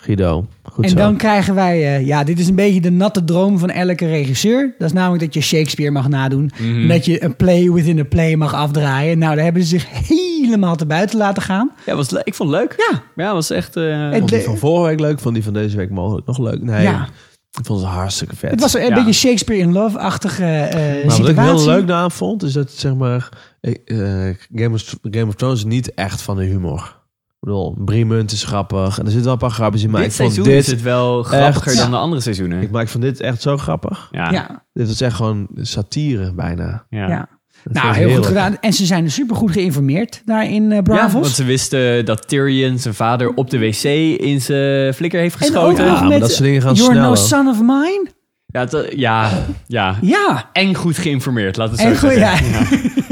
Speaker 4: Guido, goed
Speaker 1: En
Speaker 4: zo.
Speaker 1: dan krijgen wij, eh, ja, dit is een beetje de natte droom van elke regisseur. Dat is namelijk dat je Shakespeare mag nadoen.
Speaker 5: Mhm.
Speaker 1: En dat je een play within a play mag afdraaien. Nou, daar hebben ze zich helemaal te buiten laten gaan.
Speaker 5: Ja, was le- ik vond het leuk.
Speaker 1: Ja.
Speaker 5: Ja, was echt... eh,
Speaker 1: Het,
Speaker 4: Vond die van vorige week leuk, vond die van deze week mogelijk nog leuk. Nee,
Speaker 1: Ja.
Speaker 4: ik vond het hartstikke vet.
Speaker 1: het was een
Speaker 5: Ja.
Speaker 1: beetje Shakespeare in Love-achtige eh,
Speaker 4: maar wat ik
Speaker 1: situatie.
Speaker 4: heel leuk aan vond, is dat zeg maar, eh, eh, Game, of, Game of Thrones is niet echt van de humor. Ik bedoel, Briemunt is grappig en er zitten wel een paar grapjes in, maar
Speaker 5: dit
Speaker 4: ik vond
Speaker 5: seizoen
Speaker 4: dit,
Speaker 5: is het wel grappiger
Speaker 4: echt-
Speaker 5: dan de andere seizoenen.
Speaker 4: ik, maar ik vond dit echt zo grappig.
Speaker 5: ja. Ja.
Speaker 1: Ja,
Speaker 4: Dit was echt gewoon satire bijna.
Speaker 1: ja.
Speaker 4: Dat
Speaker 1: Nou,
Speaker 4: was
Speaker 1: heel goed
Speaker 4: heerlijk.
Speaker 1: gedaan. En ze zijn supergoed geïnformeerd daar in eh,
Speaker 5: Ja, want
Speaker 1: Bravos.
Speaker 5: ze wisten dat Tyrion zijn vader op de wc in zijn flikker heeft
Speaker 1: en ook
Speaker 5: geschoten.
Speaker 1: nog
Speaker 4: Ja, maar
Speaker 1: met
Speaker 4: dat soort dingen gaan
Speaker 1: You're no
Speaker 4: sneller.
Speaker 1: son of mine.
Speaker 5: Ja, dat- ja, ja.
Speaker 1: Ja.
Speaker 5: En goed geïnformeerd, laten we
Speaker 1: En
Speaker 5: het zo
Speaker 1: goed,
Speaker 5: zeggen.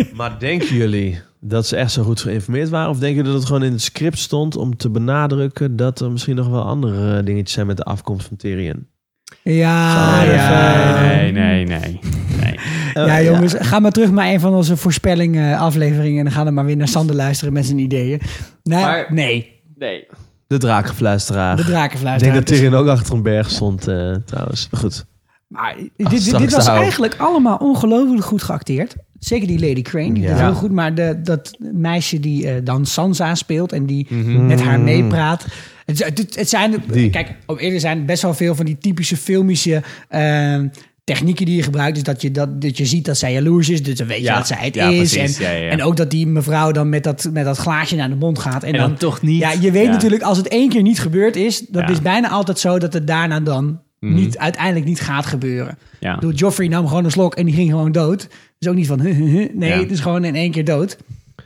Speaker 1: ja.
Speaker 4: Maar denken jullie dat ze echt zo goed geïnformeerd waren? Of denken jullie dat het gewoon in het script stond om te benadrukken dat er misschien nog wel andere eh, dingetjes zijn met de afkomst van Tyrion?
Speaker 1: Ja,
Speaker 4: Sorry.
Speaker 1: ja.
Speaker 5: Nee, nee, nee. nee.
Speaker 1: Ja, jongens, ga maar terug naar een van onze voorspellingen eh, afleveringen. En dan gaan we maar weer naar Sander luisteren met zijn ideeën. Nee,
Speaker 5: Maar-
Speaker 1: nee
Speaker 5: nee.
Speaker 4: De dus- draakgefluisteraar.
Speaker 1: de
Speaker 4: Ik denk
Speaker 1: drakenfluisteraar.
Speaker 4: dat Tyrion ook achter een berg stond eh, trouwens. Maar goed.
Speaker 1: Maar dit, dit, dit
Speaker 4: straks
Speaker 1: was
Speaker 4: nou.
Speaker 1: eigenlijk allemaal ongelooflijk goed geacteerd. Zeker die Lady Crane, die deed
Speaker 4: Ja.
Speaker 1: heel goed. Maar de, dat meisje die eh, dan Sansa speelt en die
Speaker 5: Mhm.
Speaker 1: met haar meepraat. Het, het, het zijn,
Speaker 4: Die.
Speaker 1: kijk, om eerder zijn best wel veel van die typische filmische eh, technieken die je gebruikt. Dus dat je, dat, dat je ziet dat zij jaloers is, dus dan weet je
Speaker 5: Ja.
Speaker 1: dat zij het
Speaker 5: Ja,
Speaker 1: is.
Speaker 5: precies.
Speaker 1: En,
Speaker 5: Ja, ja, ja.
Speaker 1: en ook dat die mevrouw dan met dat, met dat glaasje naar de mond gaat. En,
Speaker 5: En dan toch niet.
Speaker 1: Ja, je weet
Speaker 5: Ja.
Speaker 1: natuurlijk, als het één keer niet gebeurd is, dat
Speaker 5: Ja. Mhm.
Speaker 1: is bijna altijd zo dat het daarna dan niet, uiteindelijk niet gaat gebeuren.
Speaker 5: Ja.
Speaker 1: Ik bedoel, Joffrey nam gewoon een slok en die ging gewoon dood. Dus ook niet van, nee,
Speaker 5: Ja.
Speaker 1: het is gewoon in één keer dood.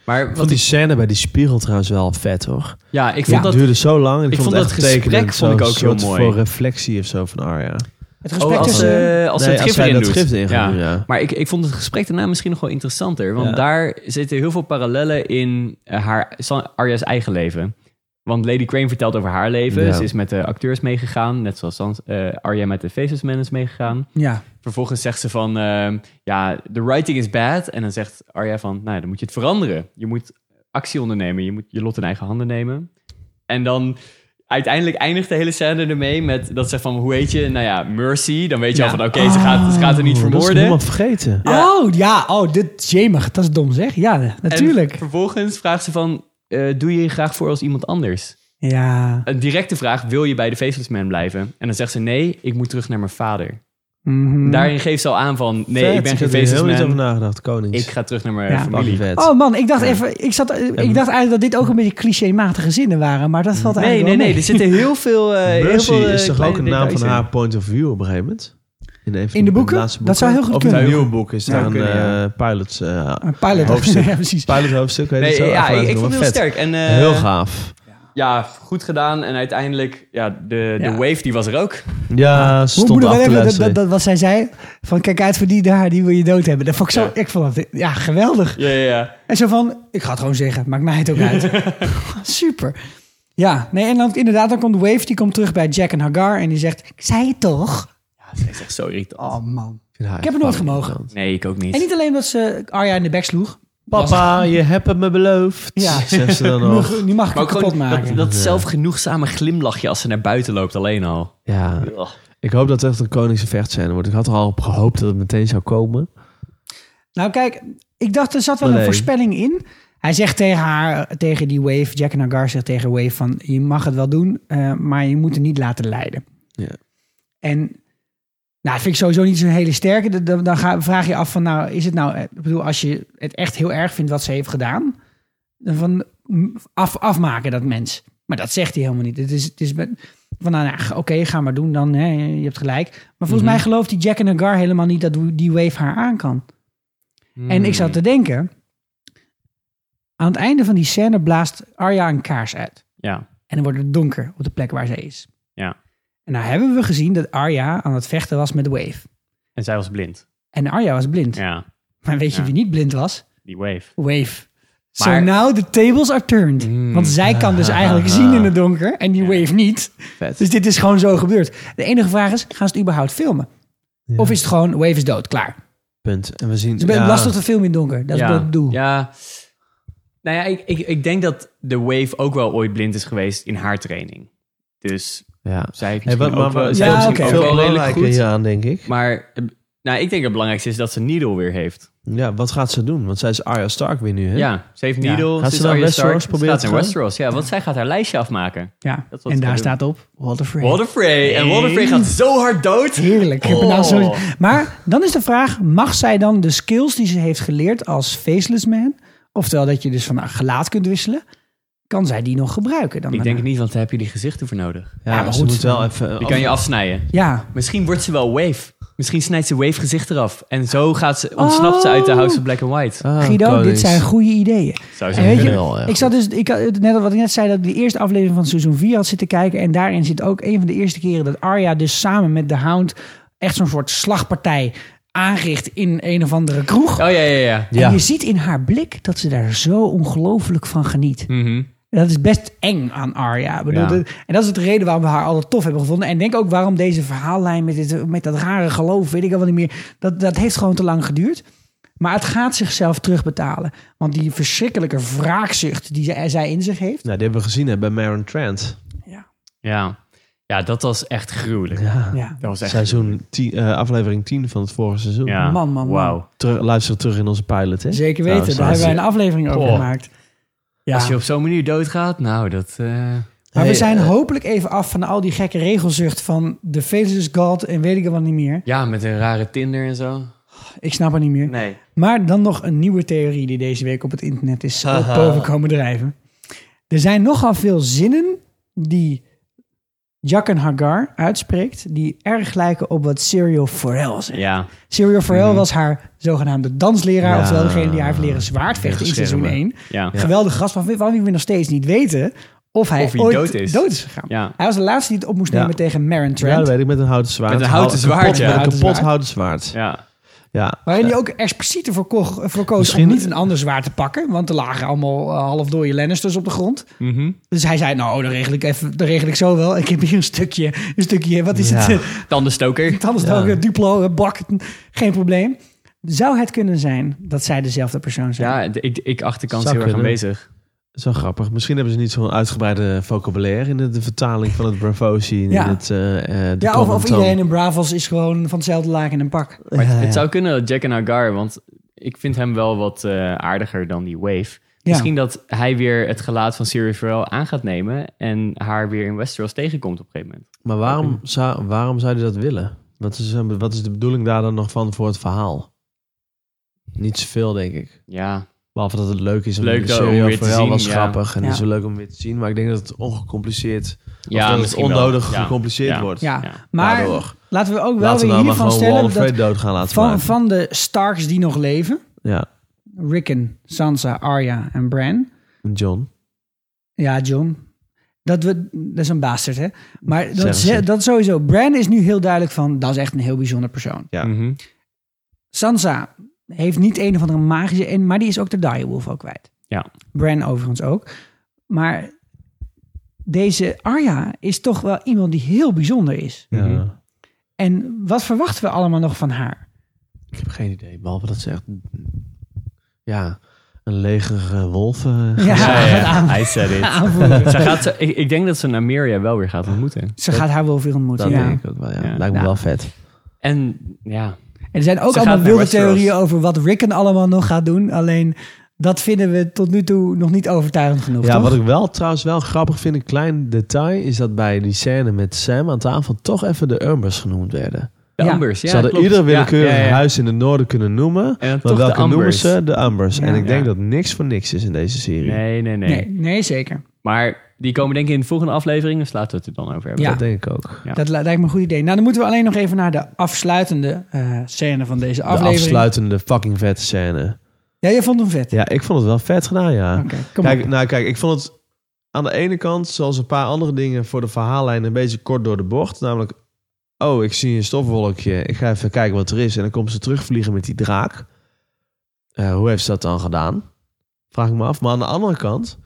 Speaker 5: Maar
Speaker 4: Ik vond
Speaker 5: wat,
Speaker 4: die scène bij die spiegel trouwens wel vet hoor.
Speaker 5: ja, ik
Speaker 4: Ja.
Speaker 5: vond
Speaker 4: Het
Speaker 5: dat...
Speaker 4: duurde zo lang. en Ik,
Speaker 5: ik
Speaker 4: vond,
Speaker 5: vond
Speaker 4: het echt
Speaker 5: dat gesprek
Speaker 4: tekenend.
Speaker 5: vond ik
Speaker 4: Zo'n
Speaker 5: ook heel
Speaker 4: soort
Speaker 5: mooi.
Speaker 4: voor reflectie of zo van Arya.
Speaker 1: Het
Speaker 5: Oh,
Speaker 1: gesprek
Speaker 5: als,
Speaker 1: tussen...
Speaker 5: eh, als ze
Speaker 4: Nee,
Speaker 5: het
Speaker 4: als
Speaker 5: gif
Speaker 4: zij
Speaker 5: erin
Speaker 4: dat
Speaker 5: doet.
Speaker 4: gif erin gaat
Speaker 5: ja.
Speaker 4: doen, ja.
Speaker 5: Maar ik, ik vond het gesprek daarna misschien nog wel interessanter. Want
Speaker 4: Ja.
Speaker 5: daar zitten heel veel parallellen in eh, haar, San- Arya's eigen leven. Want Lady Crane vertelt over haar leven.
Speaker 1: Ja.
Speaker 5: Ze is met de acteurs meegegaan, net zoals Sans- eh, Arya met de Faces Man is meegegaan.
Speaker 1: Ja.
Speaker 5: Vervolgens zegt ze van, ehm, ja, the writing is bad. En dan zegt Arya van, nou, ja, dan moet je het veranderen. Je moet actie ondernemen, je moet je lot in eigen handen nemen. En dan uiteindelijk eindigt de hele scène ermee met dat ze van, hoe heet je? Nou ja, Mercy. Dan weet je al
Speaker 1: Ja.
Speaker 5: van, oké, ze, gaat, ze gaat er niet
Speaker 1: Oh, dat is
Speaker 5: vermoorden.
Speaker 1: helemaal
Speaker 4: vergeten.
Speaker 1: Oh, ja. Oh, dit jemig. Dat is dom zeg. Ja, natuurlijk.
Speaker 5: En vervolgens vraagt ze van, eh, doe je je graag voor als iemand anders?
Speaker 1: Ja.
Speaker 5: Een directe vraag, wil je bij de Faceless Man blijven? En dan zegt ze, nee, ik moet terug naar mijn vader.
Speaker 1: Mhm.
Speaker 5: Daarin geeft ze al aan van, nee,
Speaker 4: Vet,
Speaker 5: ik ben
Speaker 4: ik
Speaker 5: geen
Speaker 4: heb er
Speaker 5: Faceless
Speaker 4: heel
Speaker 5: Man.
Speaker 4: niet over nagedacht, Konings.
Speaker 5: Ik ga terug naar mijn
Speaker 1: Ja.
Speaker 5: familie.
Speaker 1: Oh man, ik dacht even, ik, zat, eh, ik dacht eigenlijk dat dit ook een beetje clichématige zinnen waren, maar dat valt
Speaker 5: Nee,
Speaker 1: eigenlijk
Speaker 5: nee,
Speaker 1: wel
Speaker 5: nee, er
Speaker 1: mee.
Speaker 5: zitten heel veel... eh, heel
Speaker 4: Mercy
Speaker 5: veel, eh,
Speaker 4: is toch
Speaker 5: kleine
Speaker 4: ook een naam
Speaker 5: details
Speaker 4: van
Speaker 5: in.
Speaker 4: haar point of view op een gegeven moment? In, een van
Speaker 1: In de boeken?
Speaker 4: laatste
Speaker 1: Dat zou heel goed
Speaker 4: of
Speaker 1: kunnen.
Speaker 4: in het nieuwe boek is
Speaker 1: Ja,
Speaker 4: daar
Speaker 1: zou
Speaker 4: een
Speaker 1: kunnen, ja.
Speaker 4: eh, pilot, eh,
Speaker 1: Een pilot.
Speaker 4: hoofdstuk.
Speaker 1: Ja, precies.
Speaker 4: Pilot hoofdstuk, weet
Speaker 5: Nee,
Speaker 4: het zo?
Speaker 5: ja,
Speaker 4: Ach,
Speaker 5: ik- ik
Speaker 4: wel
Speaker 5: vond het heel
Speaker 4: vet.
Speaker 5: sterk en, eh,
Speaker 4: heel gaaf.
Speaker 5: Ja, goed gedaan. En uiteindelijk, ja, de, de
Speaker 1: Ja.
Speaker 5: wave die was er ook.
Speaker 4: Ja,
Speaker 1: Hoe
Speaker 4: stond
Speaker 1: moet ik
Speaker 4: af
Speaker 1: wel
Speaker 4: te
Speaker 1: even, dat, dat,
Speaker 4: luisteren.
Speaker 1: dat wat zij zei, van kijk uit voor die daar, die wil je dood hebben. Dat vond ik zo, ik vond dat, ja, geweldig.
Speaker 5: Ja, ja, ja.
Speaker 1: En zo van, ik ga het gewoon zeggen, maakt mij het ook uit. Super. Ja, nee, en dan inderdaad, dan komt Wave, die komt terug bij Jack en Hagar en die zegt, ik zei het toch?
Speaker 5: Ze is echt zo irritant.
Speaker 1: Oh man, ik heb het nooit gemogen.
Speaker 5: Nee, ik ook niet.
Speaker 1: En niet alleen dat ze Arya in de bek sloeg.
Speaker 4: Papa, je hebt het me beloofd.
Speaker 1: Ja.
Speaker 4: Zegt ze dan nog.
Speaker 1: Die mag ik
Speaker 5: Maar ook
Speaker 1: kapot
Speaker 5: gewoon
Speaker 1: maken.
Speaker 5: dat, dat zelfgenoegzame glimlachje als ze naar buiten loopt alleen al.
Speaker 4: Ja,
Speaker 5: Ugh.
Speaker 4: ik hoop dat het echt een koningse vechtscène wordt. Ik had er al op gehoopt dat het meteen zou komen.
Speaker 1: Nou, kijk, ik dacht er zat wel
Speaker 4: Maar
Speaker 1: een
Speaker 4: nee.
Speaker 1: voorspelling in. Hij zegt tegen haar, eh, tegen die Wave, Jack en Hagar zegt tegen Wave van... je mag het wel doen, eh, maar je moet het niet laten leiden.
Speaker 4: Ja.
Speaker 1: En nou, dat vind ik sowieso niet zo'n hele sterke. Dan- Dan, dan ga, vraag je af van, nou, is het nou... eh, Ik bedoel, als je het echt heel erg vindt wat ze heeft gedaan... dan van mm, af, afmaken dat mens. Maar dat zegt hij helemaal niet. Het is, het is met- van, nou, nou, oké, ga maar doen dan, hè, je hebt gelijk. Maar volgens
Speaker 4: Mhm.
Speaker 1: mij gelooft die Jack en Hagar helemaal niet... dat die Wave haar aan kan. En ik
Speaker 5: Hmm.
Speaker 1: zat te denken... aan het einde van die scène blaast Arya een kaars uit.
Speaker 5: Ja,
Speaker 1: En dan wordt het donker op de plek waar ze is.
Speaker 5: ja.
Speaker 1: En nou hebben we gezien dat Arya aan het vechten was met Wave.
Speaker 5: En zij was blind.
Speaker 1: En Arya was blind.
Speaker 5: Ja,
Speaker 1: Maar weet je
Speaker 5: Ja.
Speaker 1: wie niet blind was?
Speaker 5: die wave.
Speaker 1: Wave. So
Speaker 5: Maar- Hmm.
Speaker 1: now the tables are turned. Want zij kan dus eigenlijk zien in het donker en die Wave niet. Dus dit is gewoon zo gebeurd. De enige vraag is, gaan ze het überhaupt filmen? Of is het gewoon, Wave is dood, klaar.
Speaker 4: Punt. En we zien...
Speaker 1: Het is
Speaker 4: ja,
Speaker 1: Dus lastig te filmen in het donker. Dat is
Speaker 5: ja.
Speaker 1: wat ik bedoel.
Speaker 5: Ja. Nou ja, ik, ik, ik denk dat de wave ook wel ooit blind is geweest in haar training. Dus
Speaker 4: Ja.
Speaker 5: zij heeft
Speaker 4: Hey,
Speaker 5: misschien
Speaker 4: wat, maar,
Speaker 5: ook wel...
Speaker 4: wat-
Speaker 5: zij
Speaker 1: Ja,
Speaker 5: heeft
Speaker 1: oké.
Speaker 5: misschien
Speaker 4: veel
Speaker 5: ook wel redelijk
Speaker 4: belangrijker
Speaker 5: goed.
Speaker 4: hieraan, denk ik.
Speaker 5: Maar eh, nou, ik denk het belangrijkste is dat ze Needle weer heeft.
Speaker 4: Ja, wat gaat ze doen? Want zij is Arya Stark weer nu, hè?
Speaker 5: Ja, ze heeft Needle.
Speaker 4: Gaat
Speaker 5: is
Speaker 4: ze naar
Speaker 5: Arya
Speaker 4: Westeros
Speaker 5: Stark, ze
Speaker 4: proberen
Speaker 5: gaat
Speaker 4: te
Speaker 5: naar
Speaker 4: gaan?
Speaker 5: Westeros, ja. Want zij gaat haar lijstje afmaken.
Speaker 1: Ja.
Speaker 5: Dat is wat
Speaker 1: En
Speaker 5: ze
Speaker 1: daar
Speaker 5: gaat doen.
Speaker 1: staat op, Walter Frey.
Speaker 5: Walter Frey. En Walter Frey gaat zo hard dood.
Speaker 1: Heerlijk. Ik heb er nou zo-
Speaker 5: Oh.
Speaker 1: Maar dan is de vraag: mag zij dan de skills die ze heeft geleerd als faceless man, oftewel dat je dus van gelaat kunt wisselen, kan zij die nog gebruiken? Dan
Speaker 5: Ik denk
Speaker 1: daarna?
Speaker 5: het niet, want daar heb je die gezichten voor nodig.
Speaker 4: Ja, Oh.
Speaker 1: Ja, maar
Speaker 4: maar ze
Speaker 1: goed.
Speaker 4: moet wel even...
Speaker 5: Die kan je afsnijden.
Speaker 1: Ja.
Speaker 5: Misschien wordt ze wel Wave. Misschien snijdt ze Wave gezicht eraf. En zo gaat ze, ontsnapt ze
Speaker 4: Oh.
Speaker 5: uit de House of Black and White.
Speaker 4: Ah,
Speaker 1: Guido, dit
Speaker 4: konings.
Speaker 1: zijn goede ideeën.
Speaker 5: Zou ze
Speaker 1: En weet je,
Speaker 5: kunnen.
Speaker 4: wel, ja.
Speaker 1: ik zat dus, ik, had- net al wat ik net zei, dat ik de eerste aflevering van seizoen 4 had zitten kijken. En daarin zit ook een van de eerste keren dat Arya dus samen met de Hound echt zo'n soort slagpartij aanricht in een of andere kroeg.
Speaker 5: Oh ja, ja, ja.
Speaker 4: Ja.
Speaker 1: En je ziet in haar blik dat ze daar zo ongelooflijk van geniet.
Speaker 5: Mhm.
Speaker 1: Dat is best eng aan Arya. Ik bedoel,
Speaker 5: Ja.
Speaker 1: dat- En dat is de reden waarom we haar altijd tof hebben gevonden. En denk ook waarom deze verhaallijn met, dit, met dat rare geloof, weet ik al wel niet meer. Dat, dat heeft gewoon te lang geduurd. Maar het gaat zichzelf terugbetalen. Want die verschrikkelijke wraakzucht die zij, zij in zich heeft.
Speaker 4: Nou, die hebben we gezien hè, bij Maren Trent.
Speaker 5: ja. Ja, dat was echt gruwelijk.
Speaker 1: Ja.
Speaker 5: Dat was echt...
Speaker 4: Seizoen 10, eh, aflevering 10 van het vorige seizoen.
Speaker 5: Ja.
Speaker 1: Man, man, man.
Speaker 5: Wauw.
Speaker 4: Terug, luister terug in onze pilot, hè?
Speaker 1: Zeker
Speaker 4: Trouwens,
Speaker 1: weten, daar
Speaker 4: als
Speaker 1: hebben wij
Speaker 4: je-
Speaker 1: een aflevering over
Speaker 4: Oh.
Speaker 1: gemaakt. Ja.
Speaker 5: Als je op zo'n manier doodgaat, nou, dat... eh,
Speaker 1: Maar we
Speaker 4: Hey,
Speaker 1: zijn
Speaker 4: eh,
Speaker 1: hopelijk even af van al die gekke regelzucht van de Faceless God en weet ik al wat niet meer.
Speaker 5: Ja, met een rare Tinder en zo.
Speaker 1: Ik snap het niet meer.
Speaker 5: Nee.
Speaker 1: Maar dan nog een nieuwe theorie die deze week op het internet is ook boven komen drijven. Er zijn nogal veel zinnen die Jack en Hagar uitspreekt, die erg lijken op wat Serial Forel zegt.
Speaker 5: Ja. Mhm.
Speaker 1: Serial Forel was haar zogenaamde dansleraar,
Speaker 4: Ja.
Speaker 1: oftewel degene die haar heeft leren zwaardvechten in
Speaker 4: Tegen
Speaker 1: seizoen
Speaker 4: schermen.
Speaker 1: 1.
Speaker 5: Ja.
Speaker 1: Geweldig gast van, van wie we nog steeds niet weten of hij
Speaker 5: Of hij
Speaker 1: ooit
Speaker 5: dood is.
Speaker 1: gegaan.
Speaker 5: Ja.
Speaker 1: Hij was de laatste die het op moest
Speaker 4: Ja.
Speaker 1: nemen tegen Maren
Speaker 4: Ja,
Speaker 1: Trent.
Speaker 4: dat weet ik, met een houten zwaard.
Speaker 5: Met een houten
Speaker 4: Hou-
Speaker 5: zwaard,
Speaker 4: kapot,
Speaker 5: ja.
Speaker 4: Met een
Speaker 1: Houten
Speaker 4: kapot
Speaker 1: zwaard.
Speaker 4: houten zwaard.
Speaker 5: Ja.
Speaker 4: Ja,
Speaker 1: Waarin hij ook expliciet ervoor ko- voor koos
Speaker 4: Misschien-
Speaker 1: om niet een ander zwaard te pakken. Want er lagen allemaal eh, half dode Lannisters op de grond. Dus hij zei, nou, dat regel ik, even, dat regel ik zo wel. Ik heb hier een stukje, een stukje wat is het?
Speaker 5: Dan de stoker.
Speaker 1: Dan is het ook een Duplo, een bak, geen probleem. Zou het kunnen zijn dat zij dezelfde persoon zijn?
Speaker 5: Ja, ik, ik achterkant
Speaker 4: Zou
Speaker 5: heel erg
Speaker 4: kunnen.
Speaker 5: aanwezig.
Speaker 4: Dat is wel grappig. Misschien hebben ze niet zo'n uitgebreide vocabulaire in de, de vertaling van het Bravosi. en
Speaker 1: Ja.
Speaker 4: in het, eh, eh, de
Speaker 1: Ja, of, of
Speaker 4: Common Tone.
Speaker 1: iedereen in Bravos is gewoon van hetzelfde laken en een pak.
Speaker 5: Maar het,
Speaker 1: Ja,
Speaker 5: het
Speaker 1: ja.
Speaker 5: zou kunnen dat Jack en Hagar, want ik vind hem wel wat eh, aardiger dan die Wave.
Speaker 1: Ja.
Speaker 5: Misschien dat hij weer het gelaat van Sirius Farrell aan gaat nemen en haar weer in Westeros tegenkomt op een gegeven moment.
Speaker 4: Maar waarom zou, waarom zou hij dat willen? Wat is, eh, wat is de bedoeling daar dan nog van voor het verhaal? Niet zoveel, denk ik.
Speaker 5: Ja.
Speaker 4: Behalve dat het leuk is om
Speaker 5: Leuk
Speaker 4: de
Speaker 5: dan
Speaker 4: serie
Speaker 5: om weer
Speaker 4: over
Speaker 5: te
Speaker 4: wel
Speaker 5: zien,
Speaker 4: was
Speaker 5: ja.
Speaker 4: grappig en
Speaker 1: Ja.
Speaker 4: is wel leuk om weer te zien. Maar ik denk dat het ongecompliceerd,
Speaker 5: Ja,
Speaker 4: ja, of dat het
Speaker 5: misschien wel.
Speaker 4: onnodig
Speaker 5: Ja.
Speaker 4: gecompliceerd
Speaker 5: Ja.
Speaker 4: wordt.
Speaker 1: Ja, maar
Speaker 4: Daardoor.
Speaker 1: laten we ook wel
Speaker 4: Laten we
Speaker 1: weer
Speaker 4: nou
Speaker 1: hiervan
Speaker 4: maar gewoon Wall
Speaker 1: stellen
Speaker 4: of Fate
Speaker 1: dat
Speaker 4: dood gaan laten
Speaker 1: van,
Speaker 4: maken.
Speaker 1: van de Starks die nog leven,
Speaker 4: Ja,
Speaker 1: Rickon, Sansa, Arya en Bran,
Speaker 4: John.
Speaker 1: ja John, dat, we, dat is een bastard hè, maar dat,
Speaker 4: Zeggen
Speaker 1: ze-
Speaker 4: ze.
Speaker 1: dat sowieso, Bran is nu heel duidelijk van, dat is echt een heel bijzonder persoon.
Speaker 4: Ja.
Speaker 1: Sansa heeft niet een of andere magische, en, maar die is ook de direwolf ook kwijt.
Speaker 5: Ja.
Speaker 1: Bran overigens ook, maar deze Arya is toch wel iemand die heel bijzonder is.
Speaker 4: ja.
Speaker 1: En wat verwachten we allemaal nog van haar?
Speaker 4: Ik heb geen idee, behalve dat ze echt... Ja, een leger eh, wolven...
Speaker 1: Ja, gaat aan-
Speaker 5: Hij said it.
Speaker 1: aanvoeren.
Speaker 5: Ze gaat, ze- ik, ik denk dat ze Nameria wel weer gaat ontmoeten.
Speaker 1: Ze gaat haar wel weer ontmoeten.
Speaker 4: Dat
Speaker 1: ja.
Speaker 4: denk ik ook wel, ja.
Speaker 5: Ja.
Speaker 4: Lijkt me
Speaker 1: Ja.
Speaker 4: wel vet.
Speaker 5: En ja,
Speaker 1: En er zijn ook
Speaker 5: Ze
Speaker 1: allemaal
Speaker 5: gaat naar
Speaker 1: wilde
Speaker 5: Westeros.
Speaker 1: theorieën over wat Rickon allemaal nog gaat doen. Alleen dat vinden we tot nu toe nog niet overtuigend genoeg.
Speaker 4: Ja,
Speaker 1: toch?
Speaker 4: wat ik wel trouwens wel grappig vind, een klein detail, is dat bij die scène met Sam aan tafel toch even de Umbers genoemd werden.
Speaker 5: de
Speaker 1: Ja.
Speaker 5: Ambers. Ja,
Speaker 4: ze hadden
Speaker 5: klopt.
Speaker 4: ieder willekeurig
Speaker 5: Ja, ja, ja.
Speaker 4: huis in het noorden kunnen noemen,
Speaker 5: En dan
Speaker 4: maar
Speaker 5: toch de
Speaker 4: welke noemen
Speaker 5: Umbers.
Speaker 4: ze? De Umbers.
Speaker 1: Ja.
Speaker 4: en ik denk
Speaker 5: Ja.
Speaker 4: dat niks voor niks is in deze serie.
Speaker 5: Nee, nee, nee,
Speaker 1: nee. nee, zeker.
Speaker 5: Maar die komen denk ik in de volgende aflevering, dus laten we het er dan over hebben.
Speaker 1: Ja.
Speaker 4: Dat denk ik ook.
Speaker 5: Ja.
Speaker 1: Dat li- lijkt me een goed idee. Nou, dan moeten we alleen nog even naar de afsluitende eh, scène van deze
Speaker 4: De
Speaker 1: aflevering.
Speaker 4: afsluitende fucking vette scène.
Speaker 1: Ja, jij vond hem vet.
Speaker 4: Ja, ik vond het wel vet gedaan, ja.
Speaker 1: Oké, kom
Speaker 4: kijk,
Speaker 1: op.
Speaker 4: nou, kijk, ik vond het aan de ene kant, zoals een paar andere dingen voor de verhaallijn, een beetje kort door de bocht. Namelijk, oh, ik zie een stofwolkje. Ik ga even kijken wat er is. En dan komt ze terugvliegen met die draak. Eh, hoe heeft ze dat dan gedaan? Vraag ik me af. Maar aan de andere kant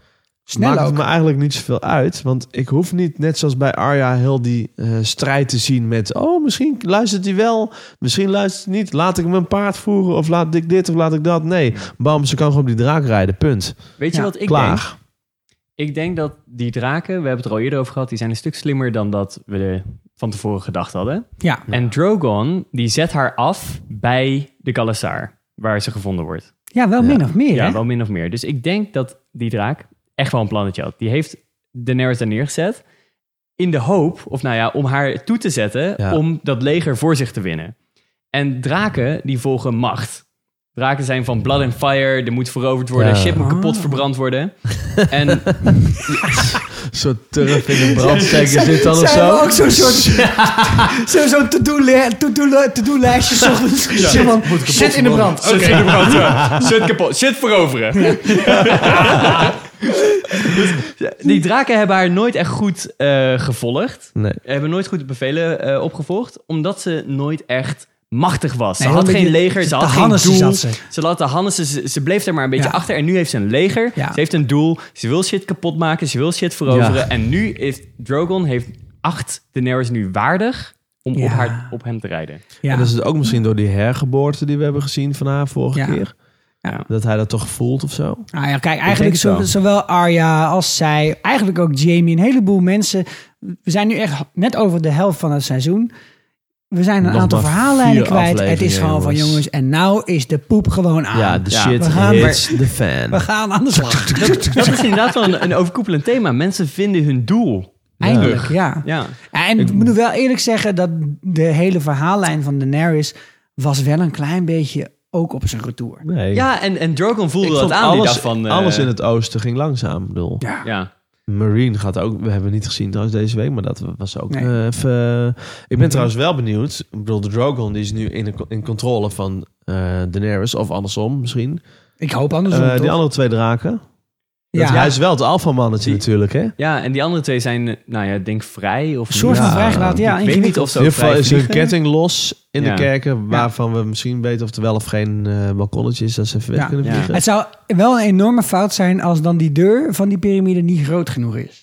Speaker 1: Snel
Speaker 4: maakt
Speaker 1: ook.
Speaker 4: het me eigenlijk niet zoveel uit. Want ik hoef niet, net zoals bij Arya, heel die eh, strijd te zien met... Oh, misschien luistert hij wel, misschien luistert hij niet. Laat ik mijn paard voeren of laat ik dit of laat ik dat. Nee, bam, ze kan gewoon op die draak rijden, punt.
Speaker 5: Weet je
Speaker 1: Ja.
Speaker 5: wat ik denk?
Speaker 4: Klaar.
Speaker 5: Ik denk dat die draken, we hebben het er al eerder over gehad, die zijn een stuk slimmer dan dat we er van tevoren gedacht hadden.
Speaker 1: Ja.
Speaker 5: En Drogon, die zet haar af bij de Galasar, waar ze gevonden wordt.
Speaker 1: ja, wel min of meer.
Speaker 5: Ja,
Speaker 1: hè?
Speaker 5: wel min of meer. Dus ik denk dat die draak echt wel een plannetje had. Die heeft Daenerys daar neergezet in de hoop, of nou ja, om haar toe te zetten
Speaker 4: Ja.
Speaker 5: om dat leger voor zich te winnen. En draken, die volgen macht. Draken zijn van blood and fire, er moet veroverd worden,
Speaker 4: Ja.
Speaker 5: shit moet
Speaker 1: Ah.
Speaker 5: kapot verbrand worden. En
Speaker 4: Een soort turf in een brandsteker zit dan of
Speaker 1: Zijn we
Speaker 4: zo.
Speaker 1: ook zo'n soort zo- zo'n to-do-lijstje to-do, to-do lijstje 's ochtends? Zo van, Zet in de brand.
Speaker 5: Shit in de brand, ja. Shit kapot. Shit veroveren. Dus die draken hebben haar nooit echt goed eh, gevolgd.
Speaker 4: Nee.
Speaker 5: Hebben nooit goed de bevelen eh, opgevolgd. Omdat ze nooit echt machtig was. Ze
Speaker 1: Nee,
Speaker 5: had
Speaker 1: een
Speaker 5: geen
Speaker 1: beetje-
Speaker 5: leger, ze
Speaker 1: de
Speaker 5: had geen
Speaker 1: Hannessen
Speaker 5: doel.
Speaker 1: zat ze.
Speaker 5: Ze had de Hannessen, ze, ze bleef daar maar een beetje
Speaker 1: Ja.
Speaker 5: achter. En nu heeft ze een leger.
Speaker 1: Ja.
Speaker 5: Ze heeft een doel. Ze wil shit kapot maken. Ze wil shit veroveren.
Speaker 4: Ja.
Speaker 5: En nu heeft Drogon heeft acht Daenerys nu waardig om
Speaker 1: Ja.
Speaker 5: op, haar, op hem te rijden.
Speaker 1: Ja.
Speaker 4: En dat is het ook misschien door die hergeboorte die we hebben gezien van haar vorige
Speaker 1: Ja.
Speaker 4: keer.
Speaker 5: Ja.
Speaker 4: Dat hij dat toch voelt of zo.
Speaker 1: Nou ja, kijk, eigenlijk
Speaker 5: het wel.
Speaker 1: zo- zowel Arya als zij, eigenlijk ook Jamie, een heleboel mensen. We zijn nu echt net over de helft van het seizoen. We zijn een
Speaker 4: Nog
Speaker 1: aantal
Speaker 4: maar
Speaker 1: verhaallijnen
Speaker 4: vier
Speaker 1: kwijt. Het is
Speaker 4: afleveringen,
Speaker 1: gewoon van
Speaker 4: jongens.
Speaker 1: jongens, en nou is de poep gewoon aan.
Speaker 4: Ja, de
Speaker 5: Ja.
Speaker 4: shit
Speaker 1: Ah, We gaan
Speaker 4: hits the fan.
Speaker 1: We gaan aan de slag.
Speaker 5: Dat is inderdaad wel een, een overkoepelend thema. Mensen vinden hun doel.
Speaker 1: Eindelijk, ja.
Speaker 5: Ja.
Speaker 1: En ik moet wel eerlijk zeggen dat de hele verhaallijn van Daenerys was wel een klein beetje ook op zijn retour.
Speaker 4: Nee.
Speaker 5: Ja, en, en Drogon voelde
Speaker 4: Ik
Speaker 5: dat
Speaker 4: vond
Speaker 5: aan die
Speaker 4: alles,
Speaker 5: dag van... eh,
Speaker 4: alles in het oosten ging langzaam. Ik bedoel,
Speaker 5: Ja.
Speaker 4: Marine gaat ook. We hebben niet gezien trouwens deze week, maar dat was ook.
Speaker 1: Nee.
Speaker 4: eh, even- ik ben trouwens wel benieuwd. Ik bedoel, de Drogon die is nu in, de, co- in controle van eh Daenerys of andersom misschien.
Speaker 1: Ik hoop andersom,
Speaker 4: Eh,
Speaker 1: toch?
Speaker 4: die andere twee draken. Ja. Hij is wel het alfamannetje natuurlijk, hè?
Speaker 5: Ja, en die andere twee zijn, eh, nou ja, denk vrij of
Speaker 4: Een soort van
Speaker 5: niet.
Speaker 4: vrijgelaten, ja,
Speaker 5: Ik weet niet of ze
Speaker 4: In
Speaker 5: ook
Speaker 4: ieder geval
Speaker 5: vrij
Speaker 4: is hun
Speaker 5: vliegen.
Speaker 4: ketting los in
Speaker 5: Ja.
Speaker 4: de kerken... waarvan we misschien weten of er wel of geen eh balkonnetje is... dat ze even weg
Speaker 1: Ja.
Speaker 4: kunnen vliegen.
Speaker 1: Het zou wel een enorme fout zijn als dan die deur van die piramide niet groot genoeg is.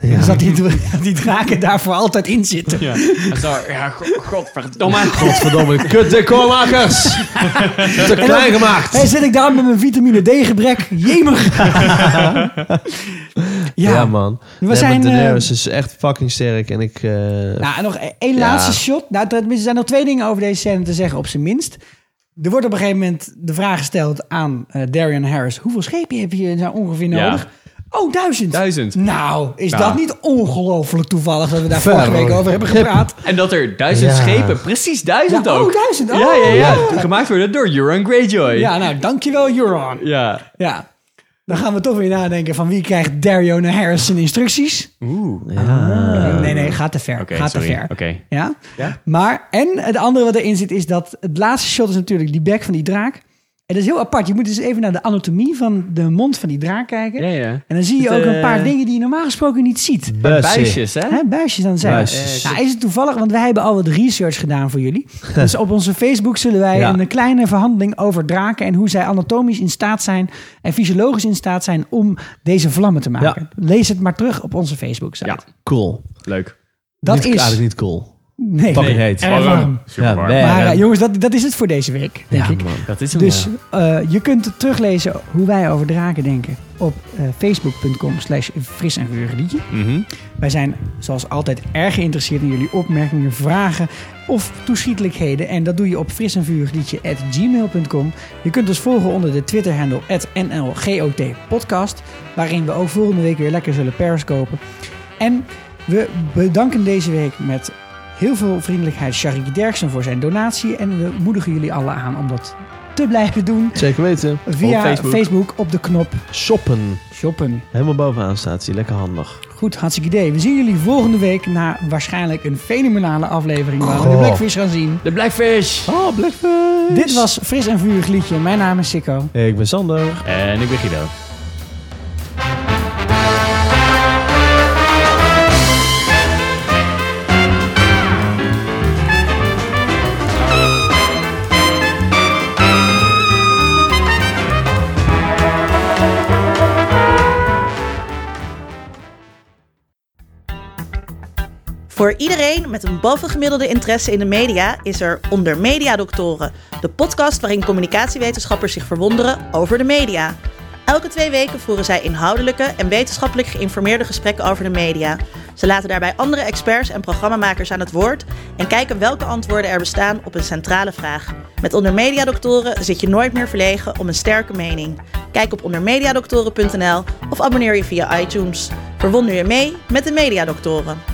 Speaker 1: Dus dat die, dat die draken daar voor altijd in zitten.
Speaker 5: Ja. En zo, ja, go- godverdomme.
Speaker 4: Godverdomme, kut decormakers. Te
Speaker 1: En dan-
Speaker 4: klein gemaakt.
Speaker 1: Hey, zit ik daar met mijn vitamine D gebrek? Jemig.
Speaker 4: ja. man.
Speaker 1: We
Speaker 4: We nee,
Speaker 1: zijn,
Speaker 4: zijn,
Speaker 1: eh,
Speaker 4: Daenerys is echt fucking sterk en ik... eh,
Speaker 1: Nou, en nog e- één
Speaker 4: Ja.
Speaker 1: laatste shot. Nou, tenminste, er zijn nog twee dingen over deze scène te zeggen, op zijn minst. Er wordt op een gegeven moment de vraag gesteld aan eh Darian Harris: hoeveel schepen heb je nou ongeveer
Speaker 5: Ja.
Speaker 1: nodig? Oh, duizend.
Speaker 5: Duizend.
Speaker 1: Nou, is
Speaker 5: Ja.
Speaker 1: dat niet ongelooflijk toevallig dat we daar
Speaker 5: Ver-
Speaker 1: vorige week over hebben gepraat?
Speaker 5: En dat er duizend
Speaker 1: Ja.
Speaker 5: schepen, precies duizend
Speaker 1: Ja, oh,
Speaker 5: ook.
Speaker 1: duizend, oh,
Speaker 5: ja, ja, ja,
Speaker 1: ja.
Speaker 5: Gemaakt worden door Euron Greyjoy.
Speaker 1: Ja, nou, dankjewel, Euron.
Speaker 5: Ja.
Speaker 1: Ja. Dan gaan we toch weer nadenken van wie krijgt Darion Harris zijn instructies?
Speaker 5: Oeh.
Speaker 1: Ah. Nee, nee, gaat te ver.
Speaker 5: Oké,
Speaker 1: gaat
Speaker 5: sorry.
Speaker 1: te ver.
Speaker 5: Oké.
Speaker 1: Ja?
Speaker 5: Ja?
Speaker 1: Maar, en het andere wat erin zit is dat het laatste shot is natuurlijk die bek van die draak. En dat is heel apart. Je moet dus even naar de anatomie van de mond van die draak kijken.
Speaker 5: Ja, ja.
Speaker 1: En dan zie je
Speaker 5: Het,
Speaker 1: ook een paar
Speaker 5: eh,
Speaker 1: dingen die je normaal gesproken niet ziet.
Speaker 5: Buizen. Buisjes, hè?
Speaker 1: buisjes aan zijn.
Speaker 5: Buisjes.
Speaker 1: Nou, is het toevallig, want wij hebben al wat research gedaan voor jullie. Dus op onze Facebook zullen wij
Speaker 5: Ja.
Speaker 1: een kleine verhandeling over draken... en hoe zij anatomisch in staat zijn en fysiologisch in staat zijn... om deze vlammen te maken. Lees het maar terug op onze Facebook-site.
Speaker 5: Ja.
Speaker 4: Cool.
Speaker 5: Leuk.
Speaker 1: Dat
Speaker 4: Niet-
Speaker 1: is-
Speaker 4: Eigenlijk niet cool.
Speaker 1: Nee.
Speaker 4: Fucking
Speaker 1: Nee.
Speaker 4: heet.
Speaker 1: Erg warm. Warm.
Speaker 4: Ja,
Speaker 1: Maar,
Speaker 4: warm.
Speaker 1: eh, jongens, dat, dat is het voor deze week, denk ik.
Speaker 5: Dat is hem,
Speaker 1: Dus
Speaker 5: ja.
Speaker 1: eh, je kunt teruglezen hoe wij over draken denken op eh, facebook.com slash fris en geurig liedje.
Speaker 5: Mhm.
Speaker 1: Wij zijn zoals altijd erg geïnteresseerd in jullie opmerkingen, vragen of toeschietelijkheden. En dat doe je op fris en gmail.com. Je kunt ons volgen onder de Twitter-handle NLGOTpodcast. Waarin we ook volgende week weer lekker zullen periscopen. En we bedanken deze week met heel veel vriendelijkheid Sharik Derksen voor zijn donatie. En we moedigen jullie allen aan om dat te blijven doen.
Speaker 4: Zeker weten.
Speaker 1: Via
Speaker 4: Op
Speaker 1: Facebook. op de knop
Speaker 4: Shoppen.
Speaker 1: Shoppen.
Speaker 4: Helemaal bovenaan staat hij. Lekker handig.
Speaker 1: Goed, hartstikke idee. We zien jullie volgende week na waarschijnlijk een fenomenale aflevering waar we de
Speaker 4: Goh.
Speaker 1: Blackfish gaan zien.
Speaker 5: De Blackfish!
Speaker 4: Oh, Blackfish!
Speaker 1: Dit was Fris en Vurig Liedje. Mijn naam is Sikko.
Speaker 4: Ik ben Sander.
Speaker 5: En ik ben Guido.
Speaker 12: Voor iedereen met een boven gemiddelde interesse in de media is er Onder Media Doctoren, de podcast waarin communicatiewetenschappers zich verwonderen over de media. Elke twee weken voeren zij inhoudelijke en wetenschappelijk geïnformeerde gesprekken over de media. Ze laten daarbij andere experts en programmamakers aan het woord en kijken welke antwoorden er bestaan op een centrale vraag. Met Onder Media Doctoren zit je nooit meer verlegen om een sterke mening. Kijk op ondermediadoctoren.nl of abonneer je via iTunes. Verwonder je mee met de Mediadoktoren.